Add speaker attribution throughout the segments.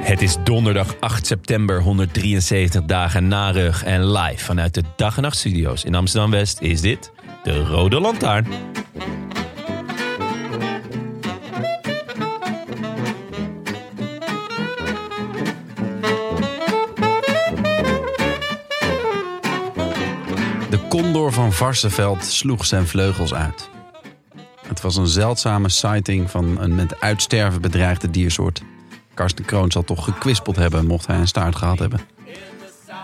Speaker 1: Het is donderdag 8 september, 173 dagen na rug. En live vanuit de Dag en Nacht Studio's in Amsterdam-West is dit de Rode Lantaarn.
Speaker 2: De condor van Varsenveld sloeg zijn vleugels uit. Het was een zeldzame sighting van een met uitsterven bedreigde diersoort. Karsten Kroon zal toch gekwispeld hebben mocht hij een staart gehad hebben.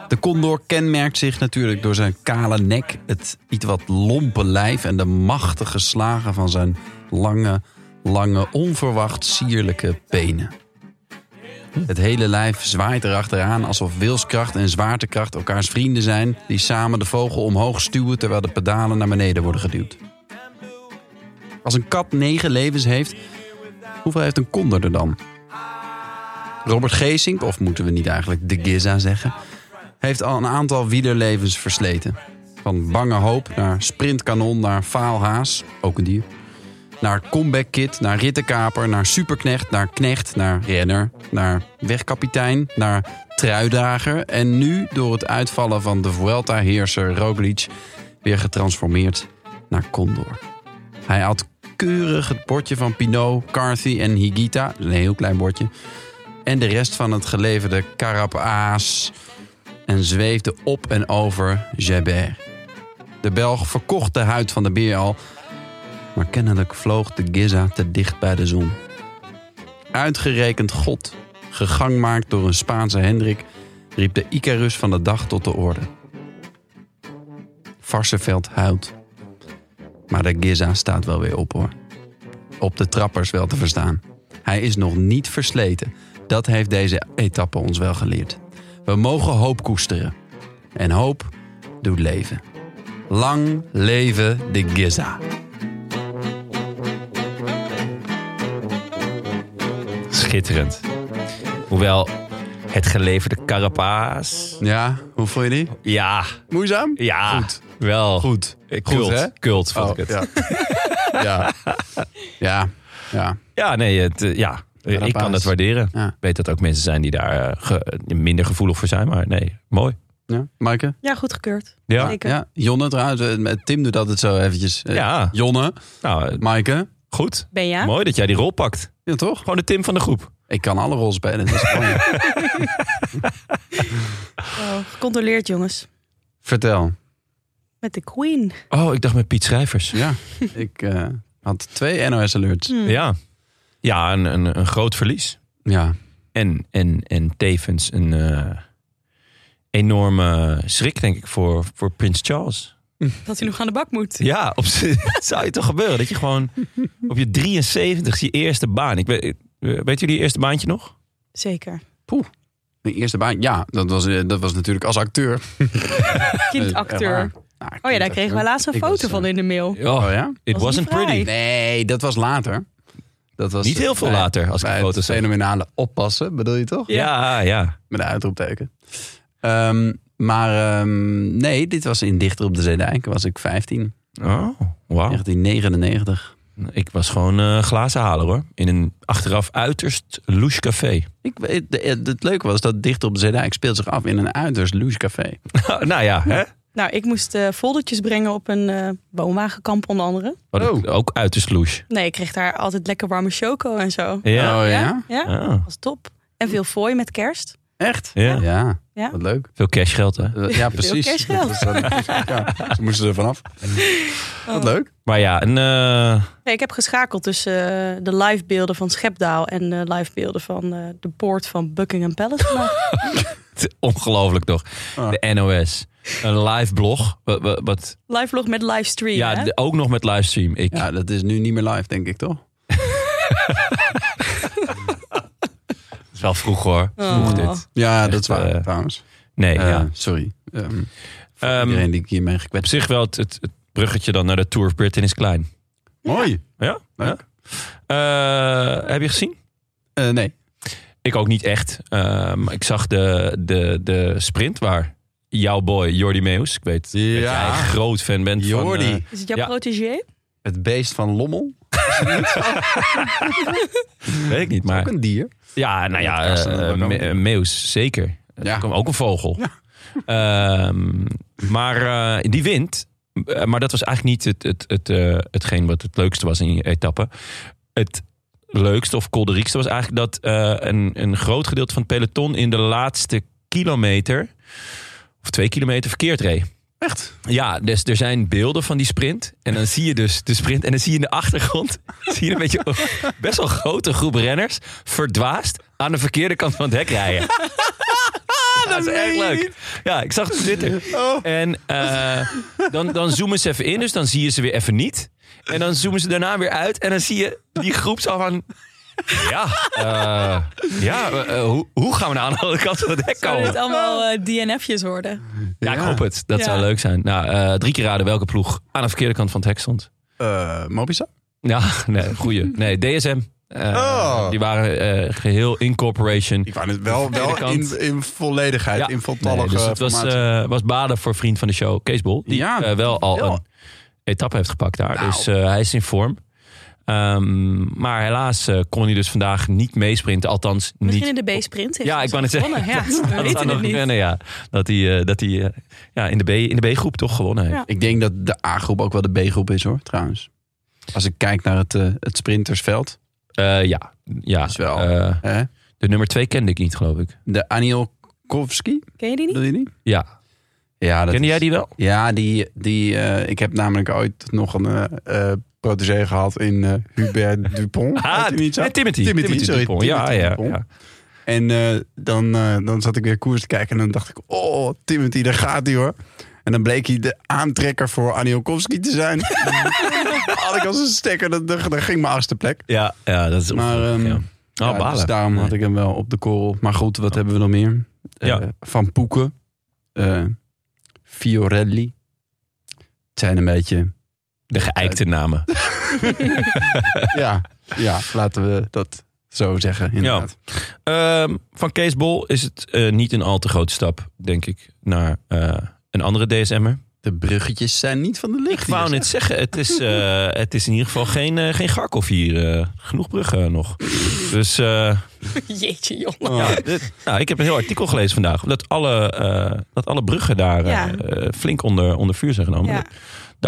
Speaker 2: De condor kenmerkt zich natuurlijk door zijn kale nek, het iets wat lompe lijf en de machtige slagen van zijn lange, lange, onverwacht sierlijke benen. Het hele lijf zwaait erachteraan alsof wilskracht en zwaartekracht elkaars vrienden zijn die samen de vogel omhoog stuwen terwijl de pedalen naar beneden worden geduwd. Als een kat negen levens heeft, hoeveel heeft een konder er dan? Robert Geesink, of moeten we niet eigenlijk de Giza zeggen, heeft al een aantal wielerlevens versleten. Van bange hoop naar sprintkanon, naar faalhaas, ook een dier. Naar comeback kid, naar rittenkaper, naar superknecht, naar knecht, naar renner, naar wegkapitein, naar truidager. En nu, door het uitvallen van de Vuelta-heerser Roglic, weer getransformeerd naar Condor. Hij had keurig het bordje van Pinot, Carthy en Higita, een heel klein bordje, en de rest van het geleverde Carapaas en zweefde op en over Jabert. De Belg verkocht de huid van de beer al, maar kennelijk vloog de Giza te dicht bij de zon. Uitgerekend God, gegangmaakt door een Spaanse Hendrik, riep de Icarus van de dag tot de orde. Varsenveld huilt. Maar de Giza staat wel weer op hoor. Op de trappers wel te verstaan. Hij is nog niet versleten. Dat heeft deze etappe ons wel geleerd. We mogen hoop koesteren. En hoop doet leven. Lang leven de Giza.
Speaker 1: Schitterend. Hoewel het geleverde carapaas.
Speaker 2: Ja, hoe vond je die?
Speaker 1: Ja,
Speaker 2: Moeizaam?
Speaker 1: ja.
Speaker 2: Goed.
Speaker 1: Wel.
Speaker 2: Goed.
Speaker 1: Eh,
Speaker 2: Goed,
Speaker 1: Kult,
Speaker 2: hè?
Speaker 1: kult vond
Speaker 2: Oh,
Speaker 1: ik het. Ja,
Speaker 2: ja. ja. ja. Ja.
Speaker 1: nee, het, eh, ja. Eh, ik
Speaker 2: Carapaas.
Speaker 1: kan dat waarderen.
Speaker 2: Ja.
Speaker 1: Ik weet dat ook mensen zijn die daar eh, ge- eh, minder gevoelig voor zijn, maar nee, mooi.
Speaker 2: Ja. Maaike?
Speaker 3: Ja, goedgekeurd.
Speaker 1: Ja,
Speaker 3: Zeker.
Speaker 2: Ja. Jonne trouwens. eh, Tim doet altijd zo eventjes. Eh,
Speaker 1: ja.
Speaker 2: Jonne.
Speaker 1: nou, eh,
Speaker 2: Maaike.
Speaker 1: goed.
Speaker 3: Ben jij?
Speaker 1: Mooi dat jij die rol pakt.
Speaker 2: Ja, toch?
Speaker 1: Gewoon de Tim van de groep.
Speaker 2: Ik kan alle rollen spelen. dus Dat is gewoon-
Speaker 3: Oh, gecontroleerd, jongens.
Speaker 2: Vertel.
Speaker 3: Met de Queen.
Speaker 1: Oh, ik dacht met Piet Schrijvers.
Speaker 2: Ja. Ik eh, had twee NOS-alerts.
Speaker 3: Hmm. Mm.
Speaker 1: Ja, ja een, een, een groot verlies.
Speaker 2: Ja.
Speaker 1: En, en, en tevens een eh, enorme schrik, denk ik, voor, voor Prins Charles.
Speaker 3: Dat hij nog aan de bak moet.
Speaker 1: Ja, op z'n- het zou je toch gebeuren? Dat je gewoon op je 73 je eerste baan. Ik weet, eh, weet jullie je eerste baantje nog?
Speaker 3: Zeker.
Speaker 2: De eerste baan. Ja, dat was, eh, dat was natuurlijk als acteur. Eh, Echt waar.
Speaker 3: Kindacteur.
Speaker 2: Nou,
Speaker 3: Oh ja, daar
Speaker 2: kindacteur.
Speaker 3: kregen we laatst een
Speaker 2: Ik
Speaker 3: foto
Speaker 2: was,
Speaker 3: van
Speaker 2: eh,
Speaker 3: in de mail.
Speaker 2: Oh ja?
Speaker 1: It
Speaker 3: Was
Speaker 1: wasn't
Speaker 3: niet vrij.
Speaker 1: pretty.
Speaker 2: Nee, dat was later. Dat was eh,
Speaker 1: Niet heel veel
Speaker 2: bij-
Speaker 1: later, als ik
Speaker 2: bij
Speaker 1: de
Speaker 2: het
Speaker 1: foto's zag.
Speaker 2: fenomenale oppassen, bedoel je toch?
Speaker 1: Ja, ja.
Speaker 2: Met een uitroepteken. Ehm, maar ehm, nee, dit was in Dichter op de Zeedijk. Was ik 15,
Speaker 1: Oh, wauw.
Speaker 2: 1999.
Speaker 1: Ik was gewoon eh, glazen halen hoor. In een achteraf uiterst louche café.
Speaker 2: Ik, weet- de- eh, het leuke was dat Dichter op de Zeedijk speelt zich af in een uiterst luxe café.
Speaker 1: nou ja, hè?
Speaker 3: Nou, ik moest eh foldertjes brengen op een eh, woonwagenkamp onder andere.
Speaker 1: Wat ik ook uiterst louche.
Speaker 3: Nee, ik kreeg daar altijd lekker warme choco en zo.
Speaker 1: Ja.
Speaker 2: Oh ja?
Speaker 3: Ja?
Speaker 1: Ah.
Speaker 3: was top. En veel fooi met kerst.
Speaker 2: Echt?
Speaker 1: Ja.
Speaker 2: Ja,
Speaker 3: Ja.
Speaker 2: wat leuk.
Speaker 1: Veel cashgeld, hè?
Speaker 2: Ja, precies.
Speaker 3: cashgeld.
Speaker 2: Dat is dan- ja, ze moesten er vanaf. Wat leuk.
Speaker 1: Maar ja, en, eh,
Speaker 3: Nee, ik heb geschakeld tussen eh, de live beelden van Schepdaal en de live beelden van eh, de poort van Buckingham Palace. vandaag.
Speaker 1: t- ongelooflijk toch.
Speaker 2: Ah.
Speaker 1: De NOS. Een live blog. Wat, wat, wat-
Speaker 3: live vlog met livestream.
Speaker 1: ja,
Speaker 3: hè?
Speaker 1: de- ook nog met livestream. Ik,
Speaker 2: Ja, dat is nu niet meer live, denk ik, toch?
Speaker 1: Het is wel vroeg hoor. Vroeg
Speaker 3: Oh.
Speaker 1: dit.
Speaker 2: Ja,
Speaker 1: Echt,
Speaker 2: dat is waar,
Speaker 1: eh,
Speaker 2: trouwens.
Speaker 1: Nee,
Speaker 2: Eh,
Speaker 1: ja.
Speaker 2: Sorry. Ehm, voor
Speaker 1: Ehm,
Speaker 2: iedereen die ik hiermee
Speaker 1: Op
Speaker 2: gekwetst
Speaker 1: zich wel, het, het, het bruggetje dan naar de Tour of Britain is klein.
Speaker 2: heb. Mooi.
Speaker 1: Ja?
Speaker 2: Leuk.
Speaker 1: Ja. Eh, heb je gezien?
Speaker 2: Eh, nee.
Speaker 1: Ik ook niet echt. Eh, maar ik zag de, de, de sprint waar jouw boy Jordi Meus, ik weet dat jij
Speaker 2: Ja.
Speaker 1: een groot fan bent
Speaker 2: Jordi,
Speaker 1: van... eh,
Speaker 3: Is het jouw
Speaker 1: Ja.
Speaker 3: protégé?
Speaker 2: het beest van Lommel.
Speaker 1: weet ik niet, maar...
Speaker 2: Ook een dier.
Speaker 1: Ja, nou ja,
Speaker 2: Dat kan
Speaker 1: eh,
Speaker 2: ze ook wel.
Speaker 1: me- eh, meeuws, zeker.
Speaker 2: Ja.
Speaker 1: Ja. Ook een vogel. Ehm, maar eh, die wint. Eh, Maar dat was eigenlijk niet het, het, het, eh, hetgeen wat het leukste was in die etappe. Het leukste of kolderiekste was eigenlijk dat eh, een, een groot gedeelte van het peloton in de laatste kilometer of twee kilometer verkeerd reed.
Speaker 2: Echt?
Speaker 1: Ja, dus er zijn beelden van die sprint. En dan zie je dus de sprint. En dan zie je in de achtergrond zie je een beetje best wel grote groep renners verdwaasd aan de verkeerde kant van het hek rijden. Ja, dat is erg leuk. Ja, ik zag het zitten. En eh, dan, dan zoomen ze even in, dus dan zie je ze weer even niet. En dan zoomen ze daarna weer uit en dan zie je die groep zo van... Ja, eh, ja eh, eh, hoe, hoe gaan we nou aan de andere kant van het hek
Speaker 4: Zouden
Speaker 1: komen?
Speaker 4: het allemaal eh, DNF'jes worden?
Speaker 1: Ja, ik hoop het. Dat zou leuk zijn. Nou, eh, drie keer raden welke ploeg aan de verkeerde kant van het hek stond.
Speaker 2: Eh, Mobisa?
Speaker 1: Ja, nee, goeie. Nee, DSM. Eh,
Speaker 2: Oh.
Speaker 1: Die waren eh, geheel incorporation.
Speaker 2: Ik wou het wel,
Speaker 1: Tweede
Speaker 2: wel
Speaker 1: kant.
Speaker 2: in, in volledigheid, in voltallige
Speaker 1: Nee, dus het was,
Speaker 2: formatie.
Speaker 1: eh, was baden voor vriend van de show, Kees Bol. Die
Speaker 2: Ja,
Speaker 1: eh, wel al
Speaker 2: wel.
Speaker 1: een etappe heeft gepakt daar.
Speaker 2: Nou.
Speaker 1: Dus eh, hij is in vorm. Ehm, maar helaas eh, kon hij dus vandaag niet meesprinten. Althans,
Speaker 3: Misschien
Speaker 1: niet.
Speaker 3: in de B-sprint. heeft
Speaker 1: Ja,
Speaker 3: hij
Speaker 1: ik wou net zeggen.
Speaker 3: gewonnen, Ja, we
Speaker 1: Dat zou
Speaker 3: weten het
Speaker 1: nog
Speaker 3: niet.
Speaker 1: kunnen, ja. Dat hij, eh, dat hij eh, ja, in de B- in de B-groep toch gewonnen heeft.
Speaker 3: Ja.
Speaker 2: Ik denk dat de A-groep ook wel de B-groep is hoor, trouwens. Als ik kijk naar het, eh, het sprintersveld.
Speaker 1: Eh, ja, ja.
Speaker 2: Is wel.
Speaker 1: Eh,
Speaker 2: Hè?
Speaker 1: de nummer twee kende ik niet, geloof ik.
Speaker 2: De Anielkowski,
Speaker 3: Ken je die niet?
Speaker 2: bedoel je die?
Speaker 1: Ja.
Speaker 2: Ja, dat
Speaker 1: Kende
Speaker 2: is-
Speaker 1: jij die wel?
Speaker 2: Ja, die, die, eh, ik heb namelijk ooit nog een eh eh, protégé gehad in eh, Hubert Dupont. Heet die niet zo?
Speaker 1: eh, Timothy.
Speaker 2: Timothy, sorry,
Speaker 1: Dupont. Ja,
Speaker 2: Timothy
Speaker 1: ja,
Speaker 2: Dupont.
Speaker 1: ja.
Speaker 2: En eh, dan, eh, dan zat ik weer koers te kijken en dan dacht ik, oh Timothy, daar gaat hij hoor. En dan bleek hij de aantrekker voor Anielkowski te zijn. had ik als een stekker, dat, dat, dat ging mijn achtste plek.
Speaker 1: Ja, ja, dat is
Speaker 2: Maar,
Speaker 1: ongelooflijk,
Speaker 2: ehm,
Speaker 1: ja.
Speaker 2: Ja,
Speaker 1: Oh, balen.
Speaker 2: Dus daarom had ik hem wel op de korrel. Maar goed, wat hebben we nog meer? Eh,
Speaker 1: Ja.
Speaker 2: Van Poeken. eh, Fiorelli. Het zijn een beetje...
Speaker 1: De geëikte namen.
Speaker 2: ja, ja, laten we dat zo zeggen inderdaad.
Speaker 1: Ehm, van Kees Bol is het eh, niet een al te grote stap, denk ik, naar eh, een andere DSM'er.
Speaker 2: De bruggetjes zijn niet van de
Speaker 1: Ik
Speaker 2: licht.
Speaker 1: wou net zeggen, het is, eh, het is in ieder geval geen, eh, geen Garkov hier. eh, genoeg bruggen nog. Dus eh,
Speaker 3: Jeetje, jongen.
Speaker 1: ja,
Speaker 2: Oh.
Speaker 1: dit- nou, ik heb een heel artikel gelezen vandaag. Dat alle, eh, dat alle bruggen daar eh,
Speaker 3: Ja.
Speaker 1: eh, flink onder, onder vuur zijn genomen.
Speaker 3: Ja.
Speaker 1: Dat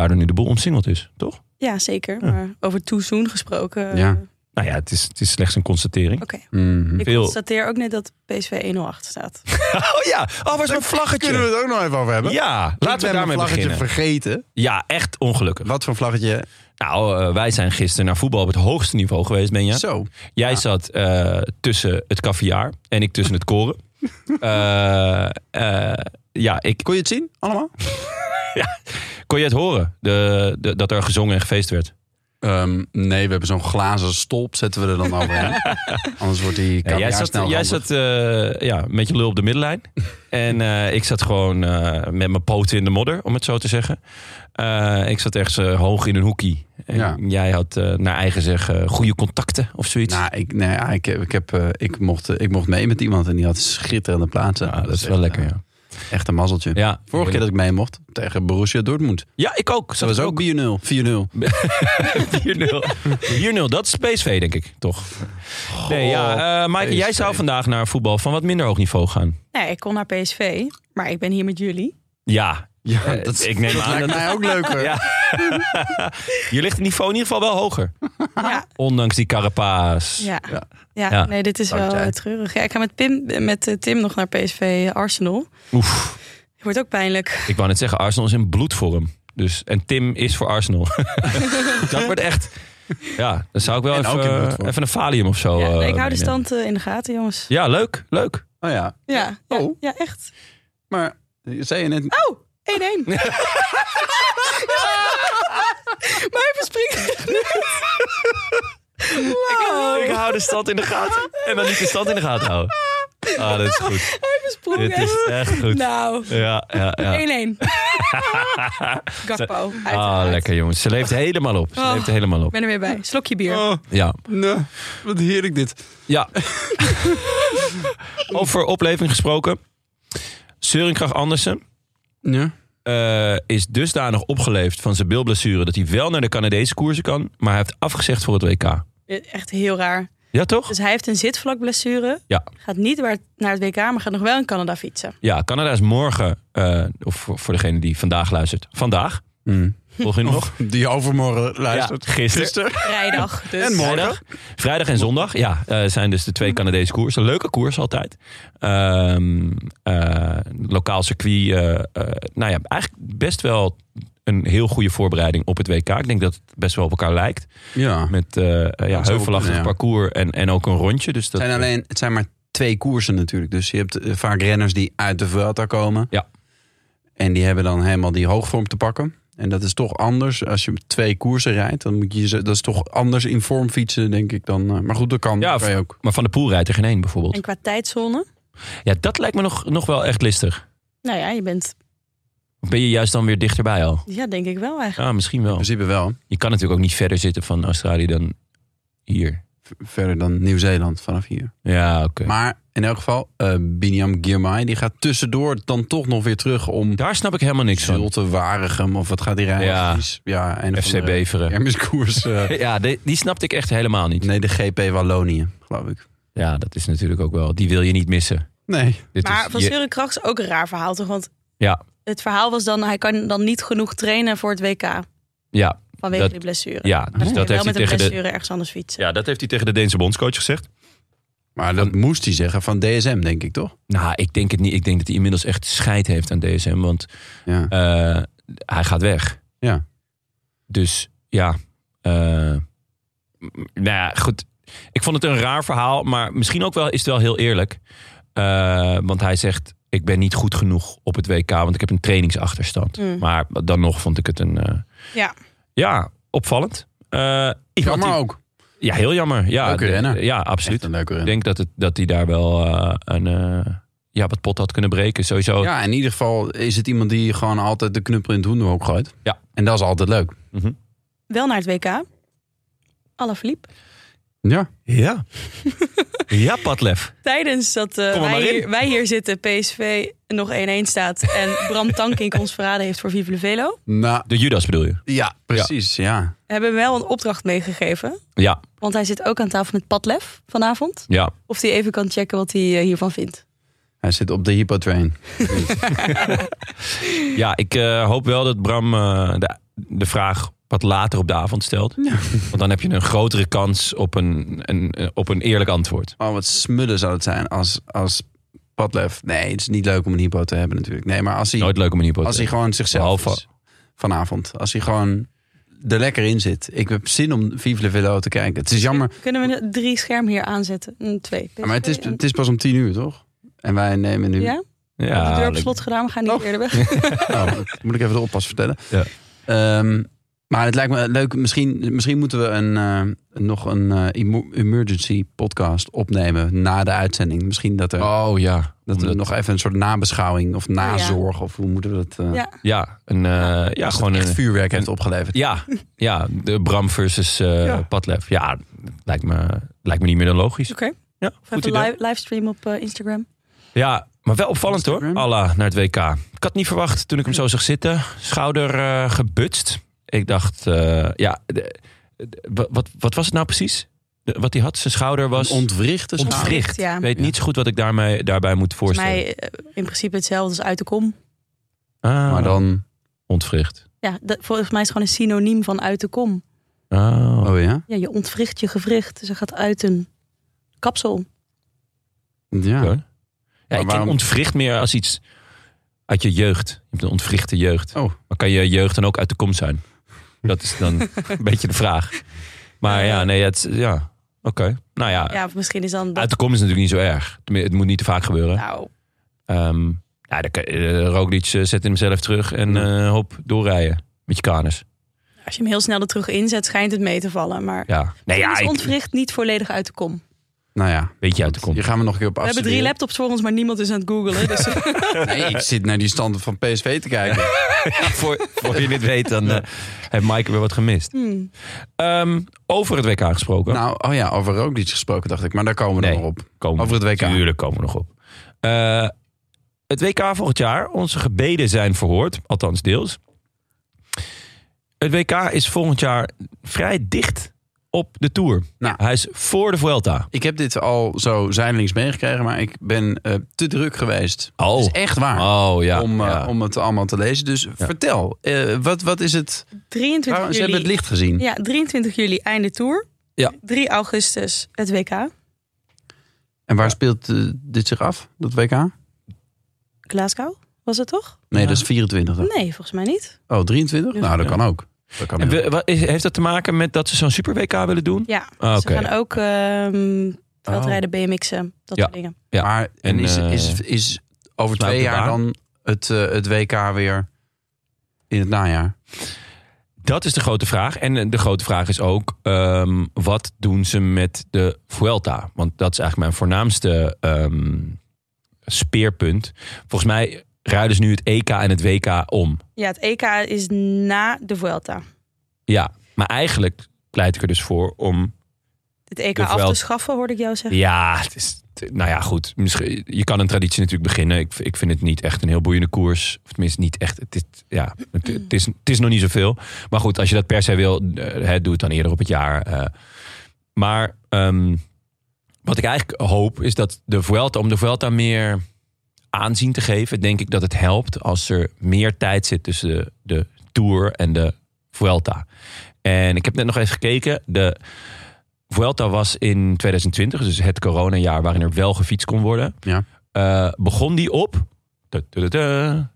Speaker 1: Daardoor nu de boel omsingeld is, toch?
Speaker 3: Ja, zeker. Maar over too soon gesproken.
Speaker 2: Ja.
Speaker 3: eh,
Speaker 1: Nou ja, het is, het is slechts een constatering.
Speaker 3: Oké.
Speaker 2: Mhm.
Speaker 3: Ik
Speaker 1: Mm. Veel-
Speaker 3: constateer ook net dat PSV 108 staat.
Speaker 1: Oh ja, oh, waar is mijn
Speaker 2: Kunnen we
Speaker 1: vlaggetje?
Speaker 2: het ook nog even over hebben?
Speaker 1: Ja,
Speaker 2: Ik
Speaker 1: laten
Speaker 2: ben
Speaker 1: we daarmee
Speaker 2: mijn vlaggetje
Speaker 1: beginnen.
Speaker 2: vergeten.
Speaker 1: Ja, echt ongelukkig.
Speaker 2: Wat voor vlaggetje?
Speaker 1: Nou, eh, wij zijn gisteren naar voetbal op het hoogste niveau geweest, Benja.
Speaker 2: Zo.
Speaker 1: Jij zat eh, tussen het caviar en ik tussen het koren. Eh, eh, ja, ik,
Speaker 2: Kon je het zien allemaal?
Speaker 1: kon je het horen de, de- dat er gezongen en gefeest werd?
Speaker 2: Ehm, nee, we hebben zo'n glazen stolp. Zetten we er dan overheen. Anders wordt die
Speaker 1: Ja, jij zat, jij zat eh, ja, met je lul op de middenlijn. en eh, ik zat gewoon eh, met mijn poten in de modder, om het zo te zeggen. Eh, ik zat echt hoog in een hoekie. En
Speaker 2: Ja.
Speaker 1: jij had eh, naar eigen zeggen goede contacten of zoiets.
Speaker 2: Nou, ik, nee, ja, ik, heb- ik, heb, eh, ik, mocht, eh, ik mocht mee met iemand en die had schitterende plaatsen.
Speaker 1: Ja, dat is wel lekker, ja.
Speaker 2: Echt een mazzeltje.
Speaker 1: ja.
Speaker 2: eh, Vorige keer dat ik mee mocht tegen Borussia Dortmund.
Speaker 1: Ja, ik ook.
Speaker 2: Dat was ook 4-0. 4-0.
Speaker 1: 4-0. 4-0, dat is PSV, denk ik, toch? Nee, ja, eh Maaike, jij
Speaker 2: PSV.
Speaker 1: zou vandaag naar voetbal van wat minder hoog niveau gaan.
Speaker 3: Nee, ik kon naar PSV, maar ik ben hier met jullie.
Speaker 1: Ja,
Speaker 2: Ja,
Speaker 1: Eh, ik neem aan dat-
Speaker 2: mij ook leuker.
Speaker 1: Ja. Je ligt het niveau in ieder geval wel hoger.
Speaker 3: Ja,
Speaker 1: Ondanks die carapaas.
Speaker 3: ja.
Speaker 2: Ja.
Speaker 3: ja.
Speaker 1: Ja.
Speaker 3: nee, dit is wel
Speaker 1: Dankzij.
Speaker 3: eh, treurig. Ja, ik ga met, Pim, met eh, Tim nog naar PSV eh, Arsenal.
Speaker 1: Oef.
Speaker 3: Wordt ook pijnlijk.
Speaker 1: Ik wou net zeggen, Arsenal is in bloedvorm. Dus, en Tim is voor Arsenal. dat wordt echt... Ja, dan zou ik wel
Speaker 2: En ook in
Speaker 1: even,
Speaker 2: bloedvorm.
Speaker 1: even een Valium of zo...
Speaker 3: Ja,
Speaker 1: eh,
Speaker 3: nee, ik hou de
Speaker 1: meenemen.
Speaker 3: stand eh, in de gaten, jongens.
Speaker 1: Ja, leuk, leuk.
Speaker 2: Oh ja,
Speaker 3: Ja, ja,
Speaker 2: Oh.
Speaker 3: ja echt.
Speaker 2: maar je zei je net...
Speaker 3: Oh, 1-1. maar hij verspringt echt niet. Wow.
Speaker 1: Ik hou de stand in de gaten. En dan niet de stand in de gaten houden. Ah, dat is goed.
Speaker 3: Hij versprong
Speaker 1: Dit is
Speaker 3: echt.
Speaker 1: echt goed.
Speaker 3: Nou, 1-1.
Speaker 1: Ja, ja, ja.
Speaker 3: Gakpo. uiteraard.
Speaker 1: Ah, lekker jongens. Ze leeft helemaal op. Ze
Speaker 3: Oh.
Speaker 1: leeft helemaal
Speaker 3: Ik
Speaker 1: op.
Speaker 3: ben er weer bij. Slokje bier.
Speaker 2: Oh,
Speaker 1: Ja.
Speaker 2: nee, wat heerlijk dit.
Speaker 1: Ja. Over opleving gesproken. Seuringkracht Andersen
Speaker 2: Ja.
Speaker 1: eh, is dusdanig opgeleefd van zijn bilblessure... dat hij wel naar de Canadese koersen kan... maar hij heeft afgezegd voor het WK.
Speaker 3: Echt heel raar.
Speaker 1: Ja, toch?
Speaker 3: Dus hij heeft een zitvlakblessure.
Speaker 1: Ja.
Speaker 3: Gaat niet waar- naar het WK, maar gaat nog wel in Canada fietsen.
Speaker 1: Ja, Canada is morgen... eh, of voor voor degene die vandaag luistert. Vandaag. Volg je hem nog?
Speaker 2: Mm. Die overmorgen luistert.
Speaker 1: Ja, gisteren.
Speaker 3: Vrijdag. Dus.
Speaker 2: En morgen.
Speaker 1: Vrijdag, vrijdag en zondag, ja, eh, zijn dus de twee Canadese koersen. Leuke koers altijd. Ehm, eh, lokaal circuit, eh, eh, nou ja, eigenlijk best wel een heel goede voorbereiding op het WK. Ik denk dat het best wel op elkaar lijkt.
Speaker 2: Ja.
Speaker 1: Met eh eh, ja,
Speaker 2: zou wel
Speaker 1: heuvelachtig
Speaker 2: kunnen, ja.
Speaker 1: parcours en, en ook een rondje. Dus dat,
Speaker 2: Het zijn, alleen, het zijn maar twee koersen natuurlijk. Dus je hebt eh, vaak renners die uit de Vuelta komen.
Speaker 1: Ja.
Speaker 2: En die hebben dan helemaal die hoogvorm te pakken. En dat is toch anders als je twee koersen rijdt. Dan moet je ze- dat is toch anders in vorm fietsen, denk ik dan. eh, Maar goed, dat kan.
Speaker 1: Ja,
Speaker 2: kan je ook.
Speaker 1: Maar Van de Poel rijdt er geen één bijvoorbeeld.
Speaker 3: En qua tijdzone?
Speaker 1: Ja, dat lijkt me nog, nog wel echt listig.
Speaker 3: Nou ja, je bent...
Speaker 1: Of ben je juist dan weer dichterbij al?
Speaker 3: Ja, denk ik wel eigenlijk.
Speaker 1: Ja, misschien
Speaker 2: In
Speaker 1: wel.
Speaker 2: principe wel.
Speaker 1: Je kan natuurlijk ook niet verder zitten van Australië dan hier.
Speaker 2: V- Verder dan Nieuw-Zeeland vanaf hier.
Speaker 1: Ja, oké.
Speaker 2: Maar in elk geval, eh Biniam Girmay, die gaat tussendoor dan toch nog weer terug om
Speaker 1: Daar snap ik helemaal niks van.
Speaker 2: Zulte Waregem of wat gaat die rijden?
Speaker 1: Ja.
Speaker 2: Precies. ja een of
Speaker 1: FC
Speaker 2: andere
Speaker 1: Beveren.
Speaker 2: kermiskoers, eh.
Speaker 1: Ja, die, die snapte ik echt helemaal niet.
Speaker 2: nee, de GP Wallonië, geloof ik.
Speaker 1: Ja, dat is natuurlijk ook wel. Die wil je niet missen.
Speaker 2: Nee.
Speaker 1: Dit
Speaker 3: Maar
Speaker 1: is
Speaker 3: van
Speaker 1: je-
Speaker 3: Søren Krach is ook een raar verhaal toch? Want
Speaker 1: Ja,
Speaker 3: het verhaal was dan, hij kan dan niet genoeg trainen voor het WK.
Speaker 1: ja,
Speaker 3: Vanwege
Speaker 1: Dat-
Speaker 3: die blessure.
Speaker 1: ja. Dus
Speaker 3: Dan
Speaker 1: dat
Speaker 3: kan je
Speaker 1: heeft,
Speaker 3: wel
Speaker 1: hij
Speaker 3: met een
Speaker 1: tegen
Speaker 3: blessure
Speaker 1: de,
Speaker 3: ergens anders fietsen.
Speaker 1: ja, dat heeft hij tegen de Deense bondscoach gezegd.
Speaker 2: Maar dat moest hij zeggen van DSM, denk ik toch?
Speaker 1: Nou, ik denk het niet. Ik denk dat hij inmiddels echt scheid heeft aan DSM. Want
Speaker 2: Ja.
Speaker 1: eh, hij gaat weg.
Speaker 2: Ja.
Speaker 1: Dus ja. eh, m- nou ja, goed. Ik vond het een raar verhaal. Maar misschien ook wel is het wel heel eerlijk. Eh, want hij zegt... Ik ben niet goed genoeg op het WK, want ik heb een trainingsachterstand.
Speaker 3: Mm.
Speaker 1: Maar dan nog vond ik het een, eh,
Speaker 3: Ja.
Speaker 1: Ja, opvallend. Eh, iemand
Speaker 2: Jammer
Speaker 1: die-
Speaker 2: ook.
Speaker 1: Ja, heel jammer. Ja,
Speaker 2: Leuke
Speaker 1: de-
Speaker 2: renner.
Speaker 1: Ja,
Speaker 2: Echt
Speaker 1: absoluut.
Speaker 2: een leuke
Speaker 1: Ik
Speaker 2: renner.
Speaker 1: denk dat, het, dat hij daar wel eh, een, eh, ja, wat pot had kunnen breken. Sowieso.
Speaker 2: Ja, in ieder geval is het iemand die gewoon altijd de knuppel in het hoenderhoek gooit.
Speaker 1: Ja.
Speaker 2: En dat is altijd leuk.
Speaker 3: Wel naar het WK. Alaphilippe.
Speaker 2: Ja.
Speaker 1: Ja, ja Patlef.
Speaker 3: Tijdens dat eh,
Speaker 1: Kom er
Speaker 3: wij,
Speaker 1: maar in.
Speaker 3: hier, wij hier zitten, PSV nog 1-1 staat. En Bram Tankink ons verraden heeft voor Vive le Velo.
Speaker 2: Nou,
Speaker 1: De Judas bedoel je?
Speaker 2: ja, precies. Ja.
Speaker 3: We hebben hem wel een opdracht meegegeven.
Speaker 1: Ja,
Speaker 3: Want hij zit ook aan tafel met Padlef vanavond.
Speaker 1: ja.
Speaker 3: Of hij even kan checken wat hij eh, hiervan vindt.
Speaker 2: Hij zit op de hypotrain.
Speaker 1: ja ik eh, hoop wel dat Bram eh, de, de vraag wat later op de avond stelt. Want dan heb je een grotere kans op een, een, eh, op een eerlijk antwoord.
Speaker 2: Oh, wat smullen zou het zijn als, als Padlef. Nee, het is niet leuk om een hypo te hebben natuurlijk. Nee, maar als hij,
Speaker 1: Nooit leuk om een hypotheek.
Speaker 2: als hij gewoon zichzelf
Speaker 1: Behalve-
Speaker 2: is vanavond. Als hij gewoon er lekker in zit. Ik heb zin om Vive le Velo te kijken. Het is jammer,
Speaker 3: Kunnen we de drie schermen hier aanzetten? Een, twee.
Speaker 2: maar het is,
Speaker 3: PSV en-
Speaker 2: het is pas om tien uur, toch? En wij nemen nu...
Speaker 3: Ja? We hebben de deur op slot gedaan, we gaan niet
Speaker 2: Oh.
Speaker 3: eerder weg.
Speaker 2: Nou, dat moet ik even de oppas vertellen.
Speaker 1: Ja.
Speaker 2: Ehm, maar het lijkt me leuk. Misschien, misschien moeten we een, eh, nog een eh, emo- emergency podcast opnemen na de uitzending. Misschien dat, er,
Speaker 1: Oh ja.
Speaker 2: dat we
Speaker 1: Omdat-
Speaker 2: nog even een soort nabeschouwing of nazorg. Of hoe moeten we dat... eh,
Speaker 3: Oh, Ja,
Speaker 1: Ja, een, eh, ja
Speaker 2: als het
Speaker 1: gewoon
Speaker 2: echt
Speaker 1: een...
Speaker 2: vuurwerk heeft opgeleverd.
Speaker 1: Ja, ja, de Bram versus eh
Speaker 2: Ja.
Speaker 1: Padlef. Ja, lijkt me, lijkt me niet meer dan logisch.
Speaker 3: Oké.
Speaker 1: Ja,
Speaker 3: Of
Speaker 1: goed
Speaker 3: even
Speaker 1: idee.
Speaker 3: live, livestream op eh, Instagram.
Speaker 1: Ja, maar wel opvallend hoor.
Speaker 2: Instagram.
Speaker 1: Allah naar het WK. Ik had niet verwacht toen ik hem zo zag zitten. Schouder eh, gebutst. Ik dacht, eh, ja, de- de- wa- wat, wat was het nou precies? De- wat hij had, zijn schouder was
Speaker 2: Een ontwrichte zaal.
Speaker 1: ontwricht.
Speaker 3: Ja.
Speaker 1: Ik weet
Speaker 2: Ja.
Speaker 1: niet zo goed wat ik daarmee, daarbij moet
Speaker 3: Volgens
Speaker 1: voorstellen.
Speaker 3: mij eh, in principe hetzelfde als uit de kom.
Speaker 1: Ah,
Speaker 2: Maar dan,
Speaker 1: ontwricht.
Speaker 3: Ja, dat, volgens mij is het gewoon een synoniem van uit de kom.
Speaker 1: Ah.
Speaker 2: oh ja?
Speaker 3: Ja, je ontwricht je gewricht. Dus dat gaat uit een kapsel.
Speaker 2: Ja.
Speaker 1: Oké. Ja, ik
Speaker 2: waarom-
Speaker 1: ken ontwricht meer als iets uit je jeugd. Je hebt een ontwrichte jeugd.
Speaker 2: Oh.
Speaker 1: Maar kan je jeugd dan ook uit de kom zijn? Dat is dan een beetje de vraag. Maar ja, nee, het, ja, oké. Nou
Speaker 2: Ah.
Speaker 1: ja,
Speaker 3: Ja, of misschien is dan...
Speaker 1: uit
Speaker 3: Dat,
Speaker 1: de kom is natuurlijk niet zo erg. Tenmin- Het moet niet te vaak gebeuren.
Speaker 3: nou,
Speaker 1: Ehm ja, dan kan, eh, Roglic eh, zet hem zelf terug en eh, hop, doorrijden met je kanus.
Speaker 3: als je hem heel snel er terug inzet, schijnt het mee te vallen. Maar
Speaker 1: Ja, nee,
Speaker 3: ja,
Speaker 1: ja,
Speaker 3: is
Speaker 1: ik,
Speaker 3: ontwricht niet volledig uit de kom.
Speaker 2: Nou ja.
Speaker 1: beetje uit de kom.
Speaker 2: Hier gaan we nog een keer op
Speaker 3: We hebben drie
Speaker 2: afstuderen.
Speaker 3: laptops voor ons, maar niemand is aan het googlen. Dus
Speaker 2: Nee, ik zit naar die standen van PSV te kijken.
Speaker 1: voor, voor je dit weet, dan eh, heeft Mike weer wat gemist.
Speaker 3: hmm.
Speaker 1: Ehm, over het WK gesproken.
Speaker 2: Nou, oh ja, over Roglic gesproken dacht ik. Maar daar komen we
Speaker 1: Nee.
Speaker 2: nog op.
Speaker 1: komen
Speaker 2: Over het WK.
Speaker 1: Tuurlijk komen we nog op. Eh, het WK volgend jaar. Onze gebeden zijn verhoord. Althans deels. Het WK is volgend jaar vrij dicht op de Tour.
Speaker 2: Nou.
Speaker 1: Hij is voor de Vuelta.
Speaker 2: Ik heb dit al zo zijdelings meegekregen, maar ik ben eh, te druk geweest.
Speaker 1: Oh.
Speaker 2: Dat is echt waar.
Speaker 1: Oh ja.
Speaker 2: om, eh,
Speaker 1: ja.
Speaker 2: om het allemaal te lezen. Dus vertel, eh, wat, wat is het?
Speaker 3: 23
Speaker 2: Waarom-
Speaker 3: juli.
Speaker 2: ze hebben het licht gezien.
Speaker 3: Ja, 23 juli einde tour.
Speaker 1: Ja.
Speaker 3: 3 augustus het WK.
Speaker 2: En waar speelt eh, dit zich af, dat WK? Nee,
Speaker 3: Glasgow was het toch?
Speaker 2: dat is 24. dan.
Speaker 3: Nee, volgens mij niet.
Speaker 2: Oh, 23?
Speaker 3: Hm? Ja.
Speaker 2: Nou, dat
Speaker 1: Ja.
Speaker 2: kan ook. Dat kan
Speaker 1: En
Speaker 2: heel
Speaker 1: we- wat is- heeft dat te maken met dat ze zo'n Super WK willen doen?
Speaker 3: Ja.
Speaker 1: Ah,
Speaker 3: Ze
Speaker 1: Oké. Oh.
Speaker 3: gaan ook ehm veldrijden, BMX'en, eh, dat
Speaker 1: Ja.
Speaker 3: soort dingen.
Speaker 1: Ja.
Speaker 2: Maar en
Speaker 1: En,
Speaker 2: is,
Speaker 1: eh,
Speaker 2: is, is over
Speaker 1: sluit
Speaker 2: twee
Speaker 1: de
Speaker 2: jaar
Speaker 1: baan.
Speaker 2: dan het, eh, het WK weer in het najaar?
Speaker 1: Dat is de grote vraag. En eh, de grote vraag is ook: ehm, wat doen ze met de Vuelta? Want dat is eigenlijk mijn voornaamste ehm, speerpunt. Volgens mij ruilen ze nu het EK en het WK om.
Speaker 3: Ja, het EK is na de Vuelta.
Speaker 1: Ja, maar eigenlijk pleit ik er dus voor om.
Speaker 3: Het EK
Speaker 1: De
Speaker 3: af te
Speaker 1: Vuelta.
Speaker 3: schaffen, hoorde ik jou zeggen.
Speaker 1: Ja, het is. Nou ja, goed. Misschien, je kan een traditie natuurlijk beginnen. Ik, ik vind het niet echt een heel boeiende koers. Of tenminste, niet echt. Het is, ja, het, het is, het is nog niet zoveel. Maar goed, als je dat per se wil, eh, hè, doe het dan eerder op het jaar. eh. maar ehm, wat ik eigenlijk hoop, is dat de Vuelta, om de Vuelta meer aanzien te geven, denk ik dat het helpt als er meer tijd zit tussen de, de Tour en de Vuelta. En ik heb net nog even gekeken. De Vuelta was in 2020, dus het coronajaar waarin er wel gefietst kon worden.
Speaker 2: Ja.
Speaker 1: Eh, begon die op. da, da, da, da,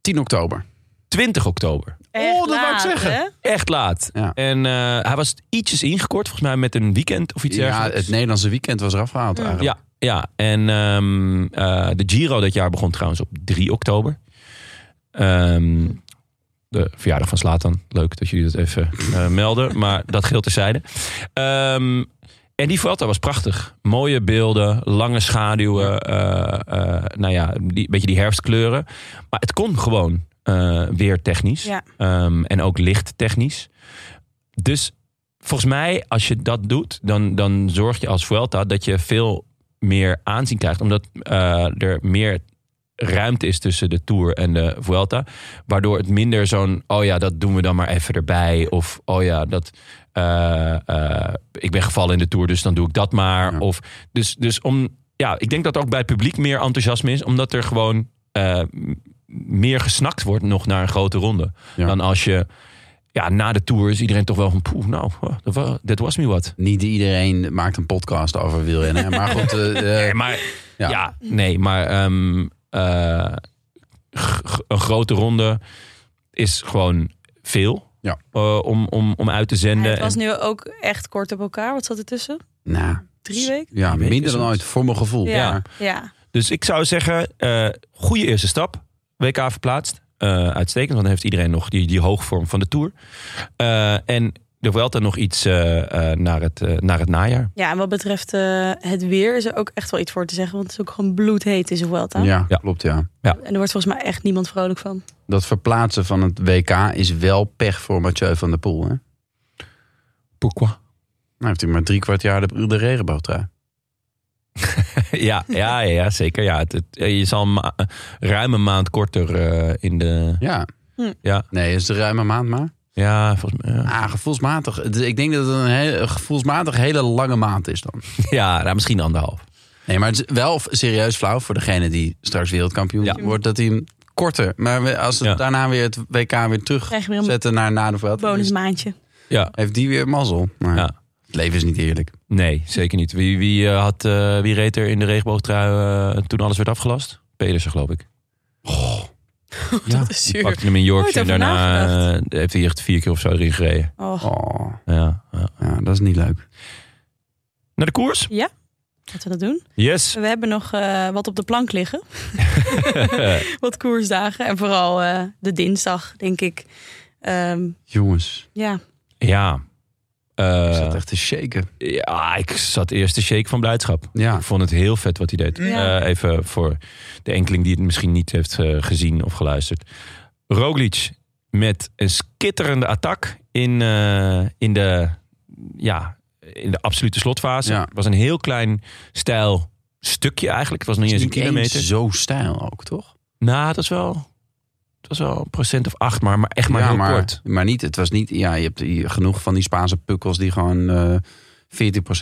Speaker 2: 10 oktober.
Speaker 1: 20 oktober.
Speaker 3: Echt
Speaker 2: Oh, dat wou ik
Speaker 3: laat,
Speaker 2: zeggen.
Speaker 3: hè?
Speaker 1: Echt laat.
Speaker 2: Ja.
Speaker 1: En eh, hij was ietsjes ingekort, volgens mij met een weekend of iets
Speaker 2: Ja,
Speaker 1: dergelijks.
Speaker 2: het Nederlandse weekend was eraf gehaald
Speaker 3: Ja.
Speaker 2: eigenlijk.
Speaker 1: Ja, ja. en ehm, eh, de Giro dat jaar begon trouwens op 3 oktober. Ehm, de verjaardag van Slatan. Leuk dat jullie dat even eh, melden. Maar dat geldt terzijde. Ehm en die Vuelta was prachtig. Mooie beelden, lange schaduwen. eh, eh, nou ja, die, beetje die herfstkleuren. Maar het kon gewoon eh, weer technisch.
Speaker 3: Ja.
Speaker 1: Ehm, en ook licht technisch. Dus volgens mij, als je dat doet, dan, dan zorg je als Vuelta dat je veel meer aanzien krijgt. Omdat eh, er meer ruimte is tussen de Tour en de Vuelta. Waardoor het minder zo'n, oh ja, dat doen we dan maar even erbij. Of, oh ja, dat, eh, eh, ik ben gevallen in de Tour, dus dan doe ik dat maar.
Speaker 2: Ja.
Speaker 1: Of, dus, dus om, ja, ik denk dat ook bij het publiek meer enthousiasme is. Omdat er gewoon eh, m- meer gesnakt wordt nog naar een grote ronde.
Speaker 2: Ja.
Speaker 1: Dan als je, ja, na de Tour is iedereen toch wel van, poeh, nou, huh, dat wa- dat was me wat.
Speaker 2: Niet iedereen maakt een podcast over wielrennen. Maar goed, eh, eh,
Speaker 1: Nee, maar,
Speaker 2: Ja.
Speaker 1: ja. nee, maar ehm, eh, g- g- een grote ronde is gewoon veel
Speaker 2: Ja.
Speaker 1: eh, om, om, om uit te
Speaker 3: Ja,
Speaker 1: zenden.
Speaker 3: het was
Speaker 1: En-
Speaker 3: nu ook echt kort op elkaar. Wat zat er tussen?
Speaker 2: nou,
Speaker 3: Drie weken?
Speaker 2: ja,
Speaker 1: Die week
Speaker 2: minder
Speaker 1: is
Speaker 2: dan
Speaker 1: het.
Speaker 2: ooit voor mijn
Speaker 1: oh,
Speaker 2: gevoel.
Speaker 3: Ja.
Speaker 2: Maar
Speaker 3: Ja.
Speaker 1: Dus ik zou zeggen, eh goede eerste stap. WK verplaatst. Eh, uitstekend, want dan heeft iedereen nog die, die hoogvorm van de Tour. Eh, en de Vuelta nog iets eh, eh, naar, het, eh, naar het najaar.
Speaker 3: ja, en wat betreft eh, het weer is er ook echt wel iets voor te zeggen. Want het is ook gewoon bloedheet in de Vuelta.
Speaker 2: Ja,
Speaker 1: Ja.
Speaker 2: klopt ja.
Speaker 3: En er wordt volgens mij echt niemand vrolijk van.
Speaker 2: Dat verplaatsen van het WK is wel pech voor Mathieu van der Poel. Hè? Nou
Speaker 1: Pourquoi?
Speaker 2: heeft hij maar drie kwart jaar de, de regenboogtrui.
Speaker 1: ja, ja, ja, ja, zeker. Ja, het, het- je zal ma- ruim een maand korter eh, in de...
Speaker 2: Ja.
Speaker 3: Hm.
Speaker 1: Ja.
Speaker 2: Nee, is de ruime maand maar.
Speaker 1: Ja, volgens mij... ja.
Speaker 2: Ah, gevoelsmatig. Het- Ik denk dat het een hele, gevoelsmatig hele lange maand is dan.
Speaker 1: Ja, nou, misschien anderhalf.
Speaker 2: Nee, maar het is wel f- serieus flauw voor degene die straks wereldkampioen
Speaker 1: Ja.
Speaker 2: wordt. Dat hij hem korter. Maar we- als we
Speaker 1: Ja.
Speaker 2: daarna weer het WK weer
Speaker 3: Krijg je weer een
Speaker 2: terugzetten naar na de Vuelta, dan is-
Speaker 3: bonusmaandje.
Speaker 1: Ja.
Speaker 2: Heeft die weer mazzel. Maar
Speaker 1: Ja.
Speaker 2: het leven is niet eerlijk.
Speaker 1: Nee, zeker niet. Wie, wie, eh, had, eh, wie reed er in de regenboogtrui eh, toen alles werd afgelast? Pedersen, geloof ik. ja,
Speaker 4: Dat is
Speaker 1: Die
Speaker 4: zuur.
Speaker 1: pakte hem in Yorkshire en
Speaker 4: Nooit over
Speaker 1: daarna eh, heeft hij echt vier keer of zo erin gereden.
Speaker 3: Oh,
Speaker 2: Oh,
Speaker 1: Ja, ja.
Speaker 2: ja, dat is niet leuk.
Speaker 1: Naar de koers?
Speaker 3: laten we dat doen.
Speaker 1: Yes.
Speaker 3: We hebben nog eh, wat op de plank liggen. wat koersdagen. En vooral eh, de dinsdag, denk ik. Ehm,
Speaker 2: Jongens,
Speaker 3: ja,
Speaker 1: ja.
Speaker 2: ik
Speaker 1: Eh,
Speaker 2: zat echt te shaken.
Speaker 1: ja, ik zat eerst te shake van blijdschap.
Speaker 2: Ja.
Speaker 1: Ik vond het heel vet wat hij deed.
Speaker 3: Ja.
Speaker 1: Eh, even voor de enkeling die het misschien niet heeft eh, gezien of geluisterd. Roglic met een skitterende attack in, eh, in, de, ja, in de absolute slotfase.
Speaker 2: Ja.
Speaker 1: Het was een heel klein stijl stukje eigenlijk. Het was nog niet
Speaker 2: Het
Speaker 1: eens
Speaker 2: is
Speaker 1: een
Speaker 2: niet eens
Speaker 1: kilometer.
Speaker 2: zo stijl ook, toch?
Speaker 1: Nou, het was wel... Het was wel een procent of acht, maar, maar echt maar
Speaker 2: ja,
Speaker 1: heel
Speaker 2: maar,
Speaker 1: kort.
Speaker 2: Maar niet, het was niet... Ja, je hebt hier genoeg van die Spaanse pukkels die gewoon eh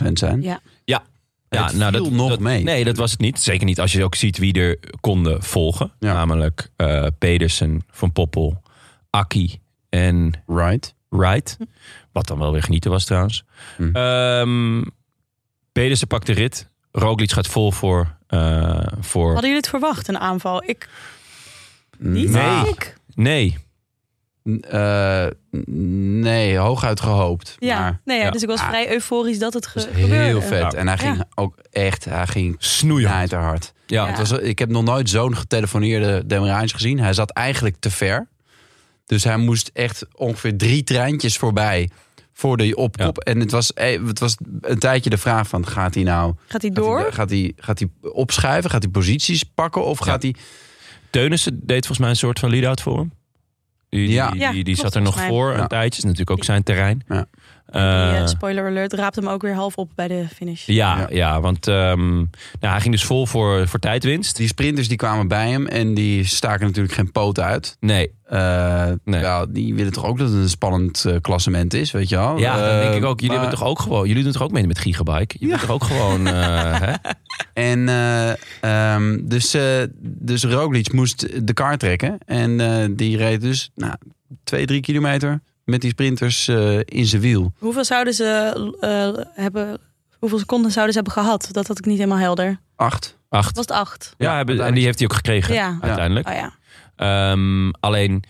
Speaker 2: 40% zijn.
Speaker 3: Ja.
Speaker 1: Ja,
Speaker 2: Het
Speaker 1: nou,
Speaker 2: viel
Speaker 1: dat,
Speaker 2: nog
Speaker 1: dat-
Speaker 2: mee.
Speaker 1: Nee, dat was het niet. Zeker niet als je ook ziet wie er konden volgen.
Speaker 2: Ja.
Speaker 1: Namelijk eh, Pedersen, Van Poppel, Akki en
Speaker 2: Right?
Speaker 1: Wright.
Speaker 3: Hm.
Speaker 1: Wat dan wel weer genieten was trouwens.
Speaker 2: Hm.
Speaker 1: Ehm, Pedersen pakt de rit. Roglic gaat vol voor... eh, voor...
Speaker 3: hadden jullie het verwacht, een aanval? Ik niet,
Speaker 2: Nou,
Speaker 3: denk ik.
Speaker 1: Nee,
Speaker 2: eh, nee, hooguit gehoopt.
Speaker 3: Ja,
Speaker 2: Maar
Speaker 3: nee, ja,
Speaker 1: ja.
Speaker 3: dus ik was
Speaker 2: Ah.
Speaker 3: vrij euforisch dat het ge-
Speaker 2: het was
Speaker 3: gebeurde.
Speaker 2: heel
Speaker 1: Nou.
Speaker 2: vet. En hij ging
Speaker 3: Ja.
Speaker 2: ook echt... Hij ging
Speaker 1: snoeien.
Speaker 2: knijter hard.
Speaker 1: Ja,
Speaker 3: Ja.
Speaker 2: Het was, ik heb nog nooit zo'n getelefoneerde demarage gezien. Hij zat eigenlijk te ver. Dus hij moest echt ongeveer drie treintjes voorbij voor de op,
Speaker 1: Ja.
Speaker 2: op. En het was, eh, het was een tijdje de vraag van, gaat hij nou...
Speaker 3: Gaat hij
Speaker 2: gaat hij-
Speaker 3: door?
Speaker 2: Gaat hij, gaat hij opschuiven? Gaat hij posities pakken? Of gaat hij...
Speaker 1: Teunissen deed volgens mij een soort van lead-out voor hem. Die, die-
Speaker 2: Ja.
Speaker 1: die,
Speaker 3: Ja,
Speaker 1: die,
Speaker 3: klopt,
Speaker 1: zat er nog
Speaker 3: volgens mij.
Speaker 1: voor
Speaker 2: Ja.
Speaker 1: een tijdje. Is natuurlijk ook zijn terrein.
Speaker 2: Ja.
Speaker 3: Die, eh,
Speaker 1: Eh,
Speaker 3: spoiler alert, raapt hem ook weer half op bij de finish.
Speaker 1: Ja,
Speaker 2: Ja.
Speaker 1: ja. want ehm, nou, hij ging dus vol voor, voor tijdwinst.
Speaker 2: Die sprinters die kwamen bij hem en die staken natuurlijk geen poot uit.
Speaker 1: Nee,
Speaker 2: Eh,
Speaker 1: Nee.
Speaker 2: ja, die willen toch ook dat het een spannend eh, klassement is, weet je wel?
Speaker 1: Oh. ja, dan denk
Speaker 2: Eh,
Speaker 1: ik ook. Jullie,
Speaker 2: maar-
Speaker 1: hebben toch ook gewoon, jullie doen toch ook mee met Gigabyte? Je bent toch ook gewoon... eh, hè?
Speaker 2: En eh, ehm, dus, eh, dus Roglic moest de kar trekken. En eh, die reed dus nou, twee, drie kilometer met die sprinters eh, in zijn wiel.
Speaker 3: Hoeveel zouden ze eh, hebben... Hoeveel seconden zouden ze hebben gehad? Dat had ik niet helemaal helder.
Speaker 2: Acht.
Speaker 1: Acht.
Speaker 3: Was het acht?
Speaker 1: Ja, hebben- en die heeft hij ook gekregen
Speaker 3: Ja.
Speaker 1: uiteindelijk.
Speaker 3: Oh ja.
Speaker 1: Ehm, alleen,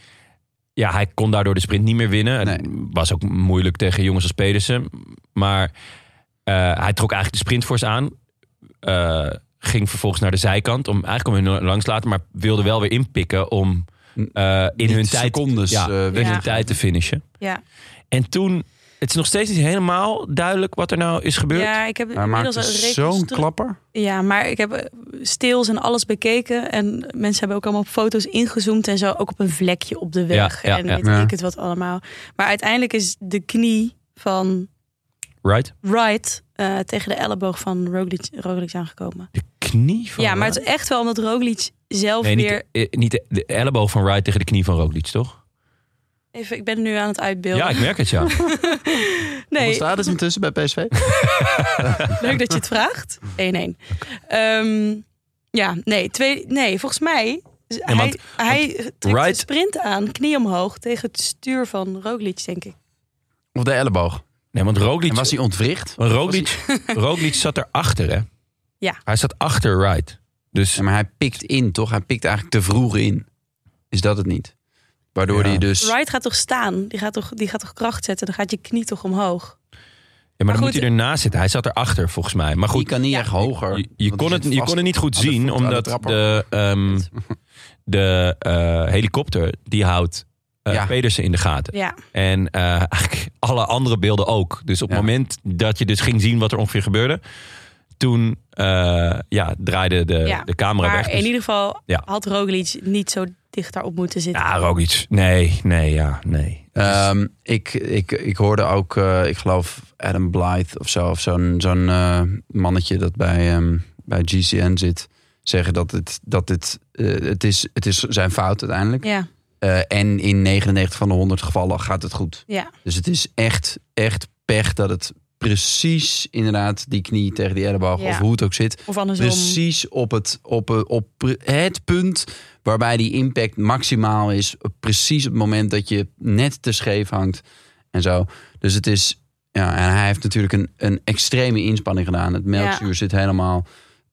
Speaker 1: ja, hij kon daardoor de sprint niet meer winnen. Het was ook moeilijk tegen jongens als Pedersen. Maar eh, hij trok eigenlijk de sprintforce aan. Eh, ging vervolgens naar de zijkant om eigenlijk om hun langs te laten, maar wilde wel weer inpikken om eh, in
Speaker 2: Niet
Speaker 1: hun tijd,
Speaker 2: secondes
Speaker 1: ja,
Speaker 2: eh,
Speaker 1: in
Speaker 2: weg.
Speaker 1: hun tijd te finishen.
Speaker 3: Ja.
Speaker 1: En toen, het is nog steeds niet helemaal duidelijk wat er nou is gebeurd.
Speaker 3: ja, ik heb
Speaker 2: Hij
Speaker 3: inmiddels
Speaker 2: maakte
Speaker 3: een
Speaker 2: zo'n
Speaker 3: reconstructie.
Speaker 2: klapper.
Speaker 3: Ja, maar ik heb eh, stils en alles bekeken. En mensen hebben ook allemaal foto's ingezoomd en zo. Ook op een vlekje op de weg.
Speaker 1: Ja, ja,
Speaker 3: en
Speaker 1: ja.
Speaker 3: weet
Speaker 2: Ja.
Speaker 3: ik het wat allemaal. Maar uiteindelijk is de knie van
Speaker 1: Right?
Speaker 3: Wright eh, tegen de elleboog van Roglic, Roglic aangekomen.
Speaker 1: De knie van
Speaker 3: ja, maar het
Speaker 1: Wright?
Speaker 3: is echt wel omdat Roglic zelf
Speaker 1: Nee, niet,
Speaker 3: weer...
Speaker 1: de, eh, niet de, de elleboog van Wright tegen de knie van Roglic, toch?
Speaker 3: Even, ik ben het nu aan het uitbeelden.
Speaker 1: Ja, ik merk het, ja.
Speaker 2: Hoe
Speaker 3: nee,
Speaker 2: staat het intussen bij PSV?
Speaker 3: leuk dat je het vraagt. 1-1. Ehm, ja, nee, twee, nee, volgens mij... hij
Speaker 1: want-
Speaker 3: hij trekt
Speaker 1: Wright-
Speaker 3: een sprint aan, knie omhoog, tegen het stuur van Roglic, denk ik.
Speaker 2: Of de elleboog.
Speaker 1: Nee, want Roglic,
Speaker 2: En was hij ontwricht?
Speaker 1: want Roglic, Roglic zat erachter, hè?
Speaker 3: Ja.
Speaker 1: Hij zat achter Wright. Dus
Speaker 2: Ja, maar hij pikt in, toch? Hij pikt eigenlijk te vroeg in. Is dat het niet? Waardoor
Speaker 1: Ja.
Speaker 2: hij dus...
Speaker 3: Wright gaat toch staan? Die gaat toch, die gaat toch kracht zetten? Dan gaat je knie toch omhoog?
Speaker 1: ja, maar dan
Speaker 3: goed,
Speaker 1: moet hij ernaast zitten. Hij zat erachter, volgens mij. Maar
Speaker 2: Die
Speaker 1: goed,
Speaker 2: kan niet
Speaker 3: Ja.
Speaker 2: echt hoger.
Speaker 1: je, je kon, het, je kon het niet goed
Speaker 2: aan de
Speaker 1: zien,
Speaker 2: voet, aan de
Speaker 1: omdat
Speaker 2: trapper.
Speaker 1: de, ehm, de eh, helikopter, die houdt eh,
Speaker 2: Ja.
Speaker 1: Pedersen in de gaten.
Speaker 3: Ja,
Speaker 1: En eh, eigenlijk alle andere beelden ook. Dus op het
Speaker 2: Ja.
Speaker 1: moment dat je dus ging zien wat er ongeveer gebeurde... toen eh, ja, draaide de,
Speaker 3: Ja,
Speaker 1: de camera
Speaker 3: maar
Speaker 1: weg.
Speaker 3: in
Speaker 1: Dus-
Speaker 3: ieder geval
Speaker 1: Ja.
Speaker 3: had Roglic niet zo dicht daarop moeten zitten.
Speaker 1: Ja, Roglic. Nee, nee, ja, nee.
Speaker 2: Ehm, ik, ik, ik hoorde ook, eh, ik geloof Adam Blythe of zo, of zo'n zo'n eh, mannetje dat bij, ehm, bij GCN zit, zeggen dat het, dat het, eh, het, is, het is zijn fout uiteindelijk.
Speaker 3: ja,
Speaker 2: Eh, en in 99 van de 100 gevallen gaat het goed.
Speaker 3: ja.
Speaker 2: Dus het is echt, echt pech dat het precies inderdaad die knie tegen die elleboog
Speaker 3: Ja.
Speaker 2: of hoe het ook zit.
Speaker 3: Of andersom.
Speaker 2: Precies op het, op, eh, op pre- het punt waarbij die impact maximaal is. Precies op het moment dat je net te scheef hangt en zo. Dus het is. Ja, en hij heeft natuurlijk een, een extreme inspanning gedaan. Het melkzuur zit helemaal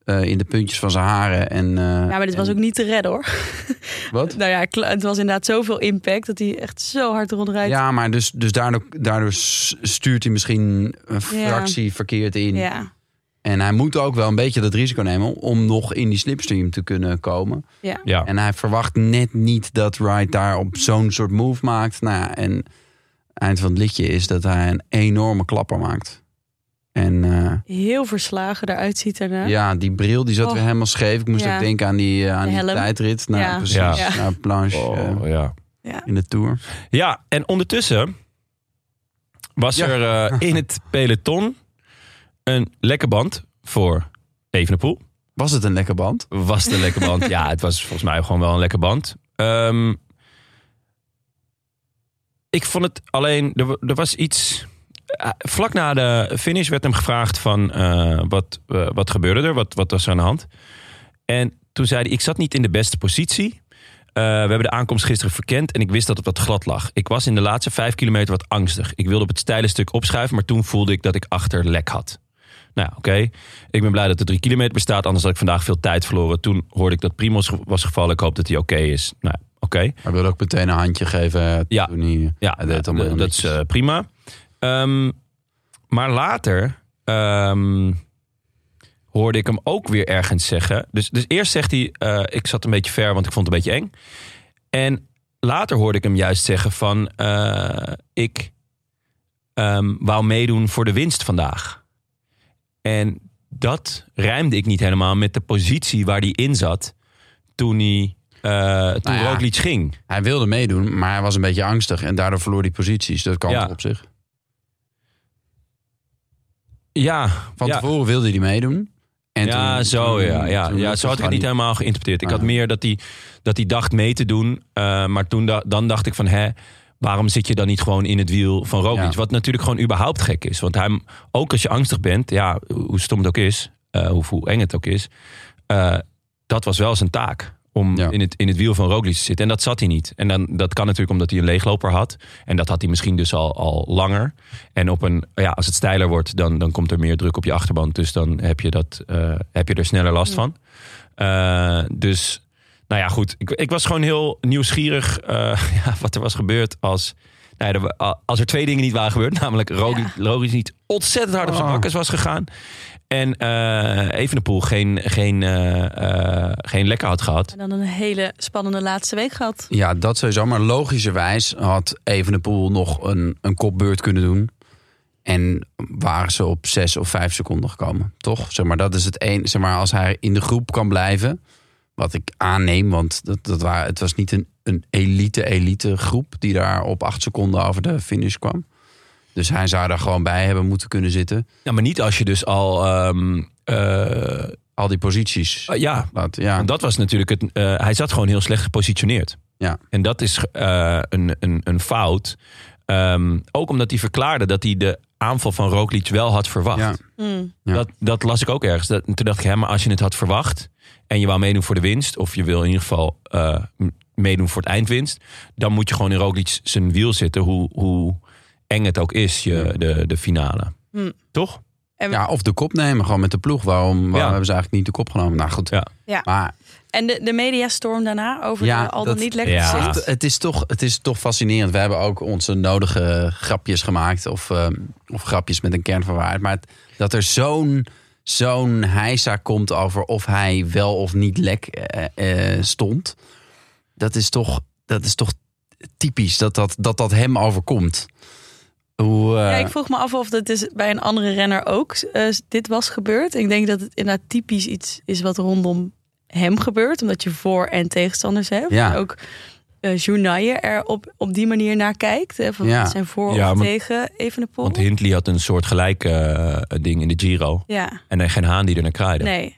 Speaker 2: eh, in de puntjes van zijn haren. En, eh,
Speaker 3: Ja, maar dit was
Speaker 2: en-
Speaker 3: ook niet te redden hoor.
Speaker 2: Wat?
Speaker 3: Nou ja, kla- het was inderdaad zoveel impact dat hij echt zo hard ronduit.
Speaker 2: Ja, maar dus, dus daardoor, daardoor s- stuurt hij misschien een fractie verkeerd in.
Speaker 3: ja.
Speaker 2: En hij moet ook wel een beetje dat risico nemen om nog in die slipstream te kunnen komen.
Speaker 1: Dus- Ja.
Speaker 2: En hij verwacht net niet dat Wright daar op zo'n soort move maakt. Nou, ja, en eind van het liedje is dat hij een enorme klapper maakt. En eh,
Speaker 3: Heel verslagen eruit ziet daarna.
Speaker 2: ja, die bril die zat
Speaker 3: Oh.
Speaker 2: weer helemaal scheef. Ik moest
Speaker 3: Ja.
Speaker 2: ook denken aan die, eh, aan
Speaker 3: De
Speaker 2: die
Speaker 3: helm.
Speaker 2: tijdrit. Nou,
Speaker 3: Ja.
Speaker 2: precies.
Speaker 1: Ja.
Speaker 3: Ja.
Speaker 2: Naar Planche eh,
Speaker 1: Oh, ja.
Speaker 2: in de Tour.
Speaker 1: Ja, en ondertussen was
Speaker 2: Ja.
Speaker 1: er eh, in het peloton een lekke band voor Evenepoel.
Speaker 2: Was het een lekker band?
Speaker 1: Was de lekke band? ja, het was volgens mij gewoon wel een lekke band. Ehm, ik vond het alleen, er, wa- er was iets... eh, Vlak na de finish werd hem gevraagd van eh, wat, eh, wat gebeurde er? Wat, wat was er aan de hand? En toen zei hij, ik zat niet in de beste positie. Eh, we hebben de aankomst gisteren verkend en ik wist dat het wat glad lag. Ik was in de laatste vijf kilometer wat angstig. Ik wilde op het steile stuk opschuiven, maar toen voelde ik dat ik achter lek had. Nou ja, oké. Ik ben blij dat er drie kilometer bestaat, anders had ik vandaag veel tijd verloren. Toen hoorde ik dat Primoz ge- was gevallen. Ik hoop dat hij oké is. Nou, ja, oké.
Speaker 2: Hij wilde ook meteen een handje geven. eh,
Speaker 1: Ja.
Speaker 2: Toen hij,
Speaker 1: Ja,
Speaker 2: Hij deed het allemaal
Speaker 1: nou,
Speaker 2: heel
Speaker 1: dat is
Speaker 2: netjes.
Speaker 1: eh, prima. Ehm, maar later ehm, hoorde ik hem ook weer ergens zeggen. Dus, dus eerst zegt hij, eh, ik zat een beetje ver, want ik vond het een beetje eng. En later hoorde ik hem juist zeggen van, eh, ik ehm, wou meedoen voor de winst vandaag. En dat rijmde ik niet helemaal met de positie waar hij in zat toen hij... eh toen
Speaker 2: Nou ja.
Speaker 1: Roglic ging.
Speaker 2: hij wilde meedoen, maar hij was een beetje angstig. En daardoor verloor hij posities. Dat kan
Speaker 1: Ja.
Speaker 2: op zich.
Speaker 1: Ja,
Speaker 2: Van
Speaker 1: ja.
Speaker 2: tevoren wilde hij meedoen. En
Speaker 1: ja,
Speaker 2: toen-
Speaker 1: zo
Speaker 2: toen-
Speaker 1: ja. ja.
Speaker 2: toen
Speaker 1: ja
Speaker 2: lukte
Speaker 1: zo had ik het niet
Speaker 2: gewoon
Speaker 1: helemaal geïnterpreteerd. Ik
Speaker 2: Ah.
Speaker 1: had meer dat hij, dat hij dacht mee te doen. eh, maar toen da- dan dacht ik van, hè, waarom zit je dan niet gewoon in het wiel van Roglic?
Speaker 2: Ja.
Speaker 1: Wat natuurlijk gewoon überhaupt gek is. Want hij, ook als je angstig bent, ja, hoe stom het ook is, eh, hoe, hoe eng het ook is. eh, dat was wel zijn taak. Om
Speaker 2: Ja.
Speaker 1: in, het, in het wiel van Roglic te zitten. En dat zat hij niet. En dan, dat kan natuurlijk omdat hij een leegloper had. En dat had hij misschien dus al, al langer. En op een, ja, als het steiler wordt, dan, dan komt er meer druk op je achterband. Dus dan heb je, dat, eh, heb je er sneller last van. Eh, dus, nou ja, goed. Ik, ik was gewoon heel nieuwsgierig eh, ja, wat er was gebeurd als... Nou ja, er wa- als er twee dingen niet waren gebeurd, namelijk Roglic, Roglic niet ontzettend hard op zijn
Speaker 2: Oh.
Speaker 1: bakkes was gegaan. En eh Evenepoel geen, geen, eh, eh, geen lekker had gehad.
Speaker 3: En dan een hele spannende laatste week gehad.
Speaker 2: Ja, dat sowieso. Maar logischerwijs had Evenepoel nog een, een kopbeurt kunnen doen. En waren ze op zes of vijf seconden gekomen. Toch? Zeg maar, dat is het een. Zeg maar, als hij in de groep kan blijven. Wat ik aanneem, want dat, dat waren, het was niet een, een elite, elite groep. die daar op acht seconden over de finish kwam. Dus hij zou daar gewoon bij hebben moeten kunnen zitten.
Speaker 1: Ja, maar niet als je dus al... ehm, eh,
Speaker 2: Al die posities.
Speaker 1: ja,
Speaker 2: Laat, ja.
Speaker 1: want dat was natuurlijk het... eh, hij zat gewoon heel slecht gepositioneerd.
Speaker 2: Ja.
Speaker 1: En dat is eh, een, een, een fout. Ehm, ook omdat hij verklaarde dat hij de aanval van Roglic wel had verwacht.
Speaker 2: Ja.
Speaker 3: Mm.
Speaker 2: Ja.
Speaker 1: Dat, dat las ik ook ergens. Dat, en toen dacht ik, hè, maar als je het had verwacht en je wou meedoen voor de winst, of je wil in ieder geval eh, m- meedoen voor het eindwinst, dan moet je gewoon in Roglic zijn wiel zitten, hoe, hoe eng het ook is, je, de, de finale.
Speaker 3: Hm.
Speaker 1: Toch?
Speaker 2: Ja, of de kop nemen, gewoon met de ploeg. Waarom, waarom
Speaker 1: Ja.
Speaker 2: hebben ze eigenlijk niet de kop genomen? Nou goed.
Speaker 1: Ja.
Speaker 3: Ja.
Speaker 2: Maar
Speaker 3: En de, de mediastorm daarna over
Speaker 2: Ja,
Speaker 3: de al dan
Speaker 2: dat-
Speaker 3: niet lekker
Speaker 1: ja.
Speaker 3: gezicht.
Speaker 2: het, het is toch, het is toch fascinerend. We hebben ook onze nodige grapjes gemaakt. Of, eh, of grapjes met een kern van waarheid. Maar het- dat er zo'n zo'n heisa komt over of hij wel of niet lek eh, eh, stond. Dat is toch, dat is toch typisch dat dat, dat, dat hem overkomt. Hoe, eh,
Speaker 3: Ja, ik vroeg me af of dat is bij een andere renner ook eh, dit was gebeurd. Ik denk dat het inderdaad typisch iets is wat rondom hem gebeurt. Omdat je voor- en tegenstanders hebt.
Speaker 2: Ja.
Speaker 3: En Ook eh Journaille er op, op die manier naar kijkt. Hè, van
Speaker 2: Ja.
Speaker 3: wat zijn voor-
Speaker 1: Ja,
Speaker 3: of
Speaker 1: want-
Speaker 3: tegen Evenepoel.
Speaker 1: Want Hindley had een soort gelijk eh, ding in de Giro.
Speaker 3: Ja,
Speaker 1: En dan geen haan die er naar kraaide.
Speaker 3: nee.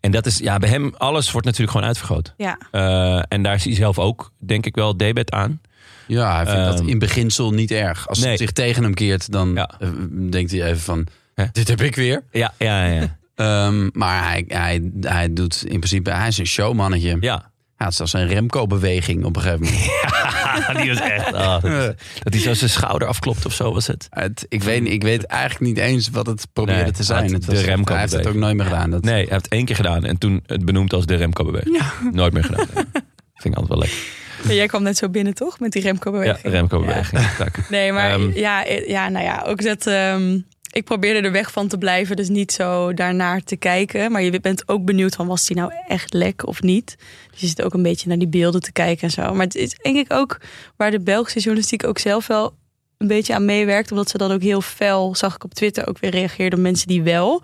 Speaker 1: En dat is, ja, bij hem, alles wordt natuurlijk gewoon uitvergroot.
Speaker 3: Ja.
Speaker 1: Eh, en daar is hij zelf ook, denk ik wel, debet aan.
Speaker 2: Ja, hij vindt dat
Speaker 1: Ehm,
Speaker 2: in beginsel niet erg. Als
Speaker 1: nee.
Speaker 2: het zich tegen hem keert, dan
Speaker 1: Ja.
Speaker 2: eh, denkt hij even van...
Speaker 1: Hè?
Speaker 2: Dit heb ik weer.
Speaker 1: Ja, ja, ja.
Speaker 2: Ehm, maar hij, hij, hij doet in principe... Hij is een showmannetje. Ja.
Speaker 1: Ja,
Speaker 2: Hij had zelfs een Remco-beweging op een gegeven moment.
Speaker 1: ja. die was echt... ah, dat, is- dat hij zo zijn schouder afklopt of zo was het.
Speaker 2: Het- ik, weet, ik weet eigenlijk niet eens wat het probeerde
Speaker 1: Nee,
Speaker 2: te zijn.
Speaker 1: hij had
Speaker 2: Het
Speaker 1: de Remco
Speaker 2: hij heeft het ook
Speaker 1: beweging.
Speaker 2: nooit meer gedaan. Dat,
Speaker 1: Nee, hij heeft het één keer gedaan en toen het benoemd als de Remco-beweging. Nooit meer gedaan. Vind ik altijd wel lekker.
Speaker 3: Maar jij kwam net zo binnen, toch? Met die
Speaker 1: Ja,
Speaker 3: Remco-beweging.
Speaker 1: de Remco-beweging. Dank.
Speaker 3: Nee, maar
Speaker 1: Ehm.
Speaker 3: ja, eh, ja, nou ja, ook dat... ehm, ik probeerde er weg van te blijven, dus niet zo daarnaar te kijken. Maar je bent ook benieuwd van, was die nou echt lek of niet? Dus je zit ook een beetje naar die beelden te kijken en zo. Maar het is denk ik ook waar de Belgische journalistiek ook zelf wel een beetje aan meewerkt. Omdat ze dat ook heel fel, zag ik op Twitter, ook weer reageerden op mensen die wel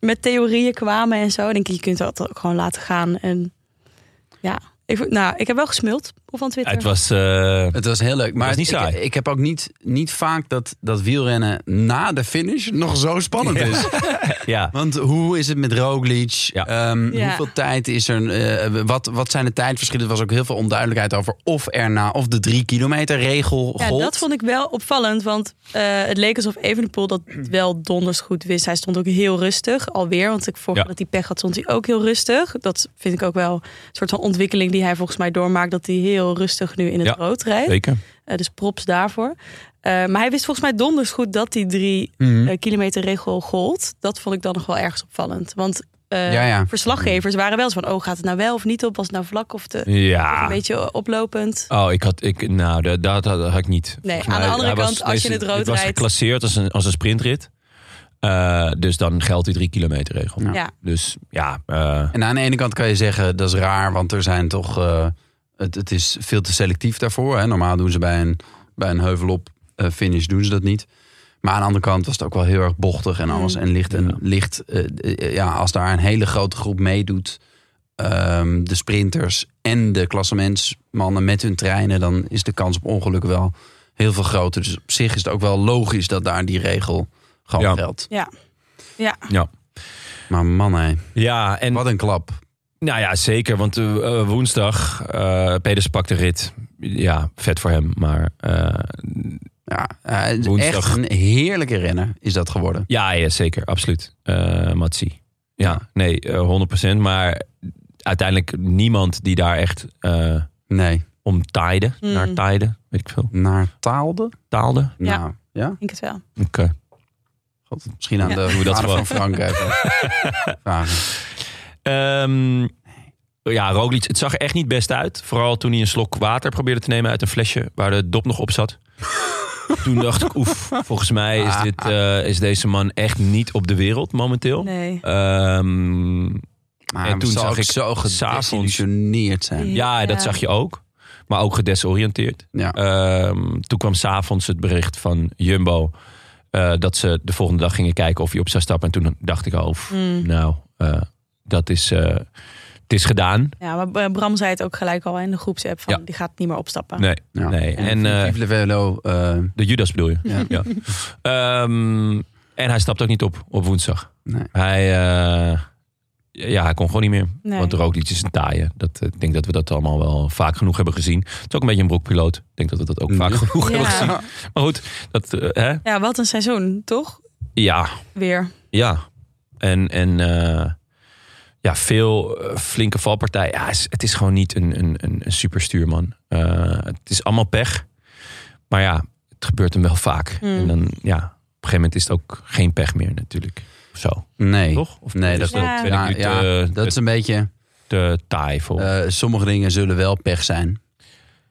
Speaker 3: met theorieën kwamen en zo. Dan denk ik, je kunt dat ook gewoon laten gaan. En ja, ik, vond- nou, ik heb wel gesmuld op van Twitter.
Speaker 1: Het was... eh,
Speaker 2: Het was heel leuk. Maar
Speaker 1: was niet
Speaker 2: ik,
Speaker 1: saai.
Speaker 2: ik heb ook niet, niet vaak dat, dat wielrennen na de finish nog zo spannend is.
Speaker 1: ja,
Speaker 2: Want hoe is het met Roglic?
Speaker 1: Ja.
Speaker 2: Ehm,
Speaker 3: Ja.
Speaker 2: Hoeveel tijd is er? eh, wat, wat zijn de tijdverschillen? Er was ook heel veel onduidelijkheid over of er na of de drie kilometer regel
Speaker 3: Ja,
Speaker 2: gold.
Speaker 3: dat vond ik wel opvallend, want eh, het leek alsof Evenepoel dat wel donders goed wist. Hij stond ook heel rustig, alweer, want ik vorige
Speaker 1: Ja.
Speaker 3: keer dat hij pech had, stond hij ook heel rustig. Dat vind ik ook wel een soort van ontwikkeling die hij volgens mij doormaakt, dat hij heel rustig nu in het
Speaker 1: Ja,
Speaker 3: rood rijdt.
Speaker 1: zeker.
Speaker 3: Eh, dus props daarvoor. Eh, maar hij wist volgens mij donders goed dat die drie
Speaker 2: Mhm.
Speaker 3: eh, kilometer regel gold. Dat vond ik dan nog wel ergens opvallend, want eh,
Speaker 2: Ja, ja.
Speaker 3: verslaggevers waren wel zo van, oh gaat het nou wel of niet op, was het nou vlak of te...
Speaker 1: Ja.
Speaker 3: Een beetje oplopend.
Speaker 1: Oh, ik had, ik, nou, dat, dat, dat had ik niet. Volgens
Speaker 3: aan de
Speaker 1: mij,
Speaker 3: andere
Speaker 1: hij was-
Speaker 3: kant, als je in het
Speaker 1: was
Speaker 3: rood rijdt-
Speaker 1: geclasseerd als een, als een sprintrit. Eh, dus dan geldt die drie kilometer regel.
Speaker 2: Ja.
Speaker 3: Ja.
Speaker 1: Dus ja, eh,
Speaker 2: En aan de ene kant kan je zeggen dat is raar, want er zijn toch. eh, het, het is veel te selectief daarvoor. Hè? Normaal doen ze bij een, bij een heuvelop eh, finish doen ze dat niet. Maar aan de andere kant was het ook wel heel erg bochtig en alles. En licht, en
Speaker 1: Hmm. Ja.
Speaker 2: licht eh, eh, ja, als daar een hele grote groep meedoet. ehm, de sprinters en de klassementsmannen met hun treinen. Dan is de kans op ongelukken wel heel veel groter. Dus op zich is het ook wel logisch dat daar die regel gewoon
Speaker 1: Ja.
Speaker 2: geldt.
Speaker 3: Ja. Ja.
Speaker 1: Ja.
Speaker 2: Maar man hé,
Speaker 1: ja, en
Speaker 2: wat een klap.
Speaker 1: nou ja, zeker. Want eh, eh, woensdag, eh Peders pakt de rit. Ja, vet voor hem. Maar eh,
Speaker 2: Ja, hij is
Speaker 1: Woensdag.
Speaker 2: echt een heerlijke renner is dat geworden.
Speaker 1: ja, ja, zeker, absoluut. Eh Matsi. Ja, nee, eh, 100%. Maar uiteindelijk niemand die daar echt eh
Speaker 2: Nee,
Speaker 1: om taaide,
Speaker 3: Mm.
Speaker 1: naar taaide, weet ik veel,
Speaker 2: naar Taalde?
Speaker 1: taalde.
Speaker 3: Ja.
Speaker 2: Nou, ja?
Speaker 3: Ik denk het wel.
Speaker 1: Oké.
Speaker 2: God, misschien aan
Speaker 3: Ja.
Speaker 2: de
Speaker 1: we dat
Speaker 2: vader
Speaker 1: gewoon-
Speaker 2: van Frank even vragen.
Speaker 1: Ehm, ja, Roglic, het zag er echt niet best uit. Vooral toen hij een slok water probeerde te nemen uit een flesje waar de dop nog op zat. toen dacht ik, oef, volgens mij is, dit, eh, is deze man echt niet op de wereld momenteel.
Speaker 3: Nee.
Speaker 1: Ehm,
Speaker 2: Maar
Speaker 1: En
Speaker 2: hij
Speaker 1: toen
Speaker 2: zal
Speaker 1: zag
Speaker 2: ook
Speaker 1: ik
Speaker 2: zo
Speaker 1: s'avonds-
Speaker 2: gedesillusioneerd zijn.
Speaker 1: ja, dat
Speaker 3: Ja.
Speaker 1: zag je ook. Maar ook gedesoriënteerd.
Speaker 2: Ja.
Speaker 1: Ehm, toen kwam s'avonds het bericht van Jumbo. eh, dat ze de volgende dag gingen kijken of hij op zou stappen. En toen dacht ik al, pff,
Speaker 2: Mm.
Speaker 1: nou, eh, dat is, eh, het is gedaan.
Speaker 3: Ja, maar eh, Bram zei het ook gelijk al in de groepsapp van
Speaker 1: Ja.
Speaker 3: die gaat niet meer opstappen.
Speaker 1: Nee,
Speaker 2: Ah. Ja.
Speaker 1: nee. En, eh,
Speaker 2: Vive le Velo, eh,
Speaker 1: De Judas bedoel je?
Speaker 2: Ja.
Speaker 1: Ja. Ehm, en hij stapt ook niet op op woensdag.
Speaker 2: Nee.
Speaker 1: Hij, eh, ja, hij kon gewoon niet meer.
Speaker 3: Nee.
Speaker 1: Want Roglic is een taaie. Dat, eh, ik denk dat we dat allemaal wel vaak genoeg hebben gezien. Het is ook een beetje een broekpiloot. Ik denk dat we dat ook
Speaker 2: Ja.
Speaker 1: vaak genoeg hebben gezien.
Speaker 3: Ja.
Speaker 1: Maar goed, dat, eh, hè?
Speaker 3: ja, wat een seizoen, toch?
Speaker 1: ja,
Speaker 3: Weer.
Speaker 1: ja. En, en eh, ja, veel eh, flinke valpartijen. Ja, het is- het is gewoon niet een, een, een, een superstuurman. Eh, het is allemaal pech. Maar ja, het gebeurt hem wel vaak.
Speaker 3: Mm.
Speaker 1: En dan, ja, op een gegeven moment is het ook geen pech meer natuurlijk. Of Zo,
Speaker 2: nee.
Speaker 1: toch? Of
Speaker 2: Nee,
Speaker 1: is
Speaker 2: dat
Speaker 3: klopt.
Speaker 1: ben ik
Speaker 2: Ja,
Speaker 1: nu te-
Speaker 2: ja, dat is een beetje...
Speaker 1: te taai voor.
Speaker 2: eh, sommige dingen zullen wel pech zijn.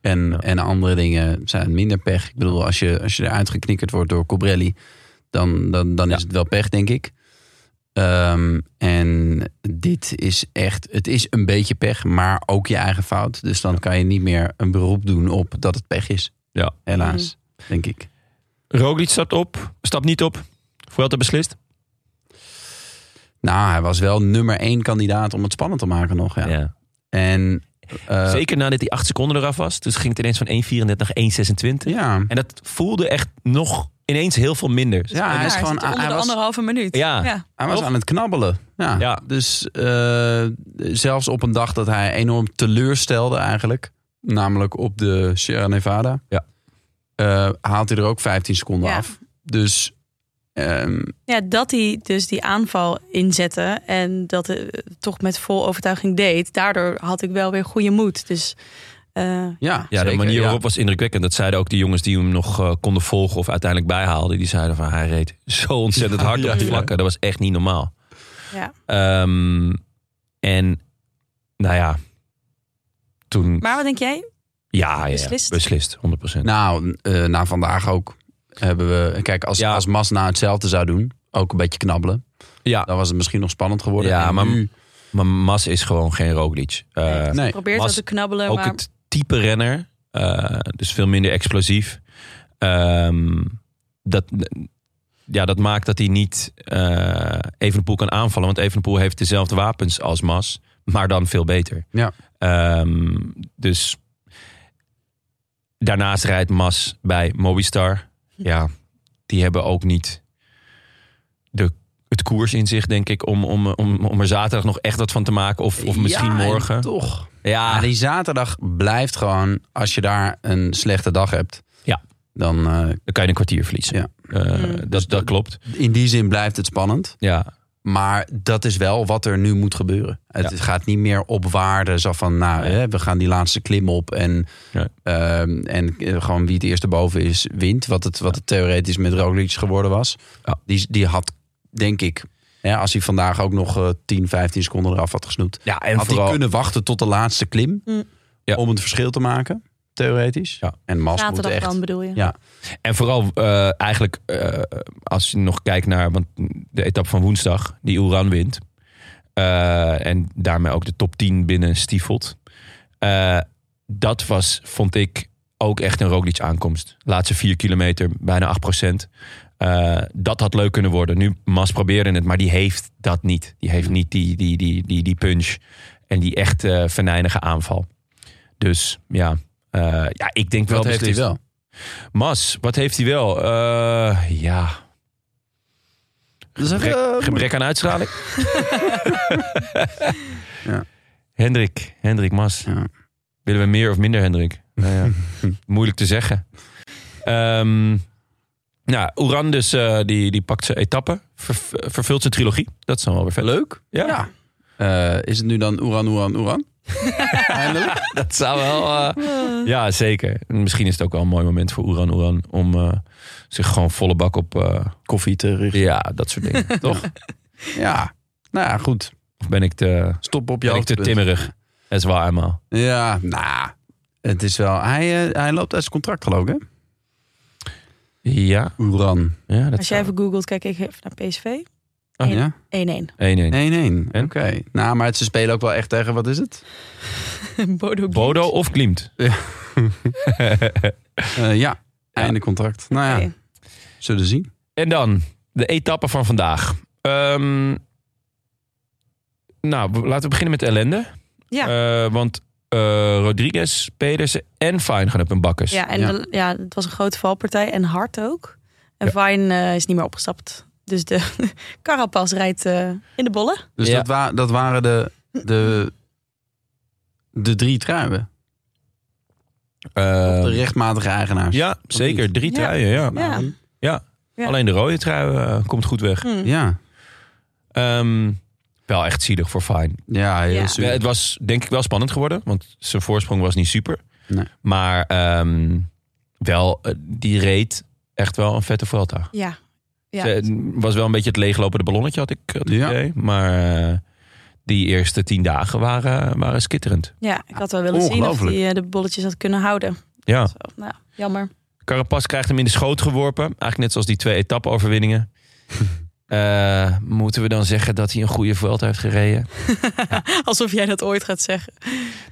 Speaker 2: En,
Speaker 1: Ja.
Speaker 2: en andere dingen zijn minder pech. Ik bedoel, als je, als je eruit geknikkerd wordt door Cobrelli, dan, dan, dan
Speaker 1: Ja.
Speaker 2: is het wel pech, denk ik. Ehm, en dit is echt, het is een beetje pech, maar ook je eigen fout. Dus dan kan je niet meer een beroep doen op dat het pech is.
Speaker 1: Ja.
Speaker 2: Helaas, denk ik.
Speaker 1: Roglic stapt op, stapt niet op. Vuelta beslist.
Speaker 2: Nou, hij was wel nummer één kandidaat om het spannend te maken nog. Ja. En, eh,
Speaker 1: Zeker nadat die acht seconden eraf was. Dus ging het ineens van 1,34 naar 1,26.
Speaker 2: Ja,
Speaker 1: En dat voelde echt nog ineens heel veel minder.
Speaker 2: ja hij is
Speaker 3: Daar
Speaker 2: gewoon...
Speaker 3: zit onder
Speaker 2: hij
Speaker 3: de
Speaker 2: was,
Speaker 3: anderhalve minuut.
Speaker 1: Ja.
Speaker 2: Hij was
Speaker 1: Toch?
Speaker 2: aan het knabbelen. Ja.
Speaker 1: Ja.
Speaker 2: Dus eh, zelfs op een dag dat hij enorm teleurstelde eigenlijk. namelijk op de Sierra Nevada,
Speaker 1: Ja.
Speaker 2: eh, haalt hij er ook 15 seconden
Speaker 3: Ja.
Speaker 2: af. Dus ehm,
Speaker 3: Ja, dat hij dus die aanval inzette en dat eh, toch met vol overtuiging deed. Daardoor had ik wel weer goede moed. Dus eh,
Speaker 2: ja,
Speaker 1: Ja,
Speaker 2: zeker,
Speaker 1: de manier
Speaker 2: ja.
Speaker 1: waarop was indrukwekkend. Dat zeiden ook die jongens die hem nog eh, konden volgen of uiteindelijk bijhaalden. Die zeiden van hij reed zo ontzettend hard
Speaker 2: ja,
Speaker 1: op die
Speaker 2: ja.
Speaker 1: vlakken. Dat was echt niet normaal.
Speaker 3: ja.
Speaker 1: Ehm, en nou ja, toen...
Speaker 3: Maar wat denk jij?
Speaker 1: ja, ja,
Speaker 3: beslist?
Speaker 1: beslist. beslist, 100%.
Speaker 2: Nou, eh, na vandaag ook hebben we... Kijk, als,
Speaker 1: Ja.
Speaker 2: als Masna hetzelfde zou doen, ook een beetje knabbelen...
Speaker 1: Ja.
Speaker 2: dan was het misschien nog spannend geworden.
Speaker 1: Ja,
Speaker 2: En
Speaker 1: maar-
Speaker 2: nu-
Speaker 1: Maar Mas is gewoon geen Roglic. Eh,
Speaker 2: nee.
Speaker 3: Probeert
Speaker 1: was
Speaker 3: wel te
Speaker 2: Eh,
Speaker 3: knabbelen,
Speaker 1: ook
Speaker 3: maar
Speaker 1: het type renner, eh, dus veel minder explosief. Ehm, dat, ja, dat maakt dat hij niet eh Evenepoel kan aanvallen. Want Evenepoel heeft dezelfde wapens als Mas, maar dan veel beter.
Speaker 2: Ja.
Speaker 1: Ehm, dus daarnaast rijdt Mas bij Mobistar. Ja, die hebben ook niet de, het koers in zich, denk ik, om, om, om, om er zaterdag nog echt wat van te maken. Of, of misschien
Speaker 2: Ja, en
Speaker 1: morgen.
Speaker 2: toch.
Speaker 1: Ja,
Speaker 2: Maar Ah, die zaterdag blijft gewoon, als je daar een slechte dag hebt,
Speaker 1: Ja.
Speaker 2: dan eh,
Speaker 1: dan kan je een kwartier verliezen.
Speaker 2: Ja.
Speaker 1: Eh,
Speaker 3: Mm.
Speaker 1: dat, dat klopt.
Speaker 2: in die zin blijft het spannend.
Speaker 1: Ja.
Speaker 2: Maar dat is wel wat er nu moet gebeuren. Het gaat niet meer op waarde, zo van, nou,
Speaker 1: Nee.
Speaker 2: hè, we gaan die laatste klim op en,
Speaker 1: Nee.
Speaker 2: ehm, en eh, gewoon wie het eerste boven is, wint. Wat het, wat het theoretisch met Roglic geworden was.
Speaker 1: Ja.
Speaker 2: Die, die had, denk ik, hè, als hij vandaag ook nog eh, 10, 15 seconden eraf had gesnoept,
Speaker 1: ja, en
Speaker 2: had hij kunnen wachten tot de laatste klim
Speaker 3: Mm.
Speaker 1: Ja.
Speaker 2: om het verschil te maken, theoretisch.
Speaker 1: Ja.
Speaker 2: En Mas moet
Speaker 3: zaterdag
Speaker 2: echt...
Speaker 3: dan bedoel je.
Speaker 2: Ja.
Speaker 1: En vooral eh, eigenlijk, eh, als je nog kijkt naar want de etappe van woensdag, die Oeran wint. eh, en daarmee ook de top 10 binnen stiefelt. Eh, dat was, vond ik, ook echt een Roglic aankomst. Laatste 4 kilometer, bijna 8 procent. Eh, dat had leuk kunnen worden. Nu, Mas probeerde het, maar die heeft dat niet. Die heeft niet die, die, die, die, die punch en die echt eh venijnige aanval. Dus ja, eh, ja ik denk wel
Speaker 2: Dat heeft hij
Speaker 1: beslist.
Speaker 2: wel.
Speaker 1: Mas, wat heeft hij wel? Eh, ja. Gebrek,
Speaker 2: eh,
Speaker 1: gebrek aan uitstraling.
Speaker 2: Ja.
Speaker 1: Hendrik, Hendrik Mas.
Speaker 2: Ja.
Speaker 1: Willen we meer of minder Hendrik? Nou ja, moeilijk te zeggen. Ehm nou, Oeran dus, eh, die, die pakt zijn etappe. ver- vervult zijn trilogie. Dat is dan wel weer vet.
Speaker 2: Leuk.
Speaker 1: Ja,
Speaker 2: Ja. Eh, is het nu dan Oeran, Oeran, Oeran? Eindelijk?
Speaker 1: dat zou wel... eh, ja, zeker. En Misschien is het ook wel een mooi moment voor Oeran Oeran... om eh, zich gewoon volle bak op... eh,
Speaker 2: Koffie te richten.
Speaker 1: ja, dat soort dingen. Toch?
Speaker 2: Ja. Nou ja, goed.
Speaker 1: Of ben ik te,
Speaker 2: Stop op je
Speaker 1: ben ik te
Speaker 2: hoogtepunt.
Speaker 1: timmerig? Dat is waar, eenmaal.
Speaker 2: Ja, nou. het is wel... Hij, eh, hij loopt uit zijn contract geloof ik, hè?
Speaker 1: Ja,
Speaker 2: Oeran.
Speaker 1: ja dat
Speaker 3: Als jij
Speaker 1: zou...
Speaker 3: even googelt, kijk ik even naar PSV. 1-1.
Speaker 1: Oh,
Speaker 2: ja?
Speaker 1: 1-1.
Speaker 2: 1-1. Oké.
Speaker 1: En?
Speaker 2: Nou, maar ze spelen ook wel echt tegen... Wat is het?
Speaker 3: Bodo.
Speaker 1: Bodo of Klimt?
Speaker 2: Eh, ja. Einde contract. Nou ja,
Speaker 1: Ah,
Speaker 3: Oké.
Speaker 2: zullen we zien.
Speaker 1: En dan de etappe van vandaag. Ehm, nou, we- laten we beginnen met de ellende.
Speaker 3: Ja.
Speaker 1: Eh, want eh, Rodriguez, Pedersen en Fijn gaan op hun bakkers.
Speaker 3: Ja, en
Speaker 2: Ja.
Speaker 3: de- ja, het was een grote valpartij en hard ook. En
Speaker 1: Ja.
Speaker 3: Vine eh, is niet meer opgestapt. Dus de Carapas rijdt eh, in de bollen.
Speaker 2: Dus
Speaker 1: Ja.
Speaker 2: dat, wa- dat waren de, de, de drie truien.
Speaker 1: Eh,
Speaker 2: De rechtmatige eigenaars.
Speaker 1: ja zeker. Drie
Speaker 3: Ja.
Speaker 1: truien, ja.
Speaker 3: Ja. Ja.
Speaker 1: Alleen de rode trui eh, komt goed weg.
Speaker 3: Hm.
Speaker 2: Ja.
Speaker 1: Ehm, wel echt zielig voor Fijn.
Speaker 2: Ja, heel
Speaker 3: Ja.
Speaker 2: zuur.
Speaker 1: Ja, het was denk ik wel spannend geworden, want zijn voorsprong was niet super.
Speaker 2: Nee.
Speaker 1: Maar ehm, wel, eh, die reed echt wel een vette Vuelta.
Speaker 3: Ja. Ja.
Speaker 1: Ze- Het was wel een beetje het leeglopende ballonnetje, had ik het
Speaker 2: Ja.
Speaker 1: idee. Maar eh, die eerste tien dagen waren, waren skitterend.
Speaker 3: ja, ik had wel willen zien of
Speaker 2: Ongelooflijk.
Speaker 3: hij eh, de bolletjes had kunnen houden.
Speaker 1: Ja.
Speaker 3: Zo, nou, jammer.
Speaker 1: Carapaz krijgt hem in de schoot geworpen. Eigenlijk net zoals die twee etappe-overwinningen. Eh, moeten we dan zeggen dat hij een goede Vuelta heeft gereden?
Speaker 3: Alsof jij dat ooit gaat zeggen.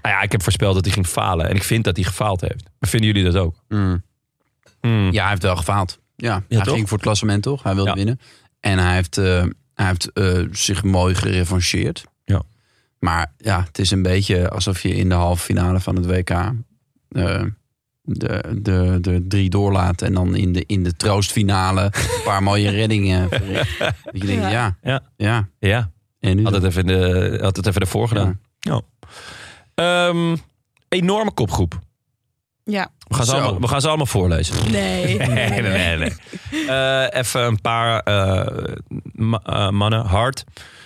Speaker 1: Nou ja, ik heb voorspeld dat hij ging falen. En ik vind dat hij gefaald heeft. Vinden jullie dat ook?
Speaker 2: Mm.
Speaker 1: Hmm.
Speaker 2: Ja, hij heeft wel gefaald. Ja, hij
Speaker 1: toch?
Speaker 2: ging voor het klassement toch? Hij wilde
Speaker 1: Ja.
Speaker 2: winnen. En hij heeft, eh, hij heeft eh, zich mooi gerevancheerd.
Speaker 1: Ja.
Speaker 2: Maar ja, het is een beetje alsof je in de halve finale van het WK... eh, de, de, de drie doorlaat en dan in de, in de troostfinale een paar mooie reddingen. verricht. Dat je denkt, ja, ja,
Speaker 1: Ja.
Speaker 2: ja.
Speaker 1: Ja,
Speaker 2: En nu
Speaker 1: had
Speaker 2: dan?
Speaker 1: het even, de, had het even ervoor gedaan. Ehm, enorme kopgroep.
Speaker 3: Ja.
Speaker 1: We gaan, ze
Speaker 2: Zo.
Speaker 1: allemaal, we gaan ze allemaal voorlezen.
Speaker 3: Nee.
Speaker 1: Nee, nee, nee. nee. Eh, even een paar eh, ma- eh, mannen. Hart,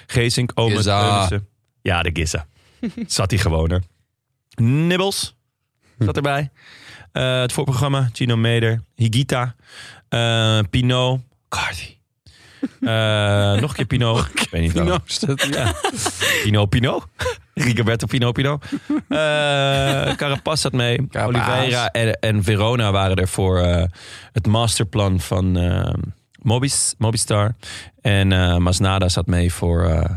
Speaker 1: Geesink, Omen,
Speaker 2: Gissa.
Speaker 1: Teunissen. Ja, de Gissa. Zat hij gewoon er. Nibbles zat erbij. Eh, het voorprogramma, Gino Meder, Higita, eh Pino, Cardi. Eh, nog een keer Pino. Ik weet niet waarom.
Speaker 2: Nou, is dat- ja.
Speaker 1: Pino Pino. Rigoberto Pino Pino. Eh Carapaz zat mee.
Speaker 2: Carapaz.
Speaker 1: Oliveira en, en Verona waren er voor eh, het masterplan van eh, Mobis, Mobistar. En eh Masnada zat mee voor, eh,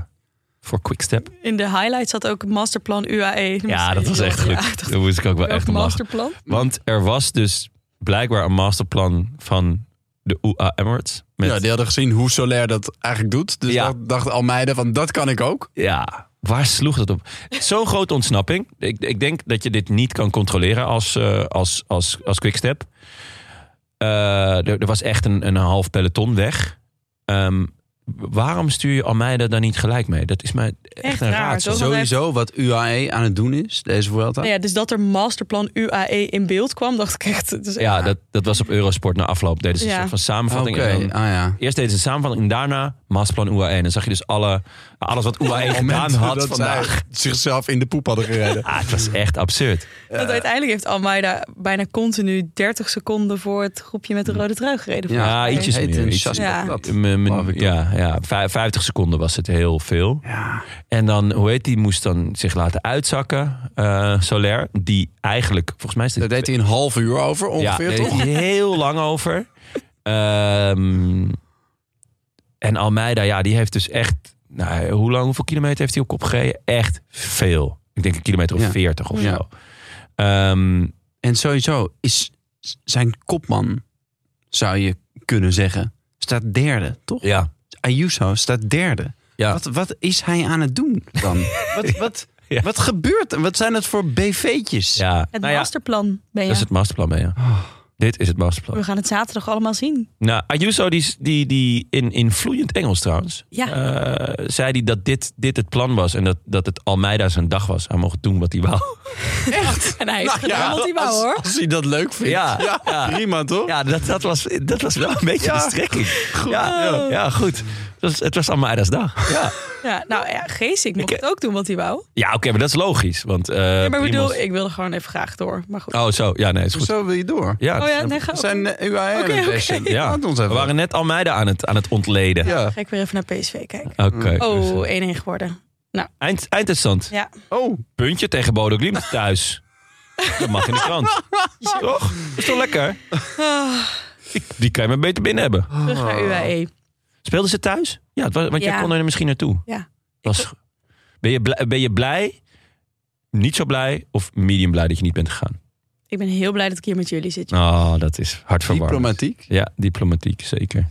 Speaker 1: voor Quickstep.
Speaker 3: In de highlights zat ook masterplan E. UAE.
Speaker 1: Ja, dat was echt
Speaker 3: Ja,
Speaker 1: goed.
Speaker 3: ik dacht,
Speaker 1: Daar moest ik ook wel
Speaker 3: welk
Speaker 1: echt om lachen.
Speaker 3: masterplan.
Speaker 1: Want er was dus blijkbaar een masterplan van de UA Emirates. Met,
Speaker 2: Ja, die hadden gezien hoe Soler dat eigenlijk doet. Dus
Speaker 1: Ja.
Speaker 2: dacht, dacht Almeida van, dat kan ik ook.
Speaker 1: Ja, waar sloeg dat op? Zo'n grote ontsnapping. Ik, ik denk dat je dit niet kan controleren als, eh als, als, als quickstep. Eh, er, er was echt een, een half peloton weg. Ehm, waarom stuur je Almeida daar niet gelijk mee? Dat is mij echt,
Speaker 3: Echt
Speaker 1: een
Speaker 3: raar,
Speaker 1: raadsel.
Speaker 3: toch?
Speaker 2: Sowieso wat UAE aan het doen is, deze Vuelta.
Speaker 3: Nou ja, dus dat er masterplan UAE in beeld kwam, dacht ik echt. Het is echt-
Speaker 1: Ja, dat, dat was op Eurosport na afloop. Deden ze een
Speaker 3: Ja.
Speaker 1: soort van
Speaker 2: Oké,
Speaker 1: samenvatting. En
Speaker 2: ah
Speaker 1: dan-
Speaker 2: ja.
Speaker 1: eerst deden ze een samenvatting en daarna Masplan UAE. En dan zag je dus alle, alles wat UAE gedaan had
Speaker 2: dat
Speaker 1: vandaag.
Speaker 2: zij zichzelf in de poep hadden gereden.
Speaker 1: Ah, het was echt absurd.
Speaker 3: Want uiteindelijk heeft Almeida bijna continu 30 seconden voor het groepje met de rode trui gereden.
Speaker 2: Ja.
Speaker 1: Ja,
Speaker 3: volgens mij.
Speaker 1: ietsjes
Speaker 2: Heet
Speaker 1: meer.
Speaker 2: een
Speaker 1: ietsjes
Speaker 2: chassis-
Speaker 3: Ja.
Speaker 2: dat.
Speaker 1: M- m-
Speaker 2: Geloof ik
Speaker 1: ja, ja, vij- 50 seconden was het heel veel. En dan, hoe heet die, moest dan zich laten uitzakken. eh Soler, die eigenlijk, volgens mij is dit...
Speaker 2: Daar deed hij een half uur over ongeveer,
Speaker 1: ja, daar
Speaker 2: toch?
Speaker 1: deed hij heel lang over. Ehm, en Almeida, ja, die heeft dus echt... Nou, hoe lang, hoeveel kilometer heeft hij op kop gereden? Echt veel. Ik denk een kilometer of
Speaker 2: Ja.
Speaker 1: 40 of
Speaker 2: Ja.
Speaker 1: zo. Ehm,
Speaker 2: En sowieso is zijn kopman, zou je kunnen zeggen, staat derde, toch?
Speaker 1: ja,
Speaker 2: Ayuso staat derde.
Speaker 1: ja.
Speaker 2: Wat, wat is hij aan het doen dan? wat, wat,
Speaker 1: Ja.
Speaker 2: wat gebeurt er? Wat zijn dat voor bv'tjes?
Speaker 1: ja.
Speaker 3: Het
Speaker 1: nou ja,
Speaker 3: masterplan ben je.
Speaker 1: dat is het masterplan, ben je.
Speaker 2: Oh.
Speaker 1: Dit is het masterplan.
Speaker 3: We gaan het zaterdag allemaal zien.
Speaker 1: Nou, Ayuso, die, die, die in, in vloeiend Engels trouwens,
Speaker 3: Ja.
Speaker 1: eh, zei hij dat dit, dit het plan was en dat, dat het Almeida zijn dag was. Hij mocht doen wat hij wou.
Speaker 3: En hij
Speaker 1: Nou
Speaker 2: ja,
Speaker 3: is gedaan wat hij wou,
Speaker 2: als,
Speaker 3: hoor.
Speaker 2: als hij dat leuk vindt.
Speaker 1: Ja,
Speaker 2: Ja,
Speaker 1: ja.
Speaker 2: prima toch?
Speaker 1: Ja, dat, dat, was, dat was wel een beetje
Speaker 2: Ja.
Speaker 1: de strekking. Goed. Ja, ja. ja, goed. Het was, het was Almeida's dag. Ja,
Speaker 3: Ja, nou ja, Geesink mocht
Speaker 1: Ik-
Speaker 3: het ook doen wat hij wou.
Speaker 1: ja oké, maar dat is logisch. Want, eh,
Speaker 3: Ja, maar ik bedoel,
Speaker 1: Primos-
Speaker 3: ik wilde gewoon even graag door. Maar goed.
Speaker 1: Oh, zo. Ja, nee, is goed.
Speaker 2: Zo wil je door.
Speaker 1: Ja,
Speaker 3: oh ja,
Speaker 1: dat-
Speaker 3: nee, ga
Speaker 2: We zijn eh, UAE aan
Speaker 3: Oké,
Speaker 2: het
Speaker 3: oké.
Speaker 2: bashen.
Speaker 1: ja.
Speaker 2: Laat ons even.
Speaker 1: We waren net Almeida aan het, aan het ontleden.
Speaker 2: ja.
Speaker 3: Ga ik weer even naar PSV kijken.
Speaker 1: Oké.
Speaker 3: Oh, 1-1 geworden.
Speaker 1: Eind, eindstand.
Speaker 3: Ja.
Speaker 2: Oh,
Speaker 1: Puntje tegen Bodo Glimt thuis. Dat mag in de krant. Toch? Dat is toch lekker?
Speaker 3: Ah,
Speaker 1: Die, die kan je maar beter binnen hebben.
Speaker 3: terug
Speaker 1: Oh.
Speaker 3: naar E. UAE.
Speaker 1: Speelden ze thuis? Ja, het was- want jij
Speaker 3: Ja.
Speaker 1: kon er misschien naartoe.
Speaker 3: Ja.
Speaker 1: Was, ben, je blij, ben je blij, niet zo blij of medium blij dat je niet bent gegaan?
Speaker 3: Ik ben heel blij dat ik hier met jullie zit.
Speaker 1: Oh, dat is hartverwarmend.
Speaker 2: diplomatiek.
Speaker 1: Ja, diplomatiek, zeker.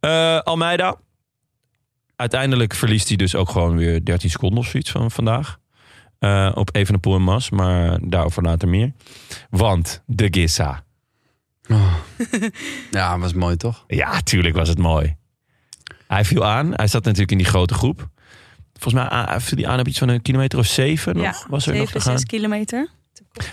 Speaker 1: Eh, Almeida. Uiteindelijk verliest hij dus ook gewoon weer 13 seconden of zoiets van vandaag. Eh op Evenepoel en Mas, maar daarover later meer. Want de Gissa.
Speaker 2: Oh. ja, was mooi toch?
Speaker 1: Ja, tuurlijk was het mooi. Hij viel aan. Hij zat natuurlijk in die grote groep. Volgens mij a- viel hij aan op iets van een kilometer of zeven.
Speaker 3: Ja,
Speaker 1: nog, was er nog te
Speaker 3: 7,
Speaker 1: gaan.
Speaker 3: 6 kilometer.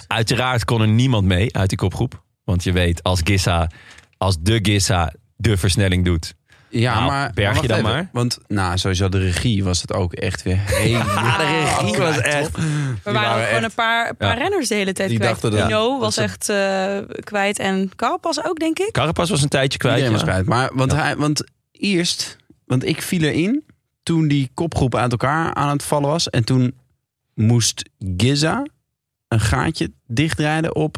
Speaker 1: Uiteraard kon er niemand mee uit die kopgroep. Want je weet, als Gissa, als de Gissa de versnelling doet.
Speaker 2: Ja,
Speaker 1: Nou,
Speaker 2: maar.
Speaker 1: berg je
Speaker 2: wacht
Speaker 1: dan
Speaker 2: even.
Speaker 1: maar.
Speaker 2: Want, nou, sowieso de regie was het ook echt weer. helemaal
Speaker 1: de regie was
Speaker 2: kwijt,
Speaker 1: echt-
Speaker 2: toch? Die
Speaker 3: We waren ook
Speaker 2: waren
Speaker 3: gewoon
Speaker 2: echt-
Speaker 3: een paar, een paar
Speaker 1: Ja.
Speaker 3: renners de hele tijd
Speaker 2: Die
Speaker 3: kwijt.
Speaker 2: dachten dat-
Speaker 3: Pino
Speaker 2: dat
Speaker 3: was
Speaker 2: ze-
Speaker 3: echt eh, kwijt en Carpas ook, denk ik.
Speaker 1: Carapaz was een tijdje kwijt.
Speaker 2: Iedereen was
Speaker 1: ja.
Speaker 2: kwijt. Maar, want, hij, want eerst, want ik viel erin toen die kopgroep uit elkaar aan het vallen was. En toen moest Giza een gaatje dichtrijden op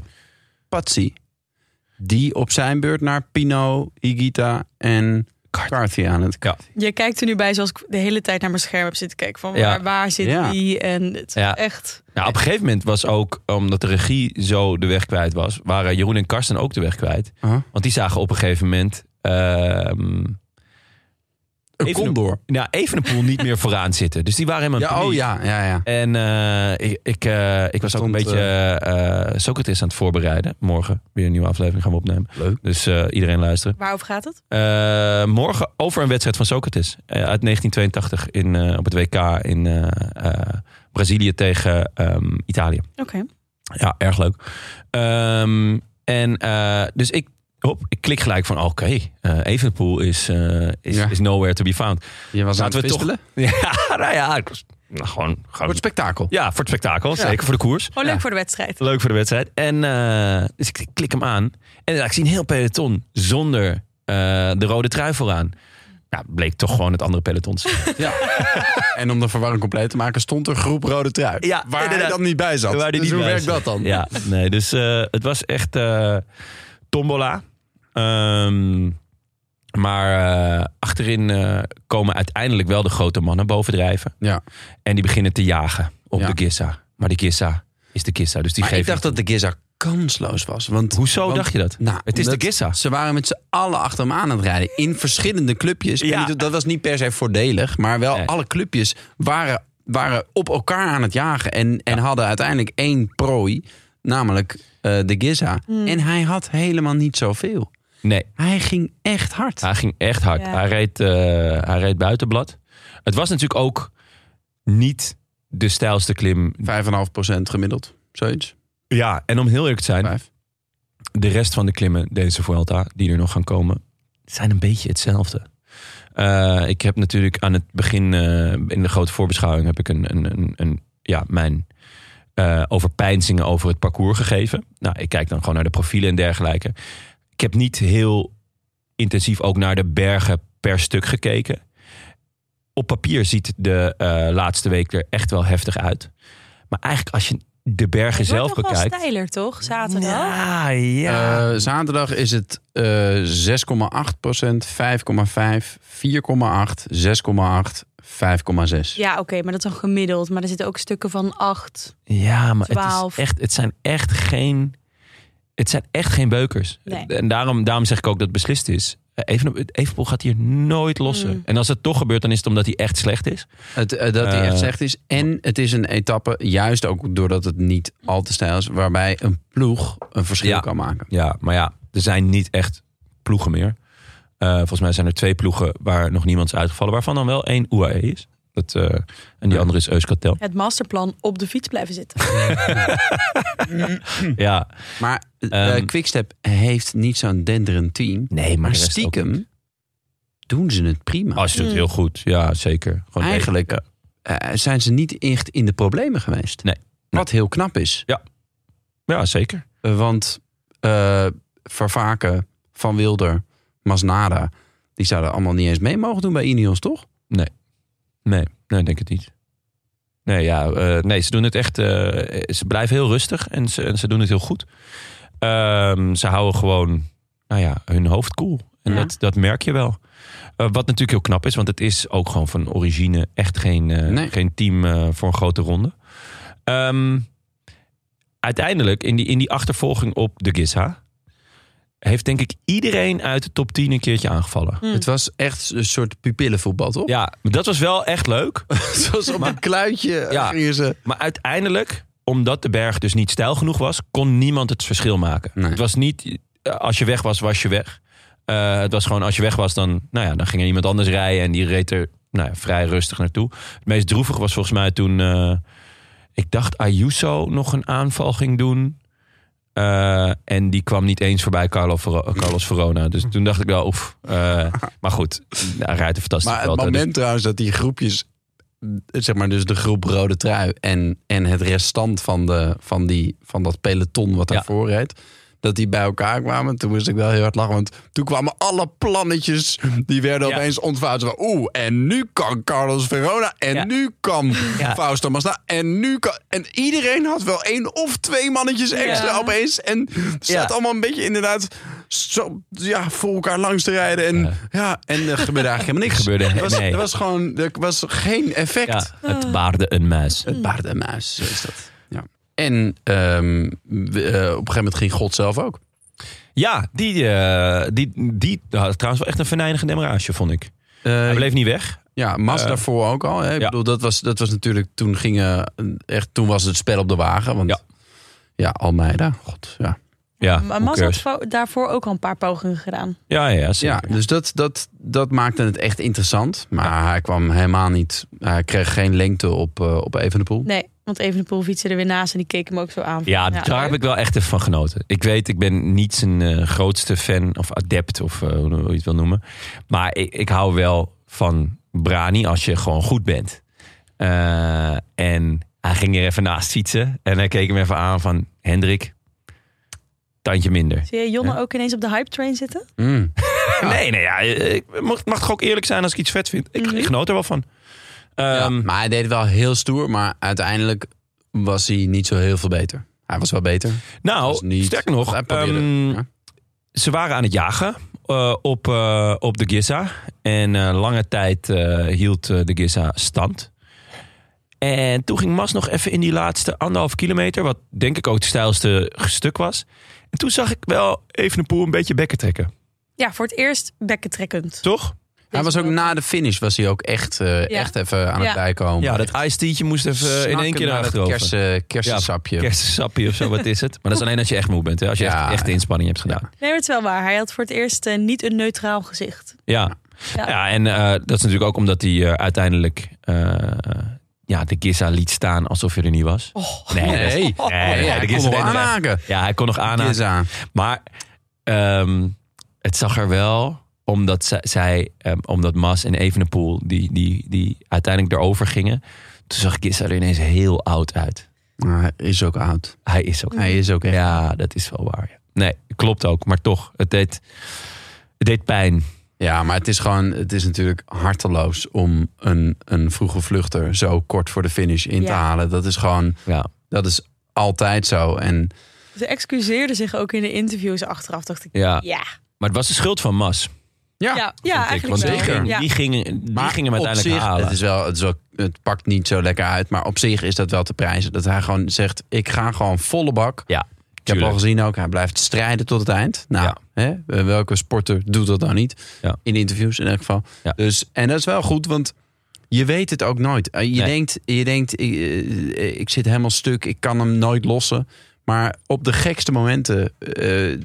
Speaker 2: Patsy. Die op zijn beurt naar Pino, Higita en Carthy aan het...
Speaker 1: Ja.
Speaker 3: Je kijkt er nu bij zoals ik de hele tijd naar mijn scherm heb zitten kijken. Van
Speaker 1: Ja.
Speaker 3: waar, waar zit
Speaker 2: Ja.
Speaker 3: die? En het is
Speaker 1: Ja.
Speaker 3: echt...
Speaker 1: Nou, op een gegeven moment was ook, omdat de regie zo de weg kwijt was, waren Jeroen en Karsten ook de weg kwijt.
Speaker 2: Huh?
Speaker 1: Want die zagen op een gegeven moment. ehm
Speaker 2: Een
Speaker 1: Even
Speaker 2: condor.
Speaker 1: nou, Evenepoel niet meer vooraan zitten. Dus die waren helemaal in
Speaker 2: Ja, oh
Speaker 1: paniek.
Speaker 2: ja, ja, ja.
Speaker 1: En eh, ik, ik, eh, ik was ook
Speaker 2: Stond,
Speaker 1: een beetje eh, eh, Socrates aan het voorbereiden. Morgen weer een nieuwe aflevering gaan we opnemen.
Speaker 2: Leuk.
Speaker 1: Dus eh, iedereen luisteren.
Speaker 3: Waarover gaat het?
Speaker 1: Eh, morgen over een wedstrijd van Socrates. eh, uit 1982 in, eh, op het WK in eh, eh, Brazilië tegen ehm, Italië.
Speaker 3: Oké.
Speaker 1: Ja, erg leuk. Ehm, en eh, dus ik, hop, ik klik gelijk van oké, eh, Evenepoel is, eh, is,
Speaker 2: Ja.
Speaker 1: is nowhere to be found.
Speaker 2: Je was aan
Speaker 1: Laten
Speaker 2: het
Speaker 1: we toch-
Speaker 2: wistelen.
Speaker 1: Ja, nou ja, ik was- nou, gewoon,
Speaker 2: Voor
Speaker 1: gewoon
Speaker 2: het spektakel.
Speaker 1: ja, voor het spektakel, zeker voor de koers.
Speaker 3: Oh, leuk voor de wedstrijd.
Speaker 1: Leuk voor de wedstrijd. En eh, dus ik klik hem aan. En ja, ik zie een heel peloton zonder eh, de rode trui vooraan. Nou, bleek toch gewoon het andere peloton. te zijn.
Speaker 2: Ja. en om de verwarring compleet te maken stond er groep rode trui.
Speaker 1: Ja,
Speaker 2: waar hij
Speaker 1: inderdaad.
Speaker 2: dan niet bij zat.
Speaker 1: Waar hij
Speaker 2: dus
Speaker 1: niet
Speaker 2: hoe
Speaker 1: bij
Speaker 2: werkt
Speaker 1: zat.
Speaker 2: dat dan?
Speaker 1: ja, nee, dus eh, het was echt eh, tombola. Ehm, maar eh, achterin eh, komen uiteindelijk wel de grote mannen bovendrijven.
Speaker 2: Ja.
Speaker 1: En die beginnen te jagen op
Speaker 2: Ja.
Speaker 1: de Gissa. Maar die Gissa is de Gissa. Dus die
Speaker 2: Maar
Speaker 1: geeft
Speaker 2: ik dacht dat de Giza kansloos was. Want,
Speaker 1: Hoezo
Speaker 2: want-
Speaker 1: dacht je dat?
Speaker 2: Nou,
Speaker 1: Het is
Speaker 2: omdat
Speaker 1: de Gissa.
Speaker 2: Ze waren met z'n allen achter hem aan aan het rijden. In verschillende clubjes. Ik
Speaker 1: Ja.
Speaker 2: weet niet, dat was niet per se voordelig. Maar wel
Speaker 1: Nee.
Speaker 2: alle clubjes waren, waren op elkaar aan het jagen. En, en hadden uiteindelijk één prooi. Namelijk eh, de Giza. En hij had helemaal niet zoveel.
Speaker 1: Nee,
Speaker 2: Hij ging echt hard.
Speaker 1: Hij ging echt hard.
Speaker 3: Ja.
Speaker 1: Hij, reed, eh, hij reed buitenblad. Het was natuurlijk ook niet de stijlste klim.
Speaker 2: 5,5% gemiddeld. Zoiets.
Speaker 1: Ja, en om heel eerlijk te zijn,
Speaker 2: Vijf.
Speaker 1: de rest van de klimmen deze Vuelta, die er nog gaan komen, zijn een beetje hetzelfde. Eh, ik heb natuurlijk aan het begin, eh, in de grote voorbeschouwing, heb ik een, een, een, een- ja, mijn eh overpeinzingen over het parcours gegeven. Nou, ik kijk dan gewoon naar de profielen en dergelijke. Ik heb niet heel intensief ook naar de bergen per stuk gekeken. Op papier ziet de eh, laatste week er echt wel heftig uit. Maar eigenlijk als je de bergen
Speaker 3: Het wordt
Speaker 1: zelf
Speaker 3: nog wel
Speaker 1: bekijkt.
Speaker 3: steiler, toch? Zaterdag.
Speaker 1: Ja, ja.
Speaker 2: Eh, zaterdag is het eh 6,8%, 5,5%, 4,8%, 6,8%, 5,6%.
Speaker 3: Ja, oké, maar dat is dan gemiddeld. Maar er zitten ook stukken van acht.
Speaker 1: Ja, maar het,
Speaker 3: Twaalf.
Speaker 1: is echt, het zijn echt geen. Het zijn echt geen beukers.
Speaker 3: Nee.
Speaker 1: En daarom, daarom zeg ik ook dat het beslist is. Eh, Even, Evenpoel gaat hier nooit lossen.
Speaker 3: Mm.
Speaker 1: En als het toch gebeurt, dan is het omdat hij echt slecht is.
Speaker 2: Het, eh, dat hij echt
Speaker 1: Eh,
Speaker 2: slecht is. En het is een etappe, juist ook doordat het niet al te stijl is, waarbij een ploeg een verschil
Speaker 1: Ja.
Speaker 2: kan maken.
Speaker 1: Ja, maar ja, er zijn niet echt ploegen meer. Eh, volgens mij zijn er twee ploegen waar nog niemand is uitgevallen. Waarvan dan wel één UAE is. Dat, eh, en die andere is Euskatel.
Speaker 3: Het masterplan op de fiets blijven zitten.
Speaker 1: Ja.
Speaker 2: Maar eh,
Speaker 1: Ehm.
Speaker 2: Quickstep heeft niet zo'n denderend team.
Speaker 1: Nee,
Speaker 2: Maar
Speaker 1: de rest ook niet.
Speaker 2: stiekem doen ze het prima.
Speaker 1: Oh, ze doet
Speaker 3: Mm.
Speaker 1: het heel goed. Ja, zeker. Gewoon
Speaker 2: Eigenlijk
Speaker 1: echt-
Speaker 2: Eh, zijn ze niet echt in de problemen geweest.
Speaker 1: Nee.
Speaker 2: Wat heel knap is.
Speaker 1: Ja, ja, zeker.
Speaker 2: Eh, Want eh, Vervaken, Van Wilder, Masnada... die zouden allemaal niet eens mee mogen doen bij Ineos, toch?
Speaker 1: Nee, nee, ik denk het niet. Nee, ja, eh, nee, ze doen het echt. eh, ze blijven heel rustig en ze, en ze doen het heel goed. Ehm, ze houden gewoon, nou ja, hun hoofd koel. En
Speaker 3: Ja.
Speaker 1: dat, dat merk je wel. Eh, wat natuurlijk heel knap is, want het is ook gewoon van origine echt geen, eh,
Speaker 2: Nee.
Speaker 1: geen team eh, voor een grote ronde. Ehm, uiteindelijk, in die, in die achtervolging op de Giza, heeft denk ik iedereen uit de top 10 een keertje aangevallen.
Speaker 3: Hm.
Speaker 2: Het was echt een soort pupillenvoetbal, toch?
Speaker 1: Ja, dat was wel echt leuk.
Speaker 2: Zoals op een kluitje eh,
Speaker 1: Ja.
Speaker 2: gingen ze...
Speaker 1: Maar uiteindelijk, omdat de berg dus niet stijl genoeg was, kon niemand het verschil maken.
Speaker 2: Nee.
Speaker 1: Het was niet eh, als je weg was, was je weg. Eh, het was gewoon als je weg was, dan, nou ja, dan ging er iemand anders rijden en die reed er nou ja, vrij rustig naartoe. Het meest droevig was volgens mij toen, eh, ik dacht Ayuso nog een aanval ging doen. Eh, en die kwam niet eens voorbij Carlo Vero- Carlos Verona. Dus toen dacht ik wel, oef. eh, maar goed, hij rijdt een fantastische
Speaker 2: Maar het
Speaker 1: Vuelta, dus-
Speaker 2: moment trouwens dat die groepjes... Zeg maar dus de groep Rode Trui en, en het restant van, de, van, die, van dat peloton wat
Speaker 1: Ja.
Speaker 2: daarvoor reed. Dat die bij elkaar kwamen. Toen moest ik wel heel hard lachen. Want toen kwamen alle plannetjes. Die werden
Speaker 1: Ja.
Speaker 2: opeens ontvouwd. Zo van, Oeh, en nu kan Carlos Verona. En
Speaker 1: Ja.
Speaker 2: nu kan
Speaker 1: Ja.
Speaker 2: Fausto Masna. En nu kan... En iedereen had wel één of twee mannetjes extra opeens. En zat
Speaker 1: Ja.
Speaker 2: allemaal een beetje inderdaad... Zo, ja, voor elkaar langs te rijden. En, ja.
Speaker 1: Ja.
Speaker 2: en er gebeurde eigenlijk helemaal niks.
Speaker 1: Gebeurde-
Speaker 2: Er was,
Speaker 1: nee.
Speaker 2: er was gewoon er was geen effect.
Speaker 1: ja, het baarde een muis.
Speaker 2: Het paardenmuis, zo is dat. Ja. En ehm, we- eh, op een gegeven moment ging God zelf ook.
Speaker 1: Ja, die, eh, die, die had trouwens wel echt een venijnige demarage, vond ik. Hij bleef niet weg.
Speaker 2: Eh, ja, Mas
Speaker 1: eh,
Speaker 2: daarvoor ook al. Hè? Ik
Speaker 1: ja.
Speaker 2: bedoel, dat was, dat was natuurlijk toen gingen echt toen was het spel op de wagen. Want ja,
Speaker 1: Ja.
Speaker 2: Almeida. God, ja.
Speaker 1: Ja,
Speaker 3: maar
Speaker 1: who
Speaker 3: Mas had
Speaker 1: cares?
Speaker 3: vo- daarvoor ook al een paar pogingen gedaan.
Speaker 1: ja, ja, ja,
Speaker 2: ja
Speaker 1: zeker.
Speaker 2: dus dat, dat, dat maakte het echt interessant. Maar hij kwam helemaal niet. Hij kreeg geen lengte op, eh op Evenepoel.
Speaker 3: Nee, Want Evenepoel fietste er weer naast en die keek hem ook zo aan.
Speaker 1: Ja, daar heb ik wel echt even van genoten. Ik weet, ik ben niet zijn eh, grootste fan of adept of eh, hoe hoe je het wil noemen. Maar ik, ik hou wel van Brani als je gewoon goed bent. Eh, en hij ging er even naast fietsen. En hij keek hem even aan van Hendrik, tandje minder.
Speaker 3: Zie je Jonne ook ineens op de hype train zitten?
Speaker 2: Mm.
Speaker 1: Nee, nee, ja, eh, ik mag, mag toch ook eerlijk zijn als ik iets vet vind. Ik, ik genoot er wel van.
Speaker 2: Ja,
Speaker 1: Ehm,
Speaker 2: maar hij deed het wel heel stoer, maar uiteindelijk was hij niet zo heel veel beter. Hij was wel beter. was
Speaker 1: nou,
Speaker 2: niet-
Speaker 1: sterker nog,
Speaker 2: Hij probeerde-
Speaker 1: ehm,
Speaker 2: ja.
Speaker 1: ze waren aan het jagen eh, op, eh, op de Giza. En eh, lange tijd eh, hield eh, de Giza stand. En toen ging Mas nog even in die laatste anderhalf kilometer, wat denk ik ook het stijlste stuk was. En toen zag ik wel even een poel een beetje bekken trekken,
Speaker 3: Ja, voor het eerst bekkentrekkend.
Speaker 1: toch?
Speaker 2: Hij was ook
Speaker 3: wel.
Speaker 2: na de finish was hij ook echt, eh, echt even aan het
Speaker 3: Ja.
Speaker 2: bijkomen.
Speaker 1: Ja, dat ijstietje moest even eh, in één
Speaker 2: Oh Snakken
Speaker 1: keer naar
Speaker 2: naar dat
Speaker 1: achterover.
Speaker 2: kersen, kersensapje.
Speaker 1: Kerstensapje of zo, wat is het? Maar dat is alleen als je echt moe bent, hè? als je
Speaker 2: Ja,
Speaker 1: echt, echt de
Speaker 2: ja.
Speaker 1: inspanning hebt gedaan.
Speaker 3: Nee, maar het is wel waar. Hij had voor het eerst eh, niet een neutraal gezicht.
Speaker 1: Ja, ja.
Speaker 3: Ja.
Speaker 1: en eh, dat is natuurlijk ook omdat hij eh, uiteindelijk eh, ja, de Giza liet staan alsof hij er niet was. nee, dat is-
Speaker 2: Nee.
Speaker 1: nee,
Speaker 2: ja,
Speaker 1: de
Speaker 2: ik
Speaker 1: Giza
Speaker 2: kon wel
Speaker 1: deed het echt.
Speaker 2: aanhaken.
Speaker 1: Ja, hij kon nog aanhaken.
Speaker 2: Giza.
Speaker 1: Maar ehm, het zag er wel, omdat zij, zij ehm, omdat Mas en Evenepoel die, die, die uiteindelijk erover gingen. Toen zag Giza er ineens heel oud uit.
Speaker 2: Maar hij is ook oud.
Speaker 1: Hij is ook
Speaker 2: Hij is ook echt.
Speaker 1: Ja, dat is wel waar. ja. Nee, klopt ook. Maar toch, het deed, het deed pijn.
Speaker 2: Ja, maar het is gewoon, het is natuurlijk harteloos om een, een vroege vluchter zo kort voor de finish in te
Speaker 3: Ja.
Speaker 2: halen. Dat is gewoon,
Speaker 1: Ja.
Speaker 2: dat is altijd zo. En
Speaker 3: Ze excuseerde zich ook in de interviews achteraf. Dacht ik,
Speaker 1: Ja.
Speaker 3: ja.
Speaker 1: Maar het was de schuld van Mas.
Speaker 2: ja,
Speaker 3: Ja,
Speaker 1: vond
Speaker 3: ja
Speaker 1: ik.
Speaker 3: eigenlijk
Speaker 1: Want
Speaker 3: wel.
Speaker 1: die ging-
Speaker 3: Ja.
Speaker 1: Die gingen, die gingen hem
Speaker 2: op
Speaker 1: uiteindelijk
Speaker 2: zich,
Speaker 1: halen.
Speaker 2: Het, is wel, het, is wel, het pakt niet zo lekker uit, maar op zich is dat wel te prijzen. Dat hij gewoon zegt, ik ga gewoon volle bak.
Speaker 1: Ja,
Speaker 2: Ik heb al
Speaker 1: tuurlijk.
Speaker 2: gezien ook, hij blijft strijden tot het eind. Nou, hè, welke sporter doet dat nou niet?
Speaker 1: Ja.
Speaker 2: In interviews in elk geval.
Speaker 1: Ja.
Speaker 2: Dus, en dat is wel goed, want je weet het ook nooit. Eh, Je
Speaker 1: Nee.
Speaker 2: denkt, je denkt ik, eh, ik zit helemaal stuk, ik kan hem nooit lossen. Maar op de gekste momenten eh, eh,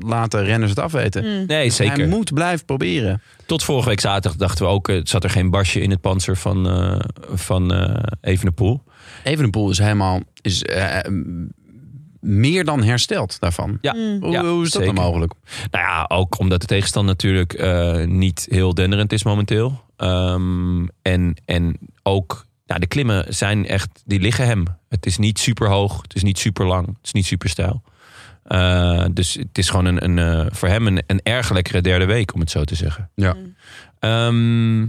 Speaker 2: laten renners het afweten.
Speaker 1: Nee,
Speaker 2: Hij
Speaker 1: zeker.
Speaker 2: moet blijven proberen.
Speaker 1: Tot vorige week zaterdag dachten we ook... eh, zat er geen basje in het panzer van, eh van eh Evenepoel.
Speaker 2: Evenepoel is helemaal is, eh, meer dan hersteld daarvan.
Speaker 1: Ja,
Speaker 2: Hoe,
Speaker 1: ja,
Speaker 2: hoe is dat
Speaker 1: zeker.
Speaker 2: dan mogelijk?
Speaker 1: Nou ja, ook omdat de tegenstand natuurlijk eh, niet heel denderend is momenteel. Ehm, en, en ook nou, de klimmen zijn echt, die liggen hem. Het is niet super hoog, het is niet super lang, het is niet super stijl. Eh, dus het is gewoon een, een, eh, voor hem een, een erg lekkere derde week, om het zo te zeggen.
Speaker 2: Ja.
Speaker 1: Ehm,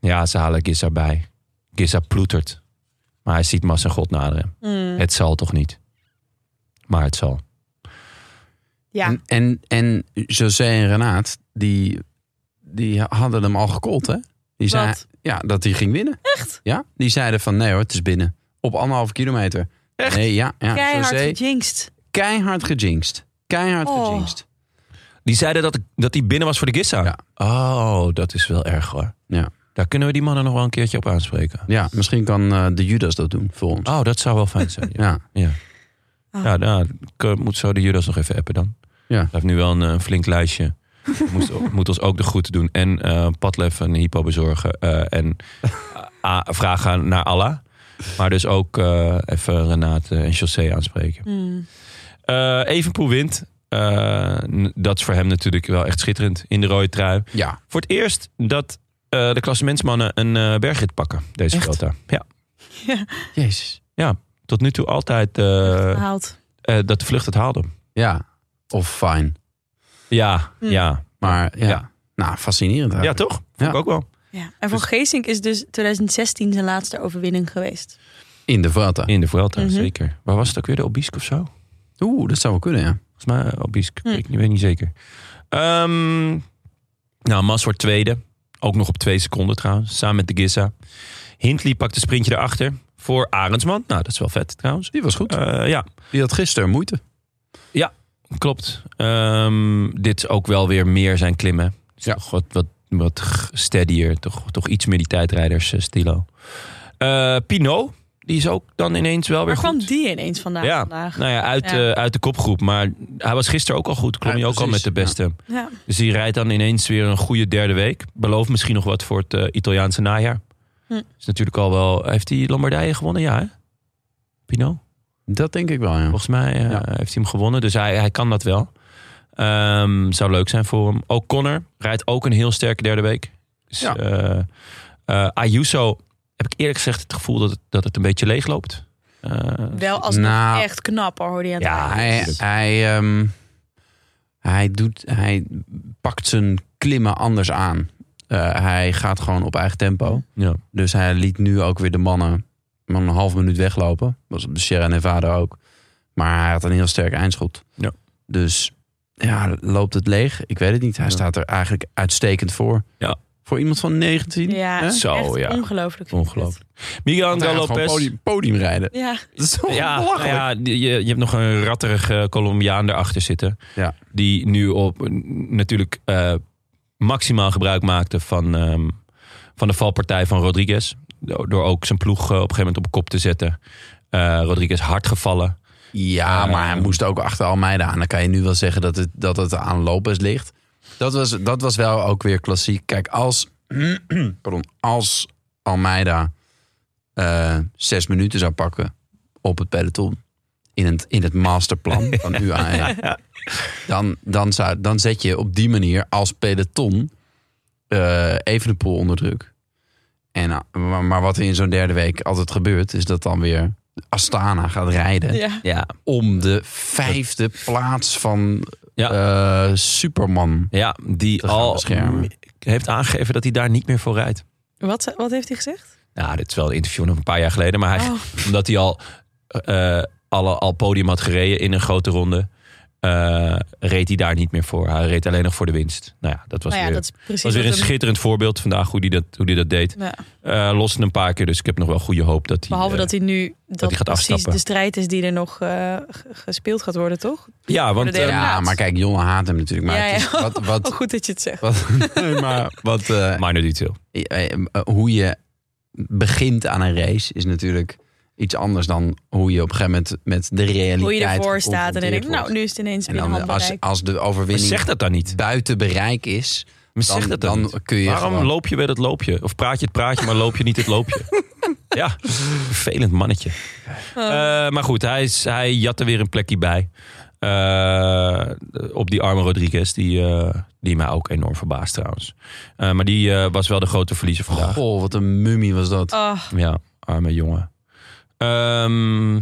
Speaker 1: ja, ze halen Giza bij. Giza ploetert. Maar hij ziet Mas en God naderen.
Speaker 3: Mm.
Speaker 1: Het zal toch niet? Maar het zal.
Speaker 3: Ja.
Speaker 2: En, en, en José en Renaat, die, die hadden hem al gekold, hè? Die zeiden
Speaker 3: Wat?
Speaker 2: ja, dat hij ging winnen. Echt? Ja, die zeiden van nee hoor, het is binnen. Op anderhalve kilometer. Echt? Nee, ja, ja.
Speaker 3: Keihard
Speaker 2: José,
Speaker 3: gejinxed.
Speaker 2: keihard gejinxed. Keihard
Speaker 3: Oh.
Speaker 2: gejinxed.
Speaker 1: Die zeiden dat, dat hij binnen was voor de Giza.
Speaker 2: Ja.
Speaker 1: Oh, dat is wel erg hoor.
Speaker 2: Ja.
Speaker 1: Daar kunnen we die mannen nog wel een keertje op aanspreken.
Speaker 2: Ja, misschien kan eh, de Judas dat doen voor ons.
Speaker 1: Oh, dat zou wel fijn zijn. Ja,
Speaker 2: Ja.
Speaker 1: ja.
Speaker 3: Ah.
Speaker 1: ja nou, ik moet zo de Judas nog even appen dan.
Speaker 2: Ja.
Speaker 1: Hij heeft nu wel een, eh, flink lijstje. Moet, moet ons ook de groeten doen. En eh padlef en hypo bezorgen. eh, en a- vragen naar Allah. Maar dus ook eh, even Renate en José aanspreken.
Speaker 3: Mm.
Speaker 1: Eh Evenpoel wint. Eh, n- dat is voor hem natuurlijk wel echt schitterend. In de rode trui.
Speaker 2: Ja,
Speaker 1: Voor het eerst dat eh, de klassementsmannen een eh bergrit pakken, deze
Speaker 2: Echt?
Speaker 1: Vuelta. Ja,
Speaker 2: jezus.
Speaker 1: tot nu toe altijd eh,
Speaker 3: Haalt.
Speaker 1: eh, dat de vlucht het haalde.
Speaker 2: Ja, of fijn.
Speaker 1: Ja,
Speaker 3: Mm.
Speaker 1: ja.
Speaker 2: Maar ja,
Speaker 1: Ja.
Speaker 2: nou, fascinerend.
Speaker 1: Ja,
Speaker 2: eigenlijk.
Speaker 1: toch? Vond ik ook wel.
Speaker 3: Ja. En voor Geesink is dus 2016 zijn laatste overwinning geweest.
Speaker 2: In de Vuelta.
Speaker 1: In de Vuelta,
Speaker 3: Mhm.
Speaker 1: zeker. Waar was het ook weer? De Obisk of zo?
Speaker 2: Oeh, dat zou wel kunnen, ja.
Speaker 1: Volgens mij eh, Obisk.
Speaker 3: Mm.
Speaker 1: Ik weet niet zeker. Ehm, nou, Mas wordt tweede. Ook nog op twee seconden trouwens. Samen met de Giza. Hindley pakt een sprintje erachter. Voor Arendsman. Nou, dat is wel vet trouwens.
Speaker 2: Die was goed.
Speaker 1: Eh, ja,
Speaker 2: Die had gisteren moeite.
Speaker 1: Klopt. Ehm, dit is ook wel weer meer zijn klimmen. Het is
Speaker 2: Ja.
Speaker 1: Toch wat, wat, wat g- steadier. Toch, toch iets meer die tijdrijders eh, stilo. Eh Pinot, die is ook dan ineens wel weer
Speaker 3: Waar kwam
Speaker 1: goed.
Speaker 3: die ineens vandaan
Speaker 1: ja,
Speaker 3: vandaag?
Speaker 1: nou ja, uit, eh,
Speaker 3: Ja.
Speaker 1: uit de kopgroep. Maar hij was gisteren ook al goed. Klom
Speaker 2: Ja,
Speaker 1: je ook al met
Speaker 2: precies,
Speaker 1: de beste.
Speaker 3: Ja.
Speaker 1: Dus die rijdt dan ineens weer een goede derde week. Belooft misschien nog wat voor het eh, Italiaanse najaar.
Speaker 3: Hm.
Speaker 1: Is natuurlijk al wel. Heeft hij Lombardije gewonnen? Ja, hè? Pino.
Speaker 2: Dat denk ik wel, ja.
Speaker 1: Volgens mij eh,
Speaker 2: Ja.
Speaker 1: heeft hij hem gewonnen. Dus hij, hij kan dat wel. Ehm, zou leuk zijn voor hem. Ook Connor rijdt ook een heel sterke derde week. Dus,
Speaker 2: Ja.
Speaker 1: eh, eh, Ayuso heb ik eerlijk gezegd het gevoel dat het, dat het een beetje leeg loopt. Eh,
Speaker 3: Wel alsnog
Speaker 2: Nou.
Speaker 3: echt knap hoor, hoe die aan het
Speaker 1: Ja,
Speaker 3: rijden
Speaker 2: Hij,
Speaker 1: Natuurlijk.
Speaker 2: hij, ehm, hij, doet, hij pakt zijn klimmen anders aan. Eh, hij gaat gewoon op eigen tempo.
Speaker 1: ja.
Speaker 2: Dus hij liet nu ook weer de mannen maar een half minuut weglopen. Dat was op de Sierra Nevada ook. Maar hij had een heel sterk eindschot.
Speaker 1: Ja.
Speaker 2: Dus ja, loopt het leeg? Ik weet het niet. Hij
Speaker 1: Ja.
Speaker 2: staat er eigenlijk uitstekend voor.
Speaker 1: Ja.
Speaker 2: Voor iemand van 19.
Speaker 3: Ja,
Speaker 2: hè?
Speaker 1: Zo,
Speaker 3: echt
Speaker 1: ja.
Speaker 3: ongelooflijk. vind ik
Speaker 1: Ongelooflijk. Miguel
Speaker 2: Want hij
Speaker 1: Angel
Speaker 2: gaat gewoon
Speaker 1: Lopez.
Speaker 2: podium, podium rijden.
Speaker 3: het. Ja,
Speaker 2: Dat is toch
Speaker 1: Ja, nou
Speaker 2: belachelijk?
Speaker 1: ja die- je, je hebt nog een ratterige Colombiaan erachter zitten.
Speaker 2: Ja.
Speaker 1: Die nu op n- natuurlijk eh, maximaal gebruik maakte van, ehm, van de valpartij van Rodriguez. Do- Door ook zijn ploeg eh, op een gegeven moment op kop te zetten. Eh, Rodriguez hard gevallen.
Speaker 2: Ja,
Speaker 1: Eh,
Speaker 2: maar hij moest ook achter Almeida aan. Dan kan je nu wel zeggen dat het, dat het aan Lopez ligt. Dat was, dat was wel ook weer klassiek. Kijk, als, pardon, als Almeida eh, zes minuten zou pakken op het peloton... in het, in het masterplan van UAE... Dan, dan, zou, dan zet je op die manier als peloton eh even de pool onder druk. En, eh, maar, maar wat er in zo'n derde week altijd gebeurt... is dat dan weer Astana gaat rijden
Speaker 3: ja.
Speaker 1: Ja.
Speaker 2: om de vijfde plaats van eh, Superman.
Speaker 1: ja die
Speaker 2: Te gaan
Speaker 1: al
Speaker 2: beschermen.
Speaker 1: heeft aangegeven dat hij daar niet meer voor rijdt.
Speaker 3: Wat, wat heeft hij gezegd?
Speaker 1: Nou, dit is wel een interview nog een paar jaar geleden. Maar hij,
Speaker 3: Oh.
Speaker 1: omdat hij al, eh, alle, al podium had gereden in een grote ronde... eh, reed hij daar niet meer voor. Hij reed alleen nog voor de winst. Nou ja, dat was
Speaker 3: nou ja,
Speaker 1: weer...
Speaker 3: dat is precies.
Speaker 1: Het was weer
Speaker 3: wat
Speaker 1: een
Speaker 3: hem-
Speaker 1: schitterend voorbeeld vandaag hoe die dat, hoe die dat deed.
Speaker 3: Ja.
Speaker 1: Eh loste een paar keer, dus ik heb nog wel goede hoop dat hij...
Speaker 3: Behalve
Speaker 1: eh,
Speaker 3: dat hij nu dat,
Speaker 1: hij gaat
Speaker 3: precies
Speaker 1: afstappen.
Speaker 3: de strijd is die er nog eh, g- gespeeld gaat worden, toch?
Speaker 1: ja, want
Speaker 3: de derde
Speaker 1: eh,
Speaker 2: Ja,
Speaker 3: plaats.
Speaker 2: maar kijk, Jonne haat hem natuurlijk. Maar
Speaker 3: Ja,
Speaker 2: het is-
Speaker 3: ja.
Speaker 2: wat,
Speaker 3: Oh,
Speaker 2: wat,
Speaker 3: goed dat je het zegt.
Speaker 2: wat, nee, maar wat, eh,
Speaker 1: minor detail.
Speaker 2: eh, eh, hoe je begint aan een race is natuurlijk iets anders dan hoe je op een gegeven moment met de realiteit
Speaker 3: Hoe je ervoor staat en dan
Speaker 2: geconfronteerd
Speaker 3: denk ik, nou,
Speaker 2: wordt.
Speaker 3: nu is het ineens
Speaker 2: En
Speaker 3: binnen
Speaker 2: dan als,
Speaker 3: handbereik.
Speaker 2: als de
Speaker 1: Maar
Speaker 2: overwinning
Speaker 1: zeg dat dan niet.
Speaker 2: buiten bereik is,
Speaker 1: Maar
Speaker 2: dan,
Speaker 1: zeg dat dan,
Speaker 2: dan,
Speaker 1: niet.
Speaker 2: kun je
Speaker 1: Waarom
Speaker 2: gewoon-
Speaker 1: loop je bij dat loopje? Of praat je het praatje, maar loop je niet het loopje? ja, vervelend mannetje. Eh, maar goed, hij, is, hij jat er weer een plekje bij. Eh, op die arme Rodriguez, die, eh, die mij ook enorm verbaast trouwens. Eh, maar die eh, was wel de grote verliezer vandaag.
Speaker 2: Goh, wat een mummie was dat.
Speaker 3: Oh,
Speaker 1: Ja, arme jongen. Ehm,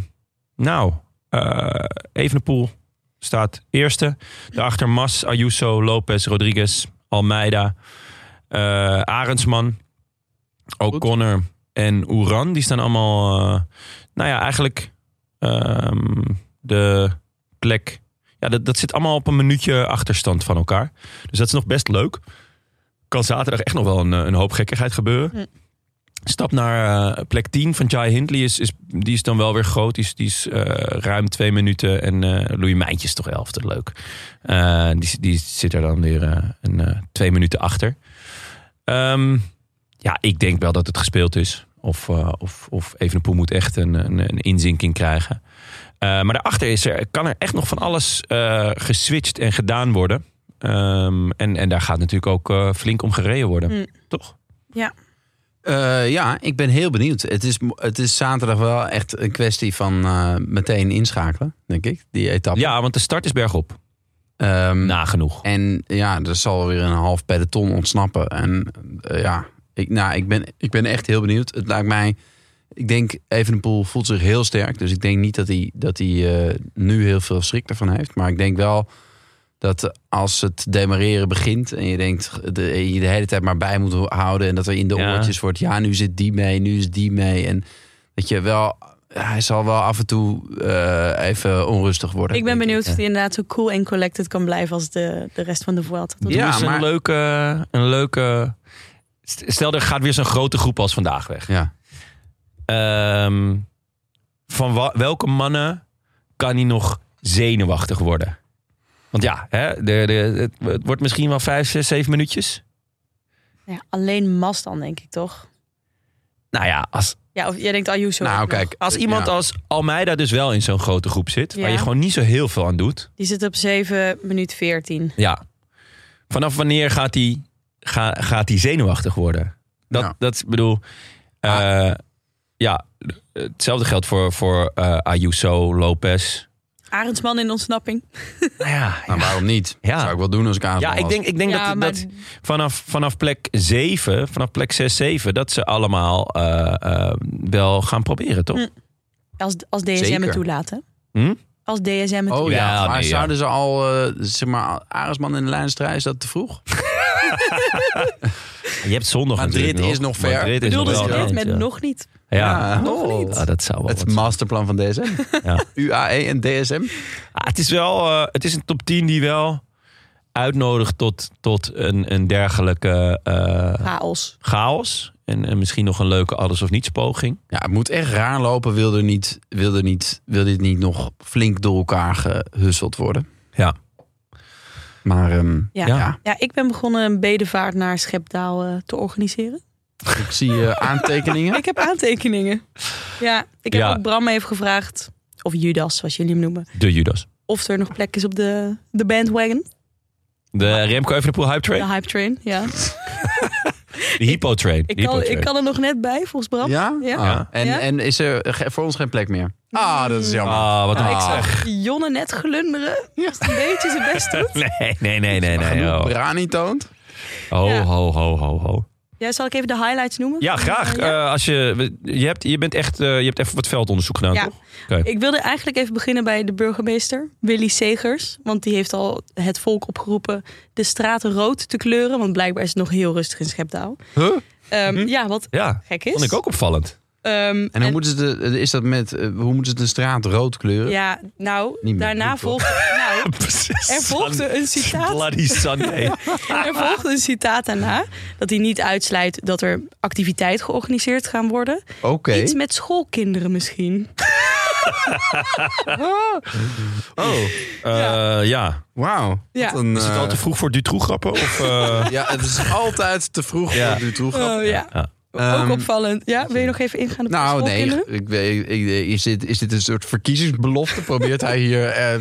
Speaker 1: nou, eh Evenepoel staat eerste. Daarachter Mas, Ayuso, Lopez, Rodriguez, Almeida, eh Arendsman, O'Connor en Oeran. Die staan allemaal, eh, nou ja, eigenlijk ehm, de plek... Ja, dat, dat zit allemaal op een minuutje achterstand van elkaar. Dus dat is nog best leuk. Kan zaterdag echt nog wel een, eh, een hoop gekkigheid gebeuren. Stap naar eh, plek 10 van Jai Hindley. Is, is, die is dan wel weer groot. Die is, die is eh, ruim twee minuten. En eh Louis Mijntje is toch elfde. Leuk. Eh, die, die zit er dan weer eh, een, eh, twee minuten achter. Ehm, ja, ik denk wel dat het gespeeld is. Of, eh of, of Evenepoel moet echt een, een, een inzinking krijgen. Eh, maar daarachter is er, kan er echt nog van alles eh, geswitcht en gedaan worden. Ehm, en, en daar gaat natuurlijk ook eh, flink om gereden worden.
Speaker 3: Mm.
Speaker 1: Toch?
Speaker 2: Eh, ja, ik ben heel benieuwd. Het is, het is zaterdag wel echt een kwestie van eh, meteen inschakelen, denk ik, die etappe.
Speaker 1: Ja, Nou, want de start is bergop. Hm.
Speaker 2: Ehm,
Speaker 1: Nagenoeg.
Speaker 2: En ja, er zal weer een half peloton ontsnappen. En eh, ja, ik, nou, ik, ben, ik ben echt heel benieuwd. Het lijkt mij, ik denk Evenepoel voelt zich heel sterk. Dus ik denk niet dat hij, dat hij eh, nu heel veel schrik ervan heeft. Maar ik denk wel dat eh, als het demareren begint en je denkt de, eh, je de hele tijd maar bij moet houden. En dat er in de
Speaker 1: Ja.
Speaker 2: oortjes wordt, ja nu zit die mee, nu is die mee. En dat je wel, hij zal wel af en toe eh, even onrustig worden.
Speaker 3: ik ben
Speaker 2: denk
Speaker 3: benieuwd of hij inderdaad zo cool en collected kan blijven als de, de rest van de Vuelta. Dat
Speaker 2: Ja,
Speaker 1: Ja,
Speaker 2: maar-
Speaker 1: een leuke, een leuke. st- Stel, er gaat weer zo'n grote groep als vandaag weg.
Speaker 2: Ja,
Speaker 1: Ehm, van wa- welke mannen kan hij nog zenuwachtig worden? Want ja, hè, de, de, het, het wordt misschien wel vijf, zes, zeven minuutjes.
Speaker 3: Ja, alleen Mas dan, denk ik toch?
Speaker 1: Nou ja, als,
Speaker 3: Ja, of jij denkt Ayuso. ook
Speaker 2: nou
Speaker 3: nog.
Speaker 2: kijk.
Speaker 1: als iemand
Speaker 2: ja.
Speaker 1: als Almeida dus wel in zo'n grote groep zit, waar
Speaker 3: Ja.
Speaker 1: je gewoon niet zo heel veel aan doet.
Speaker 3: Die zit op 7 minuut 14.
Speaker 1: Ja. Vanaf wanneer gaat hij ga, gaat hij zenuwachtig worden? Dat,
Speaker 2: Ja. Ah.
Speaker 1: dat is- bedoel. eh, ja, hetzelfde geldt voor, voor eh, Ayuso, Lopez.
Speaker 3: Arendsman in ontsnapping.
Speaker 1: ja,
Speaker 2: Nou, waarom niet?
Speaker 1: Ja.
Speaker 2: Zou ik wel doen als ik aanval
Speaker 1: ja ik
Speaker 2: was.
Speaker 1: denk, ik denk
Speaker 3: Ja,
Speaker 1: dat,
Speaker 3: maar-
Speaker 1: dat vanaf, vanaf plek 7, vanaf plek 6, 7, dat ze allemaal eh, eh, wel gaan proberen, toch?
Speaker 3: Hm. Als, als DSM
Speaker 2: Zeker.
Speaker 3: het toelaten.
Speaker 1: Hm?
Speaker 3: Als DSM het
Speaker 2: Oh ja,
Speaker 1: Ja,
Speaker 2: maar
Speaker 1: nee, ja.
Speaker 2: zouden ze al, eh, zeg maar, Aresman in de lijnstrijd, is dat te vroeg?
Speaker 1: Je hebt zondag
Speaker 2: Madrid
Speaker 1: natuurlijk
Speaker 2: is nog ver.
Speaker 1: Madrid is
Speaker 3: bedoelde
Speaker 1: nog
Speaker 3: ze
Speaker 1: wel
Speaker 3: dit
Speaker 1: eind,
Speaker 3: met
Speaker 1: ja.
Speaker 3: nog niet.
Speaker 1: Ja,
Speaker 2: nog
Speaker 1: Ah, dat zou wel
Speaker 2: Het
Speaker 1: wat zijn.
Speaker 2: masterplan van DSM.
Speaker 1: Ja. E
Speaker 2: UAE en DSM.
Speaker 1: Ah, het is wel, eh, het is een top 10 die wel uitnodigt tot, tot een, een dergelijke eh,
Speaker 3: Chaos.
Speaker 1: chaos. En, en misschien nog een leuke alles of niets poging.
Speaker 2: Ja, het moet echt raar lopen. Wil, er niet, wil, er niet, wil dit niet nog flink door elkaar gehusseld worden?
Speaker 1: Ja.
Speaker 2: Maar ehm, ja.
Speaker 3: Ja. Ja, ik ben begonnen een bedevaart naar Schepdaal eh, te organiseren.
Speaker 2: ik zie eh, aantekeningen.
Speaker 3: Ik heb aantekeningen. Ja, ik heb
Speaker 1: Ja.
Speaker 3: ook Bram even gevraagd, of Judas, zoals jullie hem noemen,
Speaker 1: De Judas.
Speaker 3: of er nog plek is op de, de bandwagon,
Speaker 1: De Remco Evenepoel Hype Train.
Speaker 3: de hype train. Ja.
Speaker 1: De Hippo Train.
Speaker 3: Ik,
Speaker 1: De Hippo
Speaker 3: kan,
Speaker 1: Train.
Speaker 3: ik kan er nog net bij, volgens Bram.
Speaker 2: Ja?
Speaker 3: Ja.
Speaker 2: Ah,
Speaker 1: Ja.
Speaker 2: En,
Speaker 3: Ja.
Speaker 2: en is er ge- voor ons geen plek meer? Ah, dat is jammer.
Speaker 1: Ah, wat een...
Speaker 3: Ik zag Jonne net glunderen. Als het een beetje zijn best doet.
Speaker 1: Nee, nee, nee, nee.
Speaker 2: Maar
Speaker 1: nee.
Speaker 2: genoeg
Speaker 1: Oh.
Speaker 2: Brani toont.
Speaker 1: Ho,
Speaker 3: Ja.
Speaker 1: ho, ho, ho, ho.
Speaker 3: Ja, zal ik even de highlights noemen?
Speaker 1: Ja,
Speaker 3: Van,
Speaker 1: graag.
Speaker 3: eh, ja.
Speaker 1: Eh, als je, je, hebt, je, bent echt, eh, je hebt even wat veldonderzoek gedaan,
Speaker 3: Ja.
Speaker 1: toch?
Speaker 3: Ik wilde eigenlijk even beginnen bij de burgemeester, Willy Segers. Want die heeft al het volk opgeroepen de straten rood te kleuren. Want blijkbaar is het nog heel rustig in Schepdaal.
Speaker 1: Huh?
Speaker 3: Ehm,
Speaker 2: Mhm.
Speaker 3: Ja, wat
Speaker 1: Ja,
Speaker 3: gek is.
Speaker 1: vond ik ook opvallend.
Speaker 3: Ehm,
Speaker 2: En hoe moeten ze de, is dat met, eh, hoe moeten ze de straat rood kleuren?
Speaker 3: Ja, nou,
Speaker 2: Niet meer,
Speaker 3: daarna
Speaker 2: niet toch?
Speaker 3: volgde, nou,
Speaker 1: Precies.
Speaker 3: er volgde een citaat.
Speaker 1: Bloody Sunday.
Speaker 3: Er volgde een citaat daarna. Dat hij niet uitsluit dat er activiteiten georganiseerd gaan worden.
Speaker 2: Oké.
Speaker 3: Iets met schoolkinderen misschien.
Speaker 1: Oh, ja. ja.
Speaker 2: Wauw.
Speaker 3: Ja.
Speaker 2: Wat een,
Speaker 1: Is het al
Speaker 2: eh,
Speaker 1: te vroeg voor Dutroux-grappen? Of, eh,
Speaker 2: Ja, het is altijd te vroeg
Speaker 1: Ja.
Speaker 2: voor de toegang.
Speaker 3: Oh ja,
Speaker 2: Ehm,
Speaker 3: ook opvallend. Ja, wil je nog even ingaan op de
Speaker 2: Nou, nee.
Speaker 3: schoolkinderen?
Speaker 2: Ik, weet- ik, is, dit, is dit een soort verkiezingsbelofte? Probeert hij hier eh,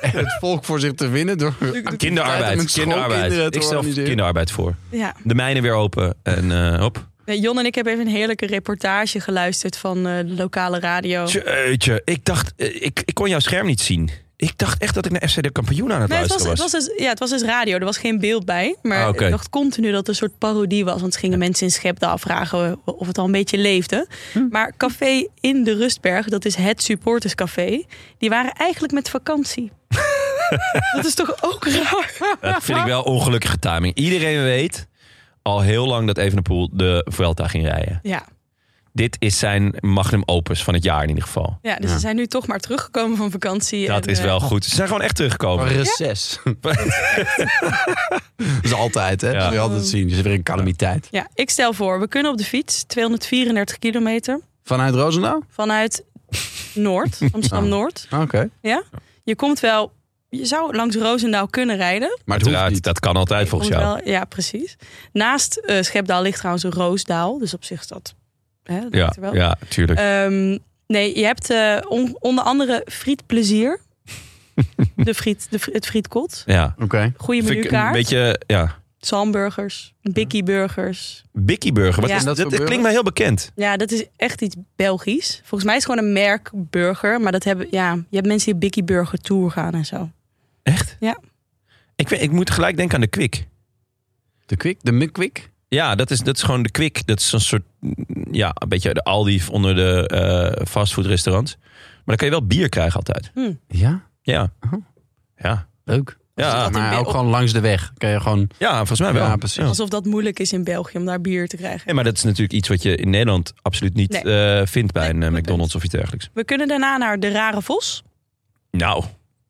Speaker 2: het volk voor zich te winnen? Door activiteiten
Speaker 1: kinderarbeid.
Speaker 2: met schoolkinderen
Speaker 1: kinderarbeid.
Speaker 2: te
Speaker 1: Ik stel
Speaker 2: organiseren?
Speaker 1: kinderarbeid voor.
Speaker 3: Ja.
Speaker 1: De mijnen weer open. En eh hop.
Speaker 3: Nee, Jon en ik hebben even een heerlijke reportage geluisterd van eh, de lokale radio.
Speaker 1: Jeetje, ik dacht, eh, ik, ik kon jouw scherm niet zien. Ik dacht echt dat ik naar FC de kampioen aan het
Speaker 3: Nee, het was,
Speaker 1: luisteren
Speaker 3: het,
Speaker 1: was.
Speaker 3: was dus, ja, het was dus radio, er was geen beeld bij. Maar
Speaker 1: Ah, oké.
Speaker 3: ik dacht continu dat het een soort parodie was. Want ze gingen mensen in Schepdaal afvragen of het al een beetje leefde.
Speaker 1: Hm.
Speaker 3: Maar Café in de Rustberg, dat is het supporterscafé... die waren eigenlijk met vakantie. dat is toch ook raar?
Speaker 1: Dat vind ik wel ongelukkige timing. Iedereen weet al heel lang dat Evenepoel de Vuelta ging rijden.
Speaker 3: Ja,
Speaker 1: Dit is zijn magnum opus van het jaar in ieder geval.
Speaker 3: ja dus ze zijn nu toch maar teruggekomen van vakantie.
Speaker 1: Dat
Speaker 3: en,
Speaker 1: is
Speaker 3: eh,
Speaker 1: wel goed. Ze zijn gewoon echt teruggekomen.
Speaker 2: Een reces. dat is altijd, hè?
Speaker 1: Ja.
Speaker 2: Dat wil je altijd zien. Er is weer een calamiteit.
Speaker 3: ja, ik stel voor, we kunnen op de fiets 234 kilometer...
Speaker 2: Vanuit Roosendaal?
Speaker 3: vanuit Noord,
Speaker 1: Ah.
Speaker 3: Amsterdam-Noord.
Speaker 2: Oké.
Speaker 3: Ja? Je komt wel, je zou langs Roosendaal kunnen rijden.
Speaker 2: Maar het hoeft
Speaker 1: Uiteraard,
Speaker 2: niet.
Speaker 1: dat kan altijd volgens
Speaker 3: Komt
Speaker 1: jou.
Speaker 3: wel- ja, precies. Naast eh, Schepdaal ligt trouwens een Roosdaal, dus op zich is dat. Hè, dat
Speaker 1: Ja,
Speaker 3: ligt er wel.
Speaker 1: ja, tuurlijk.
Speaker 3: Ehm, nee, je hebt eh, on- onder andere frietplezier. de friet, de, fri- het frietkot.
Speaker 1: ja.
Speaker 2: Oké.
Speaker 3: Goede
Speaker 1: Vind ik een
Speaker 3: Eh, menukaart.
Speaker 1: beetje, ja.
Speaker 3: Zalmburgers, bikkie burgers.
Speaker 1: Bikkie Burger. Wat
Speaker 3: Ja.
Speaker 1: is
Speaker 2: En dat
Speaker 1: dat?
Speaker 2: voor
Speaker 1: Dat
Speaker 2: burger?
Speaker 1: klinkt mij heel bekend.
Speaker 3: Ja, dat is echt iets Belgisch. Volgens mij is het gewoon een merk burger. Maar dat hebben, ja, je hebt mensen die bikkie burger tour gaan en zo.
Speaker 1: Echt?
Speaker 3: Ja.
Speaker 1: Ik, weet- ik moet gelijk denken aan de Kwik.
Speaker 2: De kwik, de mukkwik.
Speaker 1: Ja, dat is, dat is gewoon de Kwik. Dat is een soort, mm, ja, een beetje de Aldi onder de eh fastfoodrestaurants. Maar dan kan je wel bier krijgen altijd.
Speaker 2: Ja,
Speaker 1: Ja.
Speaker 3: Uh-huh.
Speaker 2: Oh.
Speaker 1: Ja.
Speaker 2: leuk.
Speaker 1: Ja,
Speaker 2: maar ook gewoon langs de weg. Kan je gewoon...
Speaker 1: ja, volgens mij wel.
Speaker 2: Ja, precies.
Speaker 1: Ja.
Speaker 3: Alsof dat moeilijk is in België om daar bier te krijgen.
Speaker 1: Nee, maar dat is natuurlijk iets wat je in Nederland absoluut niet eh, vindt bij
Speaker 3: Nee,
Speaker 1: een eh,
Speaker 3: goed punt.
Speaker 1: McDonald's of iets dergelijks.
Speaker 3: We kunnen daarna naar De Rare Vos.
Speaker 1: Nou,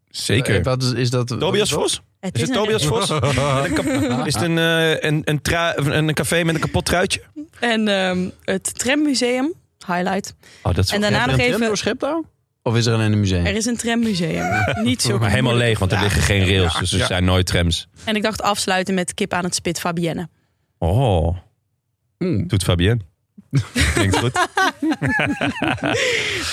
Speaker 1: zeker.
Speaker 2: Eh, Wat is, is dat...
Speaker 1: Tobias Vos? Is het
Speaker 3: een-
Speaker 1: Tobias Vos? Met een kap- Is het een, eh, een, een, trui- of een, een café met een kapot truitje?
Speaker 3: En ehm, het trammuseum, highlight.
Speaker 1: Oh, dat is
Speaker 3: En
Speaker 1: wel-
Speaker 2: Heb je
Speaker 3: daarna nog
Speaker 2: een tram
Speaker 3: even,
Speaker 2: door Schiptouw? Of is er alleen een museum?
Speaker 3: er is een trammuseum. Niet zo
Speaker 1: Maar helemaal leeg, want er liggen geen rails. Dus er
Speaker 2: Ja.
Speaker 1: zijn nooit trams.
Speaker 3: En ik dacht afsluiten met kip aan het spit Fabienne.
Speaker 1: Oh,
Speaker 2: Mm.
Speaker 1: doet Fabienne. Klinkt goed.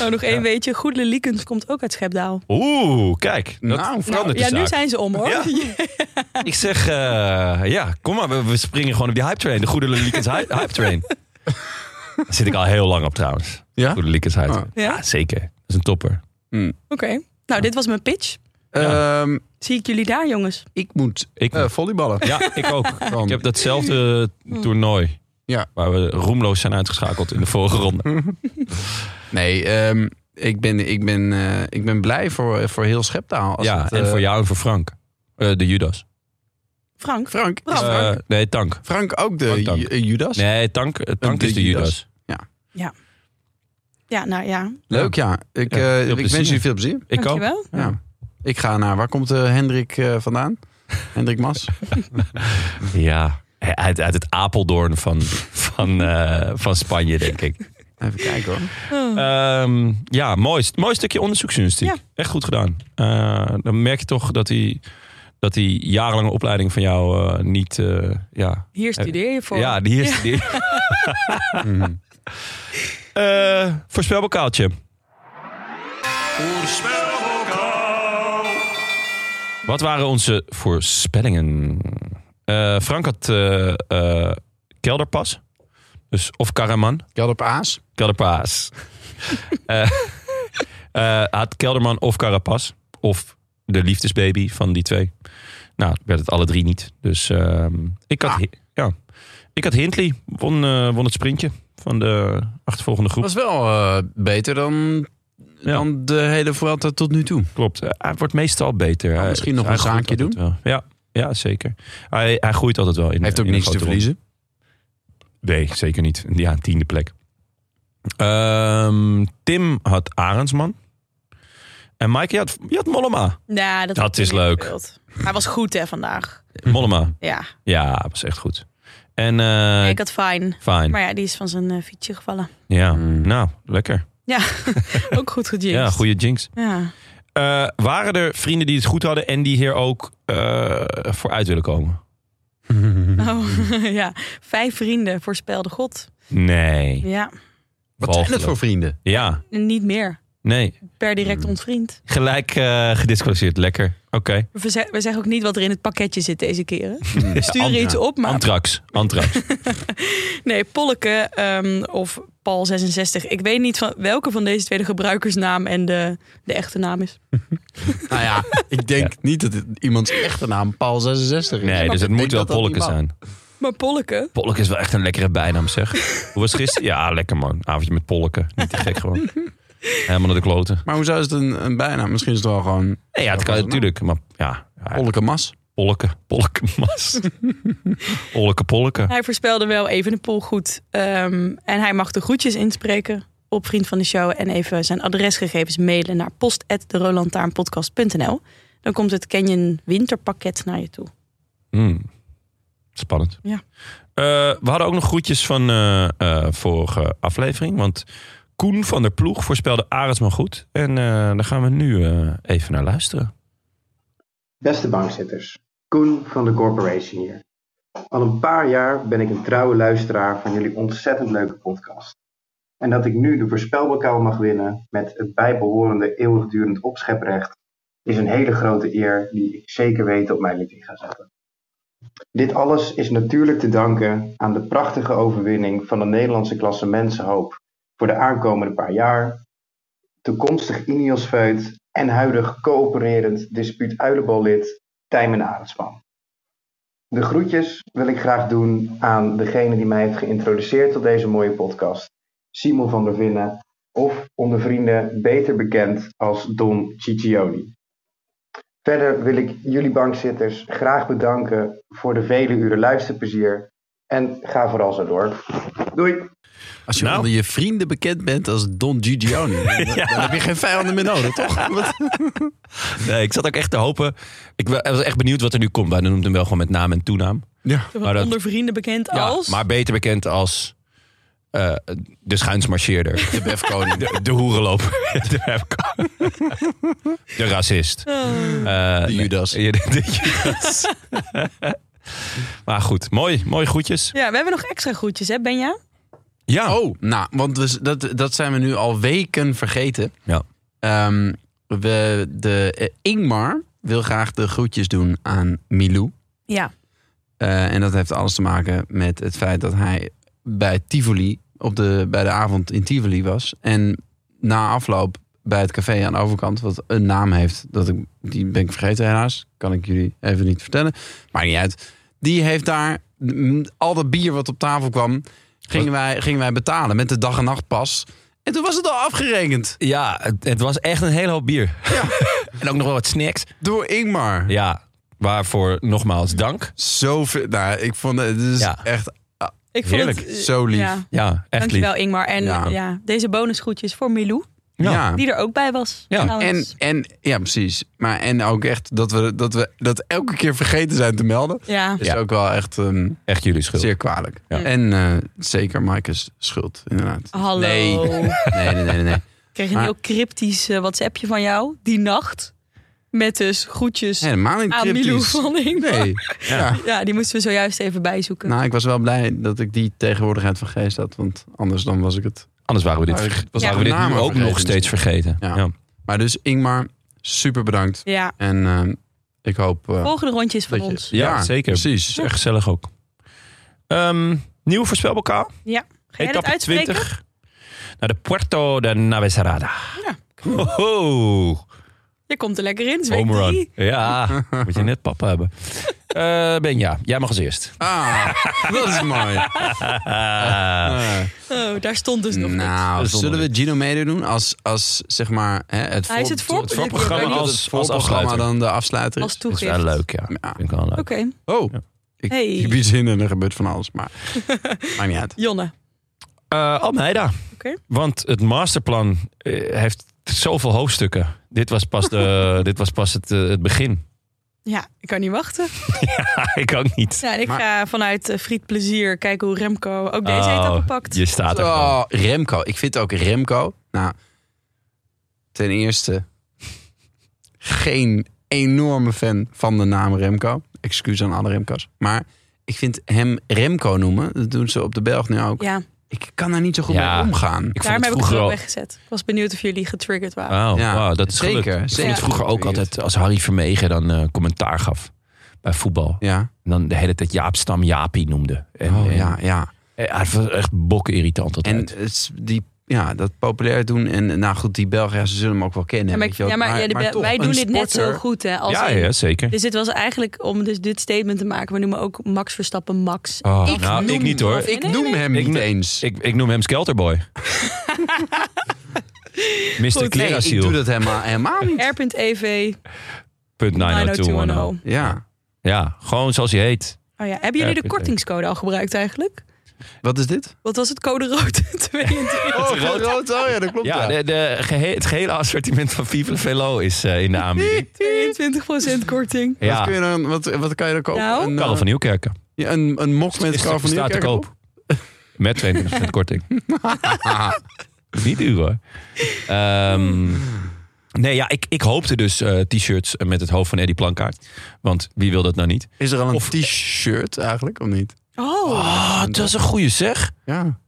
Speaker 3: Oh, nog één weetje. Goedele Liekens komt ook uit Schepdaal.
Speaker 1: Oeh, kijk. Dat
Speaker 2: Nou,
Speaker 1: verandert
Speaker 3: ja,
Speaker 1: de
Speaker 3: nu
Speaker 1: zaak.
Speaker 3: zijn ze om hoor.
Speaker 1: Ja. Ik zeg, eh, ja, kom maar. We, we springen gewoon op die hype train. De goede Lelikens hy- hype train. Daar zit ik al heel lang op trouwens.
Speaker 2: Ja?
Speaker 1: Goede Liekes uit.
Speaker 2: Oh.
Speaker 1: Ja, zeker. Dat is een topper.
Speaker 3: Oké. Nou, dit was mijn pitch.
Speaker 2: Ehm,
Speaker 3: Zie ik jullie daar, jongens?
Speaker 2: ik moet
Speaker 1: Ik,
Speaker 2: eh, volleyballen.
Speaker 1: ja, ik ook.
Speaker 2: Dan.
Speaker 1: Ik heb datzelfde eh, toernooi.
Speaker 2: Ja.
Speaker 1: Waar we roemloos zijn uitgeschakeld in de vorige ronde.
Speaker 2: Nee, ehm, ik, ben, ik, ben, eh, ik ben blij voor, voor heel Scheptaal. Als
Speaker 1: ja,
Speaker 2: het,
Speaker 1: en
Speaker 2: eh,
Speaker 1: voor jou en voor Frank. Eh, de Judas.
Speaker 3: Frank?
Speaker 2: Frank. is
Speaker 1: Eh,
Speaker 2: Ah, Frank,
Speaker 1: nee, Tank.
Speaker 2: Frank ook de
Speaker 1: Frank Dank.
Speaker 2: Ju- eh, Judas?
Speaker 1: Nee, Tank, eh, tank
Speaker 2: de
Speaker 1: is de
Speaker 2: Judas.
Speaker 1: Judas.
Speaker 3: Ja, nou ja.
Speaker 2: Leuk, ja. Ik,
Speaker 1: Ja, veel
Speaker 2: eh, ik wens
Speaker 1: plezier.
Speaker 2: jullie veel plezier.
Speaker 1: Ik ook.
Speaker 3: Dankjewel.
Speaker 2: Ja. Ik ga naar... Waar komt eh, Hendrik eh, vandaan? Hendrik Mas?
Speaker 1: Ja. Uit, uit het Apeldoorn van, van, eh, van Spanje, denk ik.
Speaker 2: Even kijken hoor.
Speaker 3: Oh.
Speaker 1: Ehm, ja, mooi, mooi stukje onderzoeksjournalistiek.
Speaker 3: Ja.
Speaker 1: Echt goed gedaan. Eh, dan merk je toch dat die, dat die jarenlange opleiding van jou eh, niet... eh, ja,
Speaker 3: Hier studeer je voor.
Speaker 1: ja, die is... Die...
Speaker 2: Mhm.
Speaker 1: Eh, voorspelbokaaltje. Wat waren onze voorspellingen? Eh, Frank had eh, eh, kelderpas. Dus, of karaman.
Speaker 2: Ik had op Aas.
Speaker 1: Kelderpaas. Eh, eh, had Kelderman of Carapas. Of de liefdesbaby van die twee. Nou, werd het alle drie niet. Dus ehm, ik, had,
Speaker 2: Ah.
Speaker 1: Hi- ja. ik had Hindley. Won, eh, won het sprintje van de achtervolgende groep.
Speaker 2: was wel eh, beter dan,
Speaker 1: Ja.
Speaker 2: dan de hele Vuelta tot nu toe.
Speaker 1: Klopt. Eh, hij wordt meestal beter.
Speaker 2: Kan
Speaker 1: Hij-
Speaker 2: Ah, misschien nog
Speaker 1: hij
Speaker 2: een
Speaker 1: groeit
Speaker 2: zaakje
Speaker 1: altijd wel. Ja, ja, zeker. Hij, hij groeit altijd wel. In,
Speaker 2: Heeft ook
Speaker 1: in de
Speaker 2: niks te
Speaker 1: grote ronde.
Speaker 2: verliezen.
Speaker 1: Nee, zeker niet. Ja, tiende plek. Ehm, Tim had Arendsman. En Mike, je had, je had Mollema.
Speaker 3: Nou, dat,
Speaker 1: Dat is leuk.
Speaker 3: gespeeld. Hij was goed, hè, vandaag.
Speaker 1: Mollema.
Speaker 3: Ja,
Speaker 1: Ja, was echt goed. En eh
Speaker 3: ik had fijn.
Speaker 1: fijn.
Speaker 3: Maar ja, die is van zijn eh, fietsje gevallen.
Speaker 1: Ja,
Speaker 2: Mm.
Speaker 1: nou, lekker.
Speaker 3: Ook goed gejinxed.
Speaker 1: Ja, goede jinx.
Speaker 3: Ja.
Speaker 1: Eh, waren er vrienden die het goed hadden en die hier ook eh, voor uit willen komen?
Speaker 3: Oh, ja. Vijf vrienden voorspelde God.
Speaker 1: Nee.
Speaker 3: Ja,
Speaker 2: Wat zijn het
Speaker 1: Walgelijk.
Speaker 2: voor vrienden?
Speaker 1: Ja,
Speaker 3: en niet meer.
Speaker 1: nee.
Speaker 3: Per direct ontvriend.
Speaker 1: Gelijk eh gedisqualificeerd. Lekker. Oké.
Speaker 3: We, ze- we zeggen ook niet wat er in het pakketje zit deze keren. We sturen
Speaker 1: Antra-
Speaker 3: iets op, maar...
Speaker 1: Antrax. Antrax.
Speaker 3: Nee, Polleke ehm, of Paul66. Ik weet niet van welke van deze twee de gebruikersnaam en de, de echte naam is.
Speaker 2: nou ja, ik denk niet dat het iemands echte naam Paul 66 is.
Speaker 1: Nee, dus het
Speaker 2: Ik
Speaker 1: moet
Speaker 2: denk
Speaker 1: wel
Speaker 2: dat dat
Speaker 1: Polleke
Speaker 2: niet mag.
Speaker 1: zijn.
Speaker 3: Maar Polleke?
Speaker 1: Polleke is wel echt een lekkere bijnaam, zeg. Hoe was het gisteren? Ja, lekker man. Avondje met Polleke. Niet te gek gewoon. Helemaal naar de kloten.
Speaker 2: Maar hoezo is het een, een bijnaam? Misschien is het wel gewoon
Speaker 1: Nee, ja, het kan
Speaker 2: was het
Speaker 1: natuurlijk. Maar ja, ja
Speaker 2: Polleke Mas.
Speaker 1: Polleke. Polleke mas. Polleke, Polleke.
Speaker 3: Hij voorspelde wel even de pool goed. ehm, en hij mag de groetjes inspreken op Vriend van de Show. En even zijn adresgegevens mailen naar post.derolantaarnpodcast.nl. Dan komt het Canyon winterpakket naar je toe.
Speaker 1: Hmm. Spannend.
Speaker 3: Ja.
Speaker 1: Eh, we hadden ook nog groetjes van eh, eh, vorige aflevering. Want Koen van der Ploeg voorspelde Arendsman goed. En eh, daar gaan we nu eh, even naar luisteren.
Speaker 5: Beste bankzitters, Koen van de Corporation hier. Al een paar jaar ben ik een trouwe luisteraar van jullie ontzettend leuke podcast. En dat ik nu de voorspelbokaal mag winnen met het bijbehorende eeuwigdurend opscheprecht is een hele grote eer die ik zeker weet op mijn lied ga zetten. Dit alles is natuurlijk te danken aan de prachtige overwinning van de Nederlandse klasse Mensenhoop voor de aankomende paar jaar toekomstig ineos feut en huidig coöpererend dispuut uilenballid Tijmen Arendsman. De groetjes wil ik graag doen aan degene die mij heeft geïntroduceerd tot deze mooie podcast, Simon van der Vinnen, of onder vrienden beter bekend als Don Ciccioni. Verder wil ik jullie bankzitters graag bedanken voor de vele uren luisterplezier en ga vooral zo door. Doei!
Speaker 2: Als je
Speaker 1: Nou.
Speaker 2: onder je vrienden bekend bent als Don Gigioni, dan, dan heb je geen vijanden meer nodig, toch? Wat-
Speaker 1: Nee, ik zat ook echt te hopen. Ik wa- ik was echt benieuwd wat er nu komt. Wij noemden hem wel gewoon met naam en toenaam.
Speaker 2: ja.
Speaker 1: Maar dat-
Speaker 3: Onder vrienden bekend als...
Speaker 1: maar beter bekend als eh, de schuinsmarcheerder.
Speaker 2: De Befkoning.
Speaker 1: De, de hoerenloper. De, hefko- de racist.
Speaker 3: Oh.
Speaker 1: Eh,
Speaker 2: De Judas.
Speaker 1: nee. Ja, de- de Judas. maar goed, mooi, mooi groetjes.
Speaker 3: Ja, we hebben nog extra groetjes, hè Benja?
Speaker 1: Ja,
Speaker 2: Oh, nou, want we, dat, dat zijn we nu al weken vergeten.
Speaker 1: Ja.
Speaker 2: Ehm, we, de, eh, Ingmar wil graag de groetjes doen aan Milou.
Speaker 3: Ja.
Speaker 2: Eh, en dat heeft alles te maken met het feit dat hij bij Tivoli op de, bij de avond in Tivoli was. En na afloop bij het café aan de overkant, wat een naam heeft, dat ik, die ben ik vergeten helaas, kan ik jullie even niet vertellen. Maakt niet uit. Die heeft daar mm, al dat bier wat op tafel kwam, gingen wij, gingen wij betalen met de dag- en nachtpas. En toen was het al afgerekend
Speaker 1: Ja, het, het was echt een hele hoop bier. en ook nog wel wat snacks.
Speaker 2: door Ingmar.
Speaker 1: Ja, waarvoor nogmaals dank.
Speaker 2: Zoveel, nou, ik vond het, het is
Speaker 1: Ja.
Speaker 2: echt
Speaker 3: Ik vond
Speaker 1: Heerlijk.
Speaker 3: Het, eh,
Speaker 2: zo lief.
Speaker 3: Ja.
Speaker 1: Ja, echt lief.
Speaker 3: Dankjewel Ingmar. En
Speaker 2: Ja.
Speaker 3: ja. deze bonusgroetjes voor Milou,
Speaker 2: Ja.
Speaker 3: die er ook bij was.
Speaker 1: Ja.
Speaker 2: En,
Speaker 3: trouwens.
Speaker 2: en ja, precies. Maar en ook echt dat we dat we dat elke keer vergeten zijn te melden.
Speaker 3: ja.
Speaker 2: Is
Speaker 1: Ja.
Speaker 2: ook wel echt ehm,
Speaker 1: Echt jullie schuld.
Speaker 2: zeer kwalijk.
Speaker 1: Ja.
Speaker 2: En eh, zeker Maaike's schuld, inderdaad.
Speaker 3: Hallo.
Speaker 2: Nee.
Speaker 3: Oh.
Speaker 2: Nee, nee, nee, nee, nee.
Speaker 3: Ik kreeg een
Speaker 2: Maar-
Speaker 3: heel cryptisch eh, WhatsAppje van jou die nacht. Met dus groetjes
Speaker 2: Helemaal niet
Speaker 3: aan Ah, Milou
Speaker 2: cryptisch.
Speaker 3: van Ingmar.
Speaker 2: Nee. Ja.
Speaker 3: Ja, die moesten we zojuist even bijzoeken.
Speaker 2: Nou, ik was wel blij dat ik die tegenwoordigheid van geest had, want anders dan was ik het.
Speaker 1: Anders waren we dit,
Speaker 2: Maar ik- was
Speaker 1: waren
Speaker 2: de
Speaker 1: we dit nu
Speaker 2: namen
Speaker 1: ook nog
Speaker 2: vergeten
Speaker 1: steeds vergeten.
Speaker 2: Ja.
Speaker 1: Ja.
Speaker 2: Maar dus Ingmar, super bedankt.
Speaker 3: ja,
Speaker 2: En ehm, ik hoop eh,
Speaker 3: volgende rondje is van
Speaker 2: dat je-
Speaker 3: ons.
Speaker 1: Ja, zeker.
Speaker 2: Precies.
Speaker 1: is echt gezellig ook. Ehm, nieuw voorspelbokaal.
Speaker 3: Ga jij dat uitspreken?
Speaker 1: Naar de Puerto de Navesarada. Oh,
Speaker 3: Je komt er lekker in, zweet
Speaker 1: home run.
Speaker 3: drie.
Speaker 1: Ja, moet je net papa hebben. Eh Benja, jij mag als eerst.
Speaker 2: Ah, dat is mooi. Eh.
Speaker 3: Oh, daar stond dus nog niks.
Speaker 2: Nou,
Speaker 1: niks.
Speaker 2: zullen we Gino mede doen als, als zeg maar hè, het,
Speaker 3: Hij is het voor-
Speaker 2: het
Speaker 1: voorprogramma
Speaker 2: dat
Speaker 1: als-
Speaker 2: het
Speaker 1: als
Speaker 2: voorprogramma
Speaker 1: afsluiter.
Speaker 2: dan de afsluiter
Speaker 3: Als
Speaker 2: is?
Speaker 1: Dat is
Speaker 3: toegift.
Speaker 1: wel leuk, ja.
Speaker 2: Ja.
Speaker 1: Vind ik wel leuk.
Speaker 3: Oké,
Speaker 2: Oh,
Speaker 1: Ja.
Speaker 2: ik,
Speaker 3: Hey.
Speaker 2: ik bied zin en er gebeurt van alles, maar maakt niet uit.
Speaker 3: Jonne.
Speaker 1: Eh, Almeida.
Speaker 3: Oké.
Speaker 1: Want het masterplan eh, heeft zoveel hoofdstukken. Dit was pas, de, dit was pas het, eh, het begin.
Speaker 3: Ja, ik kan niet wachten.
Speaker 1: ik ook niet.
Speaker 3: Ja, en ik
Speaker 2: Maar-
Speaker 3: ga vanuit eh, Friet Plezier kijken hoe Remco ook deze
Speaker 1: Oh,
Speaker 3: etappe pakt.
Speaker 1: Je staat er gewoon.
Speaker 2: Oh, Remco. Ik vind ook Remco, nou, ten eerste geen enorme fan van de naam Remco. Excuus aan alle Remco's. Maar ik vind hem Remco noemen, dat doen ze op de Belg nu ook.
Speaker 3: Ja,
Speaker 2: Ik kan daar niet zo goed
Speaker 1: Ja.
Speaker 2: mee omgaan.
Speaker 1: Ik vond
Speaker 3: daarmee
Speaker 1: het
Speaker 3: heb ik het
Speaker 1: vroeger
Speaker 3: ook
Speaker 1: al...
Speaker 3: weggezet. Ik was benieuwd of jullie getriggerd waren.
Speaker 1: Wauw,
Speaker 2: Ja,
Speaker 1: wauw, dat is
Speaker 2: zeker,
Speaker 1: gelukt. Ik vond
Speaker 2: zeker.
Speaker 1: het vroeger ook altijd als Harry Vermegen dan eh, commentaar gaf bij voetbal.
Speaker 2: Ja,
Speaker 1: En dan de hele tijd Jaap Stam Jaapie noemde. En,
Speaker 2: oh,
Speaker 1: en-
Speaker 2: ja, ja.
Speaker 1: eh, hij was echt bokken irritant
Speaker 2: En
Speaker 1: altijd.
Speaker 2: het is die, ja, dat populair doen. En nou goed, die Belgen, ja, ze zullen hem ook wel kennen.
Speaker 3: ja, maar,
Speaker 2: weet je wel.
Speaker 3: ja, maar, ja, de-
Speaker 2: maar toch,
Speaker 3: wij
Speaker 2: een
Speaker 3: doen dit net
Speaker 2: sporter-
Speaker 3: zo goed, hè? Als
Speaker 1: ja,
Speaker 3: in-
Speaker 1: ja, zeker.
Speaker 3: Dus dit was eigenlijk om dus dit statement te maken. We noemen ook Max Verstappen Max.
Speaker 1: Oh, nou, ik niet hoor.
Speaker 2: Ik
Speaker 3: Nee, nee,
Speaker 2: noem
Speaker 3: nee.
Speaker 2: hem
Speaker 1: Ik
Speaker 2: niet
Speaker 1: ne-
Speaker 2: eens.
Speaker 1: Ik, ik noem hem Skelterboy. Mr.
Speaker 2: Nee, ik
Speaker 1: Clearasiel.
Speaker 2: doe dat helemaal, helemaal niet.
Speaker 3: R.EV
Speaker 1: Punt
Speaker 3: 90210.
Speaker 1: 90210.
Speaker 2: Ja,
Speaker 1: Ja, gewoon zoals hij heet.
Speaker 3: Oh ja, hebben jullie de
Speaker 1: R.P.T.
Speaker 3: kortingscode al gebruikt eigenlijk?
Speaker 2: wat is dit?
Speaker 1: Oh,
Speaker 3: Wat was het code rood 22?
Speaker 2: Oh, rood. rood. Oh ja, dat klopt.
Speaker 1: Ja, de, de gehe- het gehele assortiment van Vive Velo is eh, in de aanbieding.
Speaker 3: 22% korting.
Speaker 2: Wat,
Speaker 1: Ja,
Speaker 2: kun je dan, wat, wat kan je dan kopen?
Speaker 3: Nou?
Speaker 2: een,
Speaker 1: Karel
Speaker 2: eh,
Speaker 1: van Nieuwkerken.
Speaker 2: ja, een, een mok met
Speaker 1: Is
Speaker 2: Karel van
Speaker 1: staat te
Speaker 2: Nieuwkerk op?
Speaker 1: koop. Met 22% korting. Niet duur hoor. Ehm, nee, ja, ik, ik hoopte dus eh, t-shirts met het hoofd van Eddie Plankaart. Want wie wil dat nou niet?
Speaker 2: Is er al een
Speaker 1: Of-
Speaker 2: t-shirt eigenlijk, of niet?
Speaker 3: Oh,
Speaker 1: Oh, dat is een goede zeg.
Speaker 2: Ja,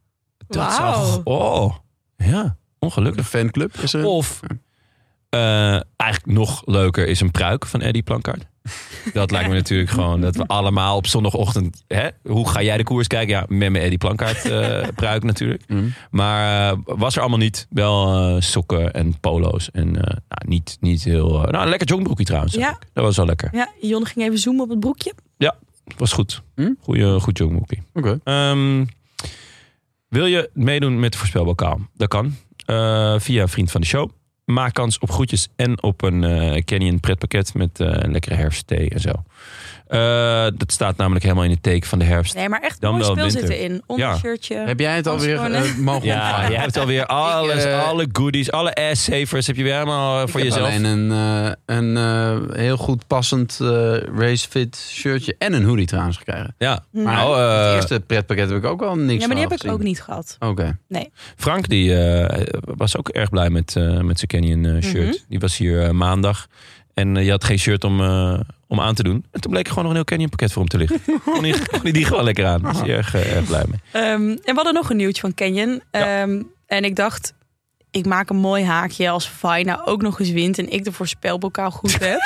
Speaker 1: Dat zou...
Speaker 3: Wauw.
Speaker 1: Oh, ja,
Speaker 2: de
Speaker 1: ongelukkig.
Speaker 2: fanclub is er.
Speaker 1: Of, eh, eigenlijk nog leuker is een pruik van Eddie Plankaart. Dat lijkt me natuurlijk gewoon dat we allemaal op zondagochtend... Hè, hoe ga jij de koers kijken? Ja, met mijn Eddie Plankaart eh, pruik natuurlijk.
Speaker 2: Mm.
Speaker 1: Maar eh, was er allemaal niet. Wel eh, sokken en polo's. En eh, nou, niet, niet heel... eh, nou, een lekker jongbroekje trouwens.
Speaker 3: Ja.
Speaker 1: eigenlijk. Dat was wel lekker.
Speaker 3: ja, Jon ging even zoomen op het broekje.
Speaker 1: Was goed.
Speaker 2: Hm?
Speaker 1: Goeie, goed jongbroekje.
Speaker 2: Oké.
Speaker 1: Ehm, wil je meedoen met de voorspelbokaal? Dat kan. Eh, via een vriend van de show. Maak kans op groetjes en op een eh Canyon pretpakket met eh, een lekkere herfstthee en zo. Eh, dat staat namelijk helemaal in het teken van de herfst.
Speaker 3: Nee, maar echt
Speaker 1: Dan
Speaker 3: mooi
Speaker 1: wel
Speaker 3: speel
Speaker 1: winter.
Speaker 3: zitten in. Ondershirtje.
Speaker 2: Heb jij het alweer
Speaker 3: Gewoon,
Speaker 2: eh, mogen
Speaker 1: Ja,
Speaker 2: ontvangen?
Speaker 1: je hebt alweer alles,
Speaker 2: Ik, eh,
Speaker 1: alle goodies, alle ass-savers heb je weer helemaal eh, voor
Speaker 2: Ik heb
Speaker 1: jezelf.
Speaker 2: Alleen een, eh, een eh, heel goed passend eh, racefit shirtje en een hoodie trouwens gekregen.
Speaker 1: Ja.
Speaker 2: Maar
Speaker 1: Nou, eh,
Speaker 2: het eerste pretpakket heb ik ook al niks
Speaker 3: Ja, maar die
Speaker 2: van
Speaker 3: heb ik ook
Speaker 2: gezien.
Speaker 3: niet gehad.
Speaker 2: Oké.
Speaker 1: Frank die, eh, was ook erg blij met, eh, met zijn Canyon
Speaker 3: Mhm.
Speaker 1: eh, shirt. Die was hier eh, maandag. En eh, je had geen shirt om, eh, om aan te doen. En toen bleek er gewoon nog een heel Canyon pakket voor hem te liggen. kon, hij, kon hij die gewoon lekker aan. Daar
Speaker 3: Oh.
Speaker 1: was hij erg, eh, erg blij mee.
Speaker 3: Ehm, en we hadden nog een nieuwtje van Canyon. Ehm, En ik dacht, ik maak een mooi haakje als Vaina ook nog eens wint en ik de voorspelbokaal goed heb.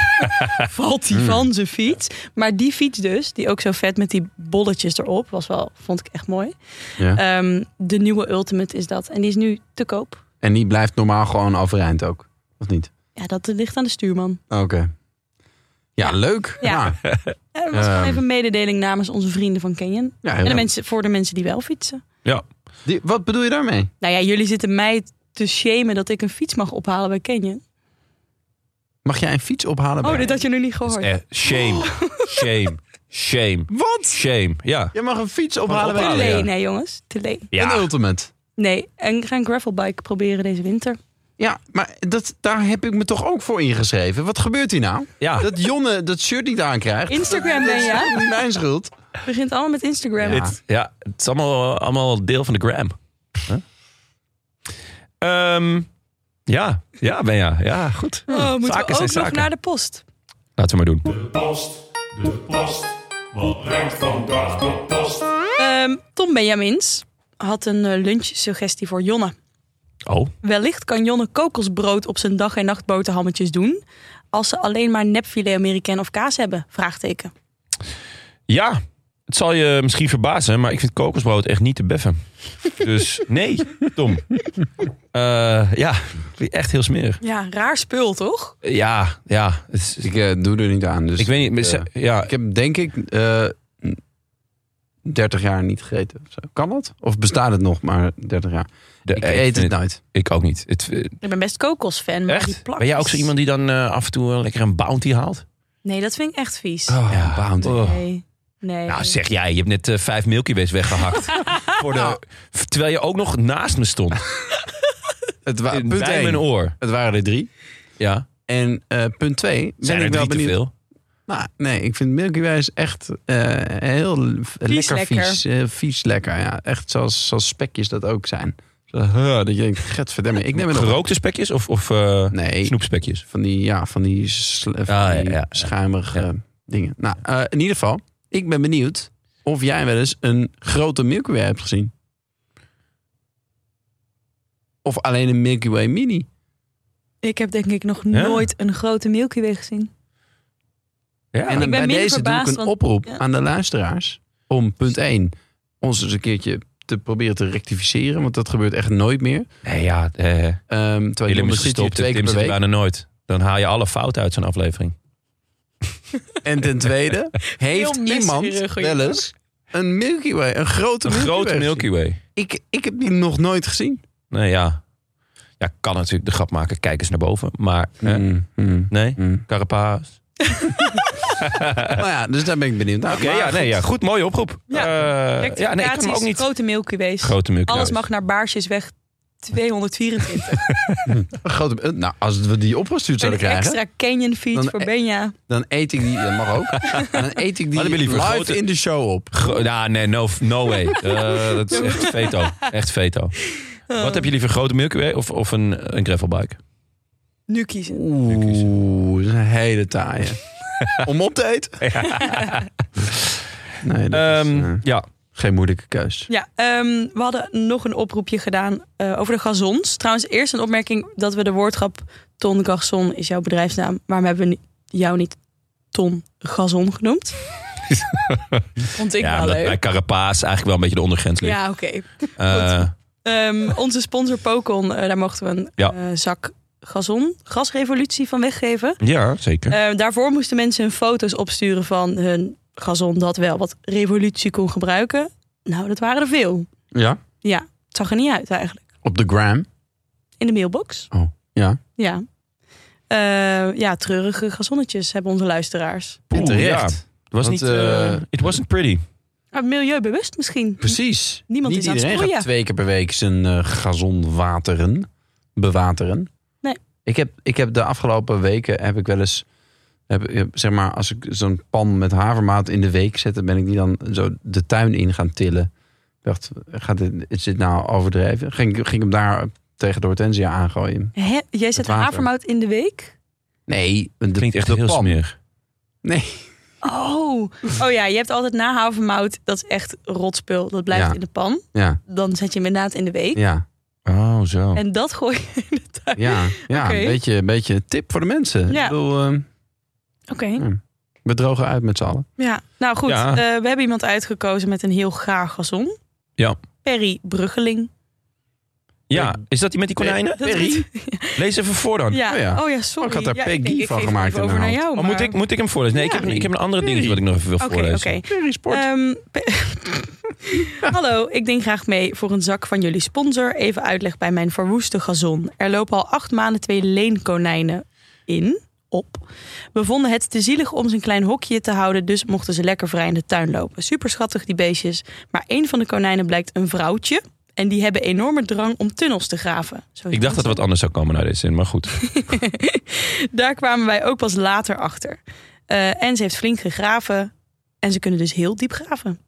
Speaker 3: Valt
Speaker 2: Hmm.
Speaker 3: die van zijn fiets. Maar die fiets dus, die ook zo vet met die bolletjes erop, was wel, vond ik echt mooi.
Speaker 2: Ja.
Speaker 3: Ehm, de nieuwe Ultimate is dat. En die is nu te koop.
Speaker 2: En die blijft normaal gewoon overeind ook. Of niet?
Speaker 3: Ja, dat ligt aan de stuurman.
Speaker 2: Oké. Ja, leuk.
Speaker 3: Ja.
Speaker 2: Ja,
Speaker 3: Ja, dat was gewoon
Speaker 2: Ehm.
Speaker 3: even een mededeling namens onze vrienden van Canyon.
Speaker 2: ja,
Speaker 3: En
Speaker 2: heel
Speaker 3: de
Speaker 2: leuk.
Speaker 3: mensen, voor de mensen die wel fietsen.
Speaker 2: Die- Wat bedoel je daarmee?
Speaker 3: Nou ja, jullie zitten mij te shamen dat ik een fiets mag ophalen bij Canyon.
Speaker 2: Mag jij een fiets ophalen?
Speaker 3: Oh,
Speaker 2: bij-
Speaker 3: dit had je nog niet gehoord.
Speaker 1: Eh, shame.
Speaker 3: Oh.
Speaker 1: Shame. Shame.
Speaker 2: Wat?
Speaker 1: Shame. Ja.
Speaker 2: Je mag een fiets ophalen
Speaker 3: Te
Speaker 2: bij
Speaker 1: ophalen,
Speaker 3: lee,
Speaker 1: ja.
Speaker 3: nee jongens. Te lee.
Speaker 1: Ja.
Speaker 2: Een ultimate.
Speaker 3: Nee, en ik ga een gravelbike proberen deze winter.
Speaker 2: Ja, maar dat, daar heb ik me toch ook voor ingeschreven. Wat gebeurt hier nou?
Speaker 1: Ja.
Speaker 2: Dat Jonne dat shirt niet aankrijgt.
Speaker 3: Instagram ben je, hè?
Speaker 2: Niet mijn schuld.
Speaker 3: Het begint allemaal met Instagram.
Speaker 2: Ja.
Speaker 1: Dit- ja, het is allemaal, allemaal deel van de gram. Huh? Ehm, ja, ja, ben ja. Ja, goed.
Speaker 3: Oh, moeten
Speaker 1: Zaken
Speaker 3: we
Speaker 1: zijn
Speaker 3: ook nog
Speaker 1: zaken.
Speaker 3: naar de post?
Speaker 1: Laten we maar doen.
Speaker 6: De post, de post. Wat brengt vandaag de post?
Speaker 3: Ehm, Tom Benjamins had een eh, lunchsuggestie voor Jonne.
Speaker 1: Oh,
Speaker 3: Wellicht kan Jonne kokosbrood op zijn dag- en nachtboterhammetjes doen... als ze alleen maar nepfilet americain of kaas hebben? Vraagteken.
Speaker 1: ja. Het zal je misschien verbazen, maar ik vind kokosbrood echt niet te beffen. Dus nee, Tom. Eh, ja, echt heel smerig.
Speaker 3: Ja, raar spul, toch?
Speaker 1: Ja, ja. Het is-
Speaker 2: Ik eh, doe er niet aan. Dus
Speaker 1: ik weet niet, maar
Speaker 2: eh,
Speaker 1: ze- ja,
Speaker 2: ik heb denk ik eh, 30 jaar niet gegeten. of zo. Kan dat? Of bestaat het nog maar 30 jaar?
Speaker 1: de-
Speaker 2: ik
Speaker 1: eh,
Speaker 2: eet
Speaker 1: vind
Speaker 2: het nou. nooit.
Speaker 1: Ik ook niet. Het, eh,
Speaker 3: Ik ben best kokosfan, maar die
Speaker 1: echt?
Speaker 3: plak
Speaker 1: Ben jij ook
Speaker 3: is-
Speaker 1: zo iemand die dan eh, af en toe eh, lekker een bounty haalt?
Speaker 3: Nee, dat vind ik echt vies.
Speaker 2: ja. bounty.
Speaker 1: Oh.
Speaker 3: Nee, nee.
Speaker 1: Nou, zeg jij, je hebt net eh, vijf Milky Ways weggehakt. voor de,
Speaker 2: Nou.
Speaker 1: terwijl je ook nog naast me stond.
Speaker 2: Het, wa-
Speaker 1: In-
Speaker 2: punt
Speaker 1: bij
Speaker 2: één,
Speaker 1: mijn oor.
Speaker 2: het waren er drie.
Speaker 1: Ja.
Speaker 2: En eh, punt twee, ben
Speaker 1: Zijn
Speaker 2: ik
Speaker 1: er
Speaker 2: wel
Speaker 1: drie te
Speaker 2: benieuwd.
Speaker 1: veel?
Speaker 2: Nou, nee, ik vind Milky Way is echt eh, heel v- lekker,
Speaker 3: lekker.
Speaker 2: vies. eh, vies lekker, ja. Echt zoals, zoals spekjes dat ook zijn. Zo, huh, dat je denkt, getverdamme. Ik neem het nog.
Speaker 1: Gerookte spekjes of, of eh,
Speaker 2: Nee,
Speaker 1: snoepspekjes?
Speaker 2: van die, ja, van die, sl- van
Speaker 1: ja,
Speaker 2: die
Speaker 1: ja, ja.
Speaker 2: schuimige
Speaker 1: Ja.
Speaker 2: eh, dingen. Nou, eh, in ieder geval, ik ben benieuwd of jij wel eens een grote Milky Way hebt gezien. Of alleen een Milky Way Mini.
Speaker 3: Ik heb denk ik nog
Speaker 1: Ja.
Speaker 3: nooit een grote Milky Way gezien.
Speaker 1: Ja.
Speaker 2: En
Speaker 3: ben
Speaker 2: bij
Speaker 3: minder
Speaker 2: deze
Speaker 3: verbaasd,
Speaker 2: doe ik een
Speaker 3: want-
Speaker 2: oproep
Speaker 3: ja.
Speaker 2: aan de luisteraars om punt 1 ons eens een keertje te proberen te rectificeren, want dat gebeurt echt nooit meer.
Speaker 1: nee, ja. eh
Speaker 2: Ehm terwijl
Speaker 1: Willem
Speaker 2: je
Speaker 1: is
Speaker 2: zit hier
Speaker 1: gestopt. dus
Speaker 2: twee keer
Speaker 1: Tim
Speaker 2: per
Speaker 1: zit er
Speaker 2: week.
Speaker 1: bijna nooit. Dan haal je alle fouten uit zo'n aflevering.
Speaker 2: En ten tweede, heeft
Speaker 3: Heel
Speaker 2: iemand
Speaker 3: messerig,
Speaker 2: wel eens een Milky Way, een grote
Speaker 1: Een
Speaker 2: Milky
Speaker 1: grote
Speaker 2: Way gezien?
Speaker 1: Milky Way.
Speaker 2: Ik, ik heb die nog nooit gezien.
Speaker 1: Nee, ja. Ja, kan natuurlijk de grap maken. Kijk eens naar boven. Maar eh, nee, Carapaas.
Speaker 2: Nou ja, dus daar ben ik benieuwd naar.
Speaker 1: Oké, ja, nee, ja. Goed, mooie oproep.
Speaker 3: Ja.
Speaker 1: Eh, ja nee, ik kan hem ook
Speaker 3: Rectificaties,
Speaker 1: niet.
Speaker 3: Grote Milky Ways.
Speaker 1: Grote Milky
Speaker 3: Alles
Speaker 1: Ways.
Speaker 3: mag naar baarsjes weg 224.
Speaker 2: Een grote, eh, nou, als we die opgestuurd
Speaker 3: Een
Speaker 2: zouden krijgen,
Speaker 3: extra canyon feed
Speaker 2: Dan-
Speaker 1: eh,
Speaker 3: voor Benja.
Speaker 2: dan eet ik die, dat mag ook, En dan eet ik die
Speaker 1: Maar dan ben je
Speaker 2: live
Speaker 1: liever grote-
Speaker 2: in de show op.
Speaker 1: Gro- nou, nee, no, no way. Eh, dat is echt veto. Echt veto.
Speaker 3: Oh,
Speaker 1: Wat heb je liever, grote Milky Way of, of een, een gravelbike?
Speaker 3: Nu kiezen.
Speaker 2: Oeh, dat is een hele taaie. Om op te eten? nee, dat is,
Speaker 1: Ehm,
Speaker 2: eh,
Speaker 1: ja.
Speaker 2: geen moeilijke keus.
Speaker 3: Ja, ehm, we hadden nog een oproepje gedaan eh, over de gazons. Trouwens, eerst een opmerking dat we de woordgrap Ton Garçon is jouw bedrijfsnaam. Waarom hebben we ni- jou niet Ton Gazon genoemd? Vond ik
Speaker 1: ja,
Speaker 3: wel
Speaker 1: omdat
Speaker 3: leuk.
Speaker 1: bij Carapaas eigenlijk wel een beetje de ondergrens ligt.
Speaker 3: Ja, oké.
Speaker 1: Eh,
Speaker 3: Ehm, onze sponsor Pokon, eh, daar mochten we een
Speaker 1: Ja.
Speaker 3: eh, zak gazon, gasrevolutie van weggeven.
Speaker 1: ja zeker.
Speaker 3: Eh, daarvoor moesten mensen hun foto's opsturen van hun gazon dat wel wat revolutie kon gebruiken. Nou, dat waren er veel.
Speaker 2: Ja?
Speaker 3: Ja, het zag er niet uit eigenlijk.
Speaker 2: Op de gram.
Speaker 3: In de mailbox.
Speaker 2: Oh, ja.
Speaker 3: Ja. Eh, ja, treurige gazonnetjes hebben onze luisteraars.
Speaker 1: Poeh,
Speaker 2: en terecht.
Speaker 1: ja. Het was
Speaker 2: Want,
Speaker 1: niet... eh,
Speaker 2: eh,
Speaker 1: it wasn't pretty.
Speaker 3: Ah, milieubewust misschien.
Speaker 2: Precies.
Speaker 3: Niemand
Speaker 2: Niet
Speaker 3: is aan het
Speaker 2: iedereen gaat twee
Speaker 3: sproeien.
Speaker 2: keer per week zijn eh gazon wateren. Bewateren.
Speaker 3: Nee.
Speaker 2: Ik heb, ik heb de afgelopen weken heb ik wel eens... Heb, heb- zeg maar, als ik zo'n pan met havermaat in de week zet... dan ben ik die dan zo de tuin in gaan tillen. Ik dacht, gaat dit, is dit nou overdreven? Ging, ik- ging ik hem daar tegen de hortensia aangooien?
Speaker 3: Hè? Jij zet
Speaker 2: eh, Het water.
Speaker 3: havermout in de week?
Speaker 2: Nee, de,
Speaker 1: Klinkt echt
Speaker 2: de
Speaker 1: heel
Speaker 2: pan.
Speaker 1: smerig.
Speaker 2: Nee,
Speaker 3: Oh. oh ja, je hebt altijd na havermout, dat is echt rotspul. Dat blijft
Speaker 2: Ja.
Speaker 3: in de pan.
Speaker 2: ja,
Speaker 3: Dan zet je hem inderdaad in de week.
Speaker 2: ja.
Speaker 1: Oh, zo.
Speaker 3: En dat gooi je in de tuin.
Speaker 2: Ja, ja
Speaker 3: Oké.
Speaker 2: een beetje, een beetje een tip voor de mensen.
Speaker 3: Ja.
Speaker 2: Ik bedoel, ehm,
Speaker 3: Oké.
Speaker 2: we drogen uit met z'n allen.
Speaker 3: Ja, nou goed.
Speaker 1: Ja.
Speaker 3: eh, we hebben iemand uitgekozen met een heel gaar gazon.
Speaker 1: Ja.
Speaker 3: Perry Bruggeling.
Speaker 1: Ja, is dat die met die konijnen?
Speaker 3: Dat-
Speaker 1: Lees even voor dan.
Speaker 3: Ja.
Speaker 2: Oh ja.
Speaker 3: Oh ja, sorry.
Speaker 2: Oh, ik had daar
Speaker 3: ja,
Speaker 2: Peggy
Speaker 3: denk, ik
Speaker 2: van
Speaker 3: geef
Speaker 2: gemaakt
Speaker 3: hem Over
Speaker 2: in de
Speaker 3: naar
Speaker 2: hand.
Speaker 3: jou.
Speaker 1: Oh,
Speaker 3: maar-
Speaker 1: moet, ik, moet ik hem voorlezen? Nee, ik, heb,
Speaker 3: Ja.
Speaker 1: ik heb een andere dingetje wat ik nog even wil
Speaker 3: Oké,
Speaker 1: voorlezen.
Speaker 3: oké.
Speaker 2: Perisport.
Speaker 3: Ehm, pe- Hallo, ik denk graag mee voor een zak van jullie sponsor. Even uitleg bij mijn verwoeste gazon. Er lopen al acht maanden twee leenkonijnen in, op. We vonden het te zielig om ze een klein hokje te houden, dus mochten ze lekker vrij in de tuin lopen. Super schattig die beestjes, maar één van de konijnen blijkt een vrouwtje. En die hebben enorme drang om tunnels te graven. Zo
Speaker 1: Ik dacht dat er wat anders zou komen naar deze zin, maar goed.
Speaker 3: daar kwamen wij ook pas later achter. Eh, en ze heeft flink gegraven. En ze kunnen dus heel diep graven.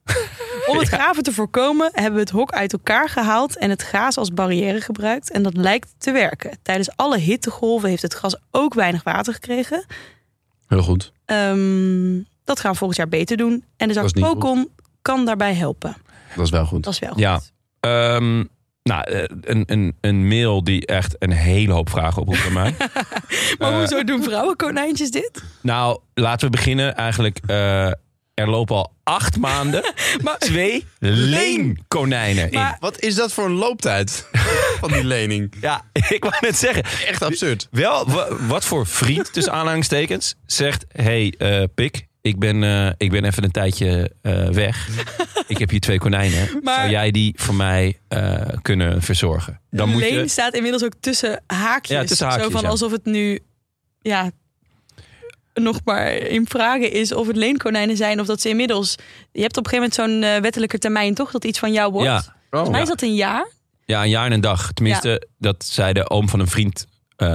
Speaker 3: Om het graven te voorkomen hebben we het hok uit elkaar gehaald en het gaas als barrière gebruikt. En dat lijkt te werken. Tijdens alle hittegolven heeft het gras ook weinig water gekregen.
Speaker 2: Heel goed.
Speaker 3: Ehm, dat gaan we volgend jaar beter doen. En de
Speaker 2: Dat
Speaker 3: zak
Speaker 2: is niet goed.
Speaker 3: Pokon kan daarbij helpen.
Speaker 2: Dat is wel goed.
Speaker 3: Dat is wel goed.
Speaker 1: Ja. Ehm, nou, eh, een, een, een mail die echt een hele hoop vragen oproept bij mij.
Speaker 3: Maar
Speaker 1: Eh,
Speaker 3: hoezo doen vrouwenkonijntjes dit?
Speaker 1: Nou, laten we beginnen eigenlijk. eh, er lopen al acht maanden twee leenkonijnen in.
Speaker 3: Maar-
Speaker 2: Wat is dat voor een looptijd van die lening?
Speaker 1: Ja, ik wou net zeggen.
Speaker 2: Echt absurd.
Speaker 1: Wel, wa- wat voor vriend, tussen aanhalingstekens, zegt... hey, eh, Pik, ik ben, eh, ik ben even een tijdje eh, weg. Ik heb hier twee konijnen.
Speaker 3: Maar-
Speaker 1: Zou jij die voor mij eh, kunnen verzorgen? Dan moet
Speaker 3: Leen
Speaker 1: je...
Speaker 3: staat inmiddels ook tussen haakjes.
Speaker 1: Ja, tussen haakjes,
Speaker 3: Zo van
Speaker 1: ja.
Speaker 3: alsof het nu ja, nog maar in vraag is of het leenkonijnen zijn of dat ze inmiddels. Je hebt op een gegeven moment zo'n eh, wettelijke termijn toch dat iets van jou wordt.
Speaker 1: Ja,
Speaker 2: Oh.
Speaker 3: Volgens mij is dat een jaar.
Speaker 1: ja, een jaar en een dag. Tenminste, dat zei de oom van een vriend eh,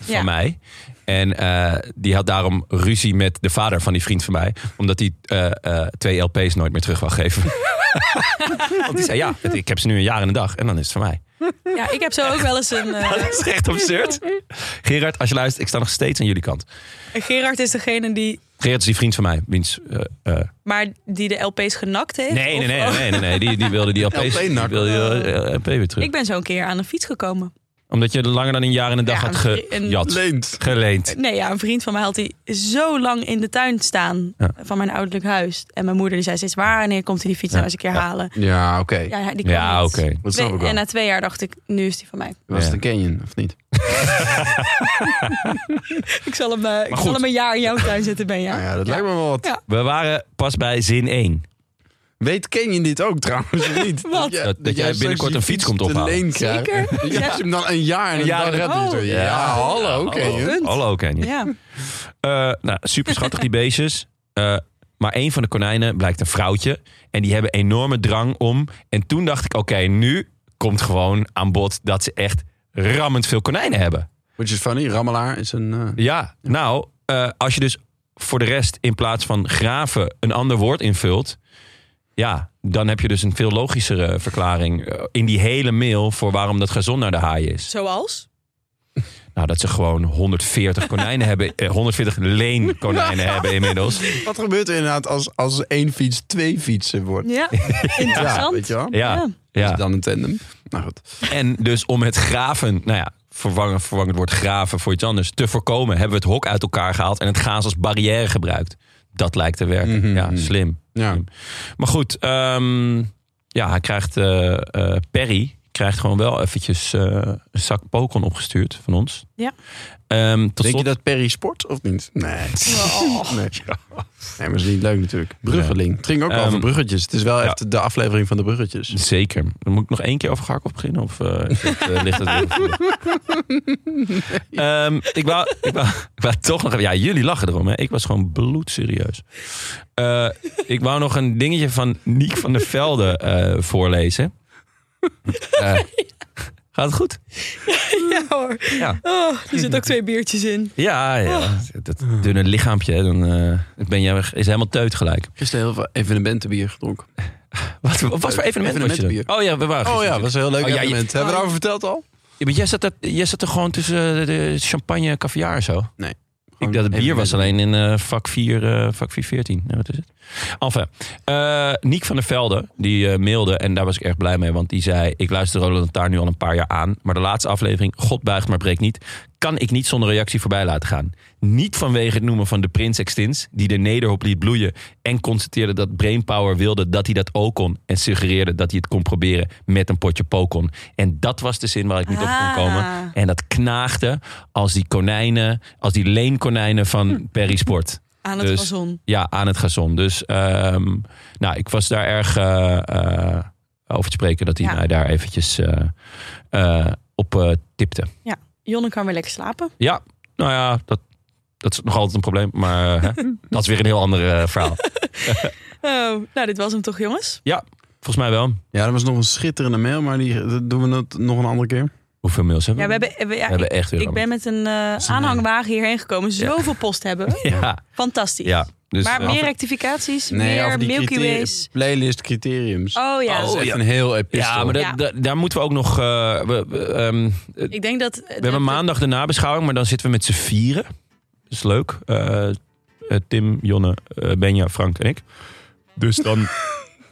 Speaker 1: van
Speaker 3: Ja.
Speaker 1: mij. En eh, die had daarom ruzie met de vader van die vriend van mij. Omdat hij eh, eh, twee LP's nooit meer terug wou geven. Want die zei, ja, het- ik heb ze nu een jaar en een dag. En dan is het van mij.
Speaker 3: Ja, ik heb zo ook wel eens een. eh,
Speaker 1: Dat is echt absurd. Gerard, als je luistert, ik sta nog steeds aan jullie kant.
Speaker 3: Gerard is degene die.
Speaker 1: Gerard is die vriend van mij. Wiens, eh, eh,
Speaker 3: Maar die de LP's genakt heeft.
Speaker 1: nee,
Speaker 3: Of-
Speaker 1: nee, nee,
Speaker 3: oh,
Speaker 1: nee, nee, nee. Die, die wilde die LP's.
Speaker 2: LP
Speaker 1: Die
Speaker 2: nak.
Speaker 1: wilde die eh, LP weer terug.
Speaker 3: Ik ben zo een keer aan een fiets gekomen.
Speaker 1: Omdat je langer dan een jaar en een dag
Speaker 3: Ja,
Speaker 1: had
Speaker 3: een-
Speaker 1: gejat.
Speaker 2: Leent.
Speaker 1: Geleend.
Speaker 3: Nee, ja, een vriend van mij had die zo lang in de tuin staan
Speaker 1: Ja.
Speaker 3: van mijn ouderlijk huis. En mijn moeder die zei steeds: waar en komt hij die fiets nou eens een keer halen?
Speaker 2: Ja, oké.
Speaker 3: Ja, hij- die kwam
Speaker 1: Ja,
Speaker 3: niet.
Speaker 1: oké.
Speaker 2: Dat snap
Speaker 3: Twee-
Speaker 2: ik wel.
Speaker 3: En eh, na twee jaar dacht ik, nu is die van mij.
Speaker 2: Was het
Speaker 1: Ja.
Speaker 2: een Canyon, of niet?
Speaker 3: Ik zal hem, eh, ik
Speaker 1: goed.
Speaker 3: zal hem een jaar in jouw tuin zitten, ben
Speaker 2: Nou
Speaker 3: ja.
Speaker 2: ja, dat lijkt me wel wat.
Speaker 3: Ja.
Speaker 1: We waren pas bij zin 1.
Speaker 2: Weet Canyon dit ook trouwens, of niet?
Speaker 3: Wat?
Speaker 2: jij-
Speaker 1: Dat- dat jij
Speaker 2: straks
Speaker 1: binnenkort
Speaker 2: je
Speaker 1: een fiets komt
Speaker 2: te
Speaker 1: ophalen.
Speaker 2: leen krijgt.
Speaker 3: Zeker?
Speaker 2: Dat jij hem dan een jaar en een
Speaker 1: Ja,
Speaker 2: dag
Speaker 1: dat-
Speaker 2: redt. Dus
Speaker 3: Oh.
Speaker 2: zo, Ja, hallo Canyon.
Speaker 1: Hallo, hallo Canyon.
Speaker 3: Ja.
Speaker 1: Eh, nou, super schattig die beestjes. Eh, maar een van de konijnen blijkt een vrouwtje. En die hebben enorme drang om. En toen dacht ik, oké, nu komt gewoon aan bod dat ze echt rammend veel konijnen hebben.
Speaker 2: Which is funny, Rammelaar is een... eh,
Speaker 1: Ja, nou, eh, als je dus voor de rest in plaats van graven een ander woord invult. Ja, dan heb je dus een veel logischere verklaring eh, in die hele mail voor waarom dat gazon naar de haai is.
Speaker 3: Zoals?
Speaker 1: Nou, dat ze gewoon 140 konijnen hebben, eh, 140 leenkonijnen hebben inmiddels.
Speaker 2: Wat gebeurt er inderdaad als, als één fiets twee fietsen wordt?
Speaker 3: Ja. Interessant.
Speaker 2: weet je wel?
Speaker 1: Ja, ja.
Speaker 2: Is dan een tandem? Nou goed.
Speaker 1: En dus om het graven, nou ja, vervangen, vervangen het woord graven voor iets anders, te voorkomen, hebben we het hok uit elkaar gehaald en het gaas als barrière gebruikt. Dat lijkt te werken.
Speaker 2: Mhm.
Speaker 1: Ja, slim.
Speaker 2: Ja.
Speaker 1: Maar goed, ehm, ja, hij krijgt, eh, eh, Perry krijgt gewoon wel eventjes eh, een zak pokon opgestuurd van ons.
Speaker 3: Ja.
Speaker 1: Ehm, tot
Speaker 2: Denk je
Speaker 1: slot,
Speaker 2: dat Perry sport of niet? Nee.
Speaker 3: Oh.
Speaker 2: Nee. nee, maar is niet leuk natuurlijk. Bruggeling. Het ging ook
Speaker 1: Ehm,
Speaker 2: over bruggetjes. Het is wel
Speaker 1: ja.
Speaker 2: echt de aflevering van de bruggetjes.
Speaker 1: Zeker. Dan moet ik nog één keer over Garkov beginnen? Of eh, is dat, eh, ligt het weer gevoelig? Ehm, ik, wou, ik, wou, ik wou toch nog... even- Ja, jullie lachen erom. Hè? Ik was gewoon bloedserieus. Eh, ik wou nog een dingetje van Niek van der Velde eh, voorlezen. Eh, gaat het goed?
Speaker 3: Ja hoor.
Speaker 1: Ja.
Speaker 3: Oh, er zitten ook twee biertjes in.
Speaker 1: Ja, ja.
Speaker 2: Ah.
Speaker 1: dat dunne lichaampje. hè, Dan eh, ben jij is helemaal teut gelijk.
Speaker 2: Gisteren heel veel evenementenbier gedronken.
Speaker 1: Wat, wat was voor evenement was je dan?
Speaker 2: Evenementenbier.
Speaker 1: Oh ja, we waren
Speaker 2: Oh ja, eh,
Speaker 1: gisteren.
Speaker 2: was een heel leuk
Speaker 1: Oh, ja, je-
Speaker 2: evenement. Hebben we daarover verteld al?
Speaker 1: eh, Ja, maar jij zat, er, jij zat er gewoon tussen de champagne en caviar en zo. Ik dacht, het bier was alleen in eh, vak 4, eh, vak 414. Nee, wat is het? Enfin, eh Niek van der Velde, die eh, mailde, en daar was ik erg blij mee, want die zei, ik luister Roland daar nu al een paar jaar aan, maar de laatste aflevering, God buigt maar breekt niet, kan ik niet zonder reactie voorbij laten gaan. Niet vanwege het noemen van de prins Extins, die de nederhop liet bloeien en constateerde dat Brainpower wilde dat hij dat ook kon en suggereerde dat hij het kon proberen met een potje pokon. En dat was de zin waar ik niet op kon komen.
Speaker 3: Ah.
Speaker 1: En dat knaagde als die konijnen, als die leenkonijnen van Perry Sport.
Speaker 3: Aan het
Speaker 1: Dus-
Speaker 3: gazon.
Speaker 1: Ja, aan het gazon. Dus ehm, nou, ik was daar erg eh, eh, over te spreken dat hij
Speaker 3: Ja.
Speaker 1: mij daar eventjes eh, eh, op eh, tipte.
Speaker 3: Jonne kan weer lekker slapen.
Speaker 1: Ja, nou ja, dat, dat is nog altijd een probleem. Maar eh, hè, dat is weer een heel ander eh, verhaal.
Speaker 3: Oh, nou, dit was hem toch, jongens?
Speaker 1: Volgens mij wel.
Speaker 2: Ja, dat was nog een schitterende mail, maar die dat doen we het nog een andere keer.
Speaker 1: Hoeveel mails hebben
Speaker 3: Ja, we
Speaker 1: we?
Speaker 3: hebben, we- ja,
Speaker 1: we hebben echt heel
Speaker 3: ik, ik ben met een eh,
Speaker 2: is een,
Speaker 3: aanhangwagen hierheen gekomen. Zoveel post hebben we.
Speaker 1: Ja,
Speaker 3: Fantastisch.
Speaker 1: ja. Dus,
Speaker 3: maar
Speaker 1: eh,
Speaker 3: meer rectificaties,
Speaker 2: over
Speaker 3: meer
Speaker 2: die
Speaker 3: Milky
Speaker 2: criteria-
Speaker 3: Ways.
Speaker 2: Playlist criteriums.
Speaker 3: Oh ja,
Speaker 2: dat is
Speaker 1: Oh,
Speaker 2: echt
Speaker 1: ja.
Speaker 2: een heel epistel.
Speaker 1: ja, maar dat-
Speaker 3: Ja.
Speaker 1: dat- daar moeten we ook nog... eh, we, we, ehm,
Speaker 3: ik denk dat...
Speaker 1: We hebben maandag de nabeschouwing, maar dan zitten we met z'n vieren. Dat is leuk. Eh, eh, Tim, Jonne, eh, Benja, Frank en ik. Dus dan...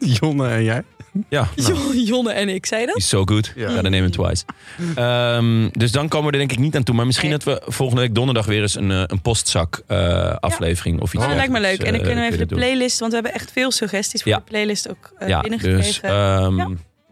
Speaker 2: Jonne en jij.
Speaker 1: ja, nou,
Speaker 3: Jonne en ik, zei dat?
Speaker 1: is so good. Ja, dan nemen we twice. Ehm, dus dan komen we er denk ik niet aan toe. Maar misschien
Speaker 3: Nee.
Speaker 1: dat we volgende week donderdag weer eens een, eh, een postzak eh, aflevering of iets.
Speaker 3: Ja, dat Oh, lijkt me leuk.
Speaker 1: dergelijks,
Speaker 3: En dan
Speaker 1: eh,
Speaker 3: kunnen we even de
Speaker 1: doen.
Speaker 3: playlist, want we hebben echt veel suggesties voor
Speaker 1: Ja.
Speaker 3: de playlist ook eh,
Speaker 1: Ja,
Speaker 3: binnengekregen.
Speaker 1: dus ehm,
Speaker 3: Ja.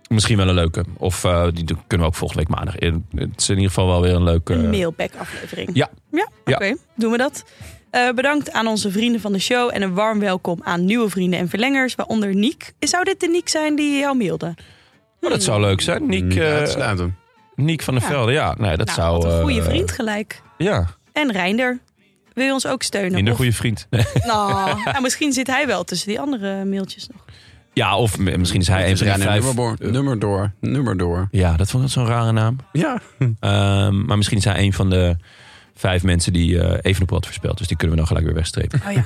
Speaker 1: misschien wel een leuke. Of eh, die doen- kunnen we ook volgende week maandag. Eh, Het is in ieder geval wel weer een leuke...
Speaker 3: Een mailback-aflevering.
Speaker 1: eh, Ja.
Speaker 3: Ja, oké.
Speaker 1: Ja.
Speaker 3: Doen we dat. Eh, bedankt aan onze vrienden van de show en een warm welkom aan nieuwe vrienden en verlengers, waaronder Niek. Zou dit de Niek zijn die jou mailde?
Speaker 1: Maar dat zou leuk zijn.
Speaker 3: Mm,
Speaker 1: Niek,
Speaker 2: Mm, ja, het
Speaker 1: eh,
Speaker 2: sluit hem.
Speaker 1: Niek van der
Speaker 3: Ja.
Speaker 1: Velde, ja. Nee, dat
Speaker 3: nou,
Speaker 1: zou...
Speaker 3: wat een goede
Speaker 1: eh,
Speaker 3: vriend gelijk.
Speaker 1: Ja,
Speaker 3: En Reinder. Wil je ons ook steunen?
Speaker 1: minder
Speaker 3: Of-
Speaker 1: goede vriend.
Speaker 3: Nou, nou, misschien zit hij wel tussen die andere mailtjes nog.
Speaker 1: Ja, of m- misschien is hij een
Speaker 2: Het
Speaker 1: van de
Speaker 2: is Reiner
Speaker 1: vijf... Eh,
Speaker 2: Nummerboor- nummer door. Nummer door.
Speaker 1: Ja, dat vond ik zo'n rare naam.
Speaker 2: Ja.
Speaker 1: Ehm, maar misschien is hij een van de vijf mensen die eh Evenepoel had voorspeld. Dus die kunnen we dan gelijk weer wegstrepen.
Speaker 3: Oh ja.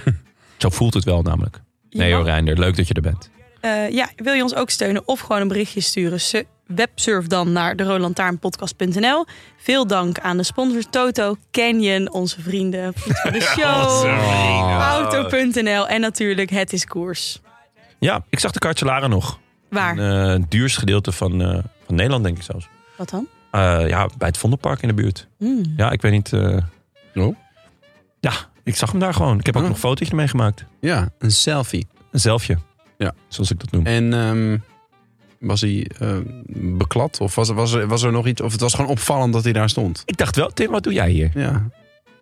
Speaker 1: Zo voelt het wel namelijk. Nee
Speaker 3: Ja.
Speaker 1: hoor, Reinder, leuk dat je er bent.
Speaker 3: Eh, ja, wil je ons ook steunen of gewoon een berichtje sturen? Su- Websurf dan naar derolantaarnpodcast.nl. Veel dank aan de sponsors Toto, Canyon, onze vrienden van de show, Oh. Auto.nl en natuurlijk Het is Koers.
Speaker 1: Ja, ik zag de Cartelaren nog.
Speaker 3: Waar?
Speaker 1: Eh, het duurste gedeelte van, eh, van Nederland, denk ik zelfs.
Speaker 3: Wat dan?
Speaker 1: Eh, ja, bij het Vondelpark in de buurt.
Speaker 3: Hmm.
Speaker 1: Ja, ik weet niet... eh,
Speaker 2: Oh.
Speaker 1: Ja, ik zag hem daar gewoon. Ik heb ook
Speaker 2: Oh.
Speaker 1: nog een fotootje ermee gemaakt.
Speaker 2: Ja, een selfie.
Speaker 1: Een zelfje.
Speaker 2: Ja.
Speaker 1: Zoals ik dat noem.
Speaker 2: En ehm, was hij ehm, beklad? Of was, was, er, was er nog iets? Of het was gewoon opvallend dat hij daar stond?
Speaker 1: Ik dacht wel, Tim, wat doe jij hier?
Speaker 2: Ja.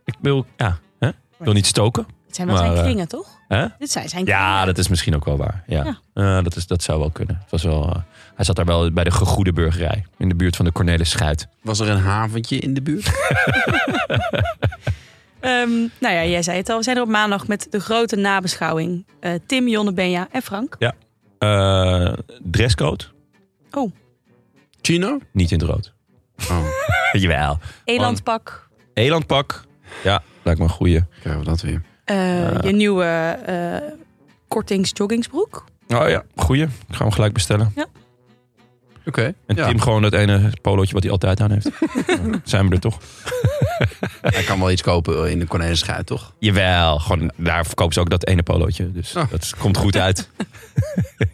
Speaker 1: Ik wil, ja, hè? Ik wil niet stoken.
Speaker 3: Het zijn wel
Speaker 1: Maar,
Speaker 3: zijn
Speaker 1: eh,
Speaker 3: kringen, toch?
Speaker 1: hè?
Speaker 3: Dit zijn zijn kringen.
Speaker 1: Ja, dat is misschien ook wel waar. Ja. Eh, dat, is, dat zou wel kunnen. Het was wel, eh, hij zat daar wel bij de gegoede burgerij. In de buurt van de Cornelis Schuit.
Speaker 2: Was er een haventje in de buurt?
Speaker 3: Ehm, nou ja, jij zei het al. We zijn er op maandag met de grote nabeschouwing. Eh, Tim, Jonne, Benja en Frank.
Speaker 1: Eh, dresscode,
Speaker 2: Chino?
Speaker 1: niet in het rood.
Speaker 2: Oh,
Speaker 1: Jawel.
Speaker 3: Elandpak.
Speaker 1: Elandpak. Ja, lijkt me een goeie.
Speaker 2: krijgen we dat weer.
Speaker 3: eh,
Speaker 1: Eh.
Speaker 3: Je nieuwe eh kortingsjoggingsbroek.
Speaker 1: Oh ja, goeie. Ik ga hem gelijk bestellen.
Speaker 2: Oké.
Speaker 1: En
Speaker 2: ja.
Speaker 1: Tim gewoon dat ene polootje wat hij altijd aan heeft. Nou, Zijn we er toch?
Speaker 2: Hij kan wel iets kopen in de Cornelischuit, toch?
Speaker 1: Jawel. Gewoon, daar verkopen ze ook dat ene polootje. Dus
Speaker 2: Oh.
Speaker 1: dat komt goed uit.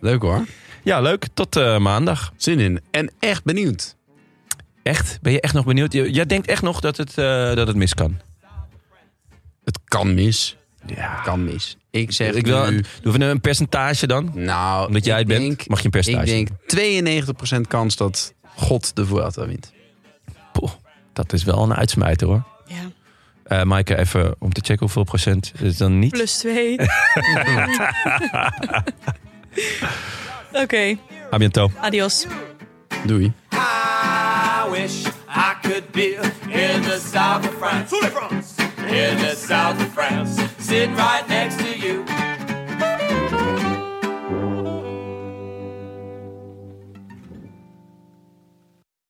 Speaker 2: Leuk hoor.
Speaker 1: Ja, leuk. Tot eh, maandag.
Speaker 2: Zin in. En echt benieuwd.
Speaker 1: Echt? Ben je echt nog benieuwd? J- Jij denkt echt nog dat het, eh, dat het mis kan?
Speaker 2: Het kan mis.
Speaker 1: Ja.
Speaker 2: Kan mis. Ik zeg
Speaker 1: Ik wil
Speaker 2: nu-
Speaker 1: een, doen we een percentage dan?
Speaker 2: Nou,
Speaker 1: Omdat jij
Speaker 2: ik
Speaker 1: het bent,
Speaker 2: denk-
Speaker 1: mag je een percentage.
Speaker 2: Ik denk 92% kans dat God de Vuelta wint.
Speaker 1: Poeh, dat is wel een uitsmijter hoor.
Speaker 3: Ja.
Speaker 1: Eh Maaike, even om te checken hoeveel procent is dan niet.
Speaker 3: Plus twee. Oké,
Speaker 1: A bientôt.
Speaker 3: adios.
Speaker 2: Doei.
Speaker 7: I wish I could be in the south of France. In the south of France. Sitting right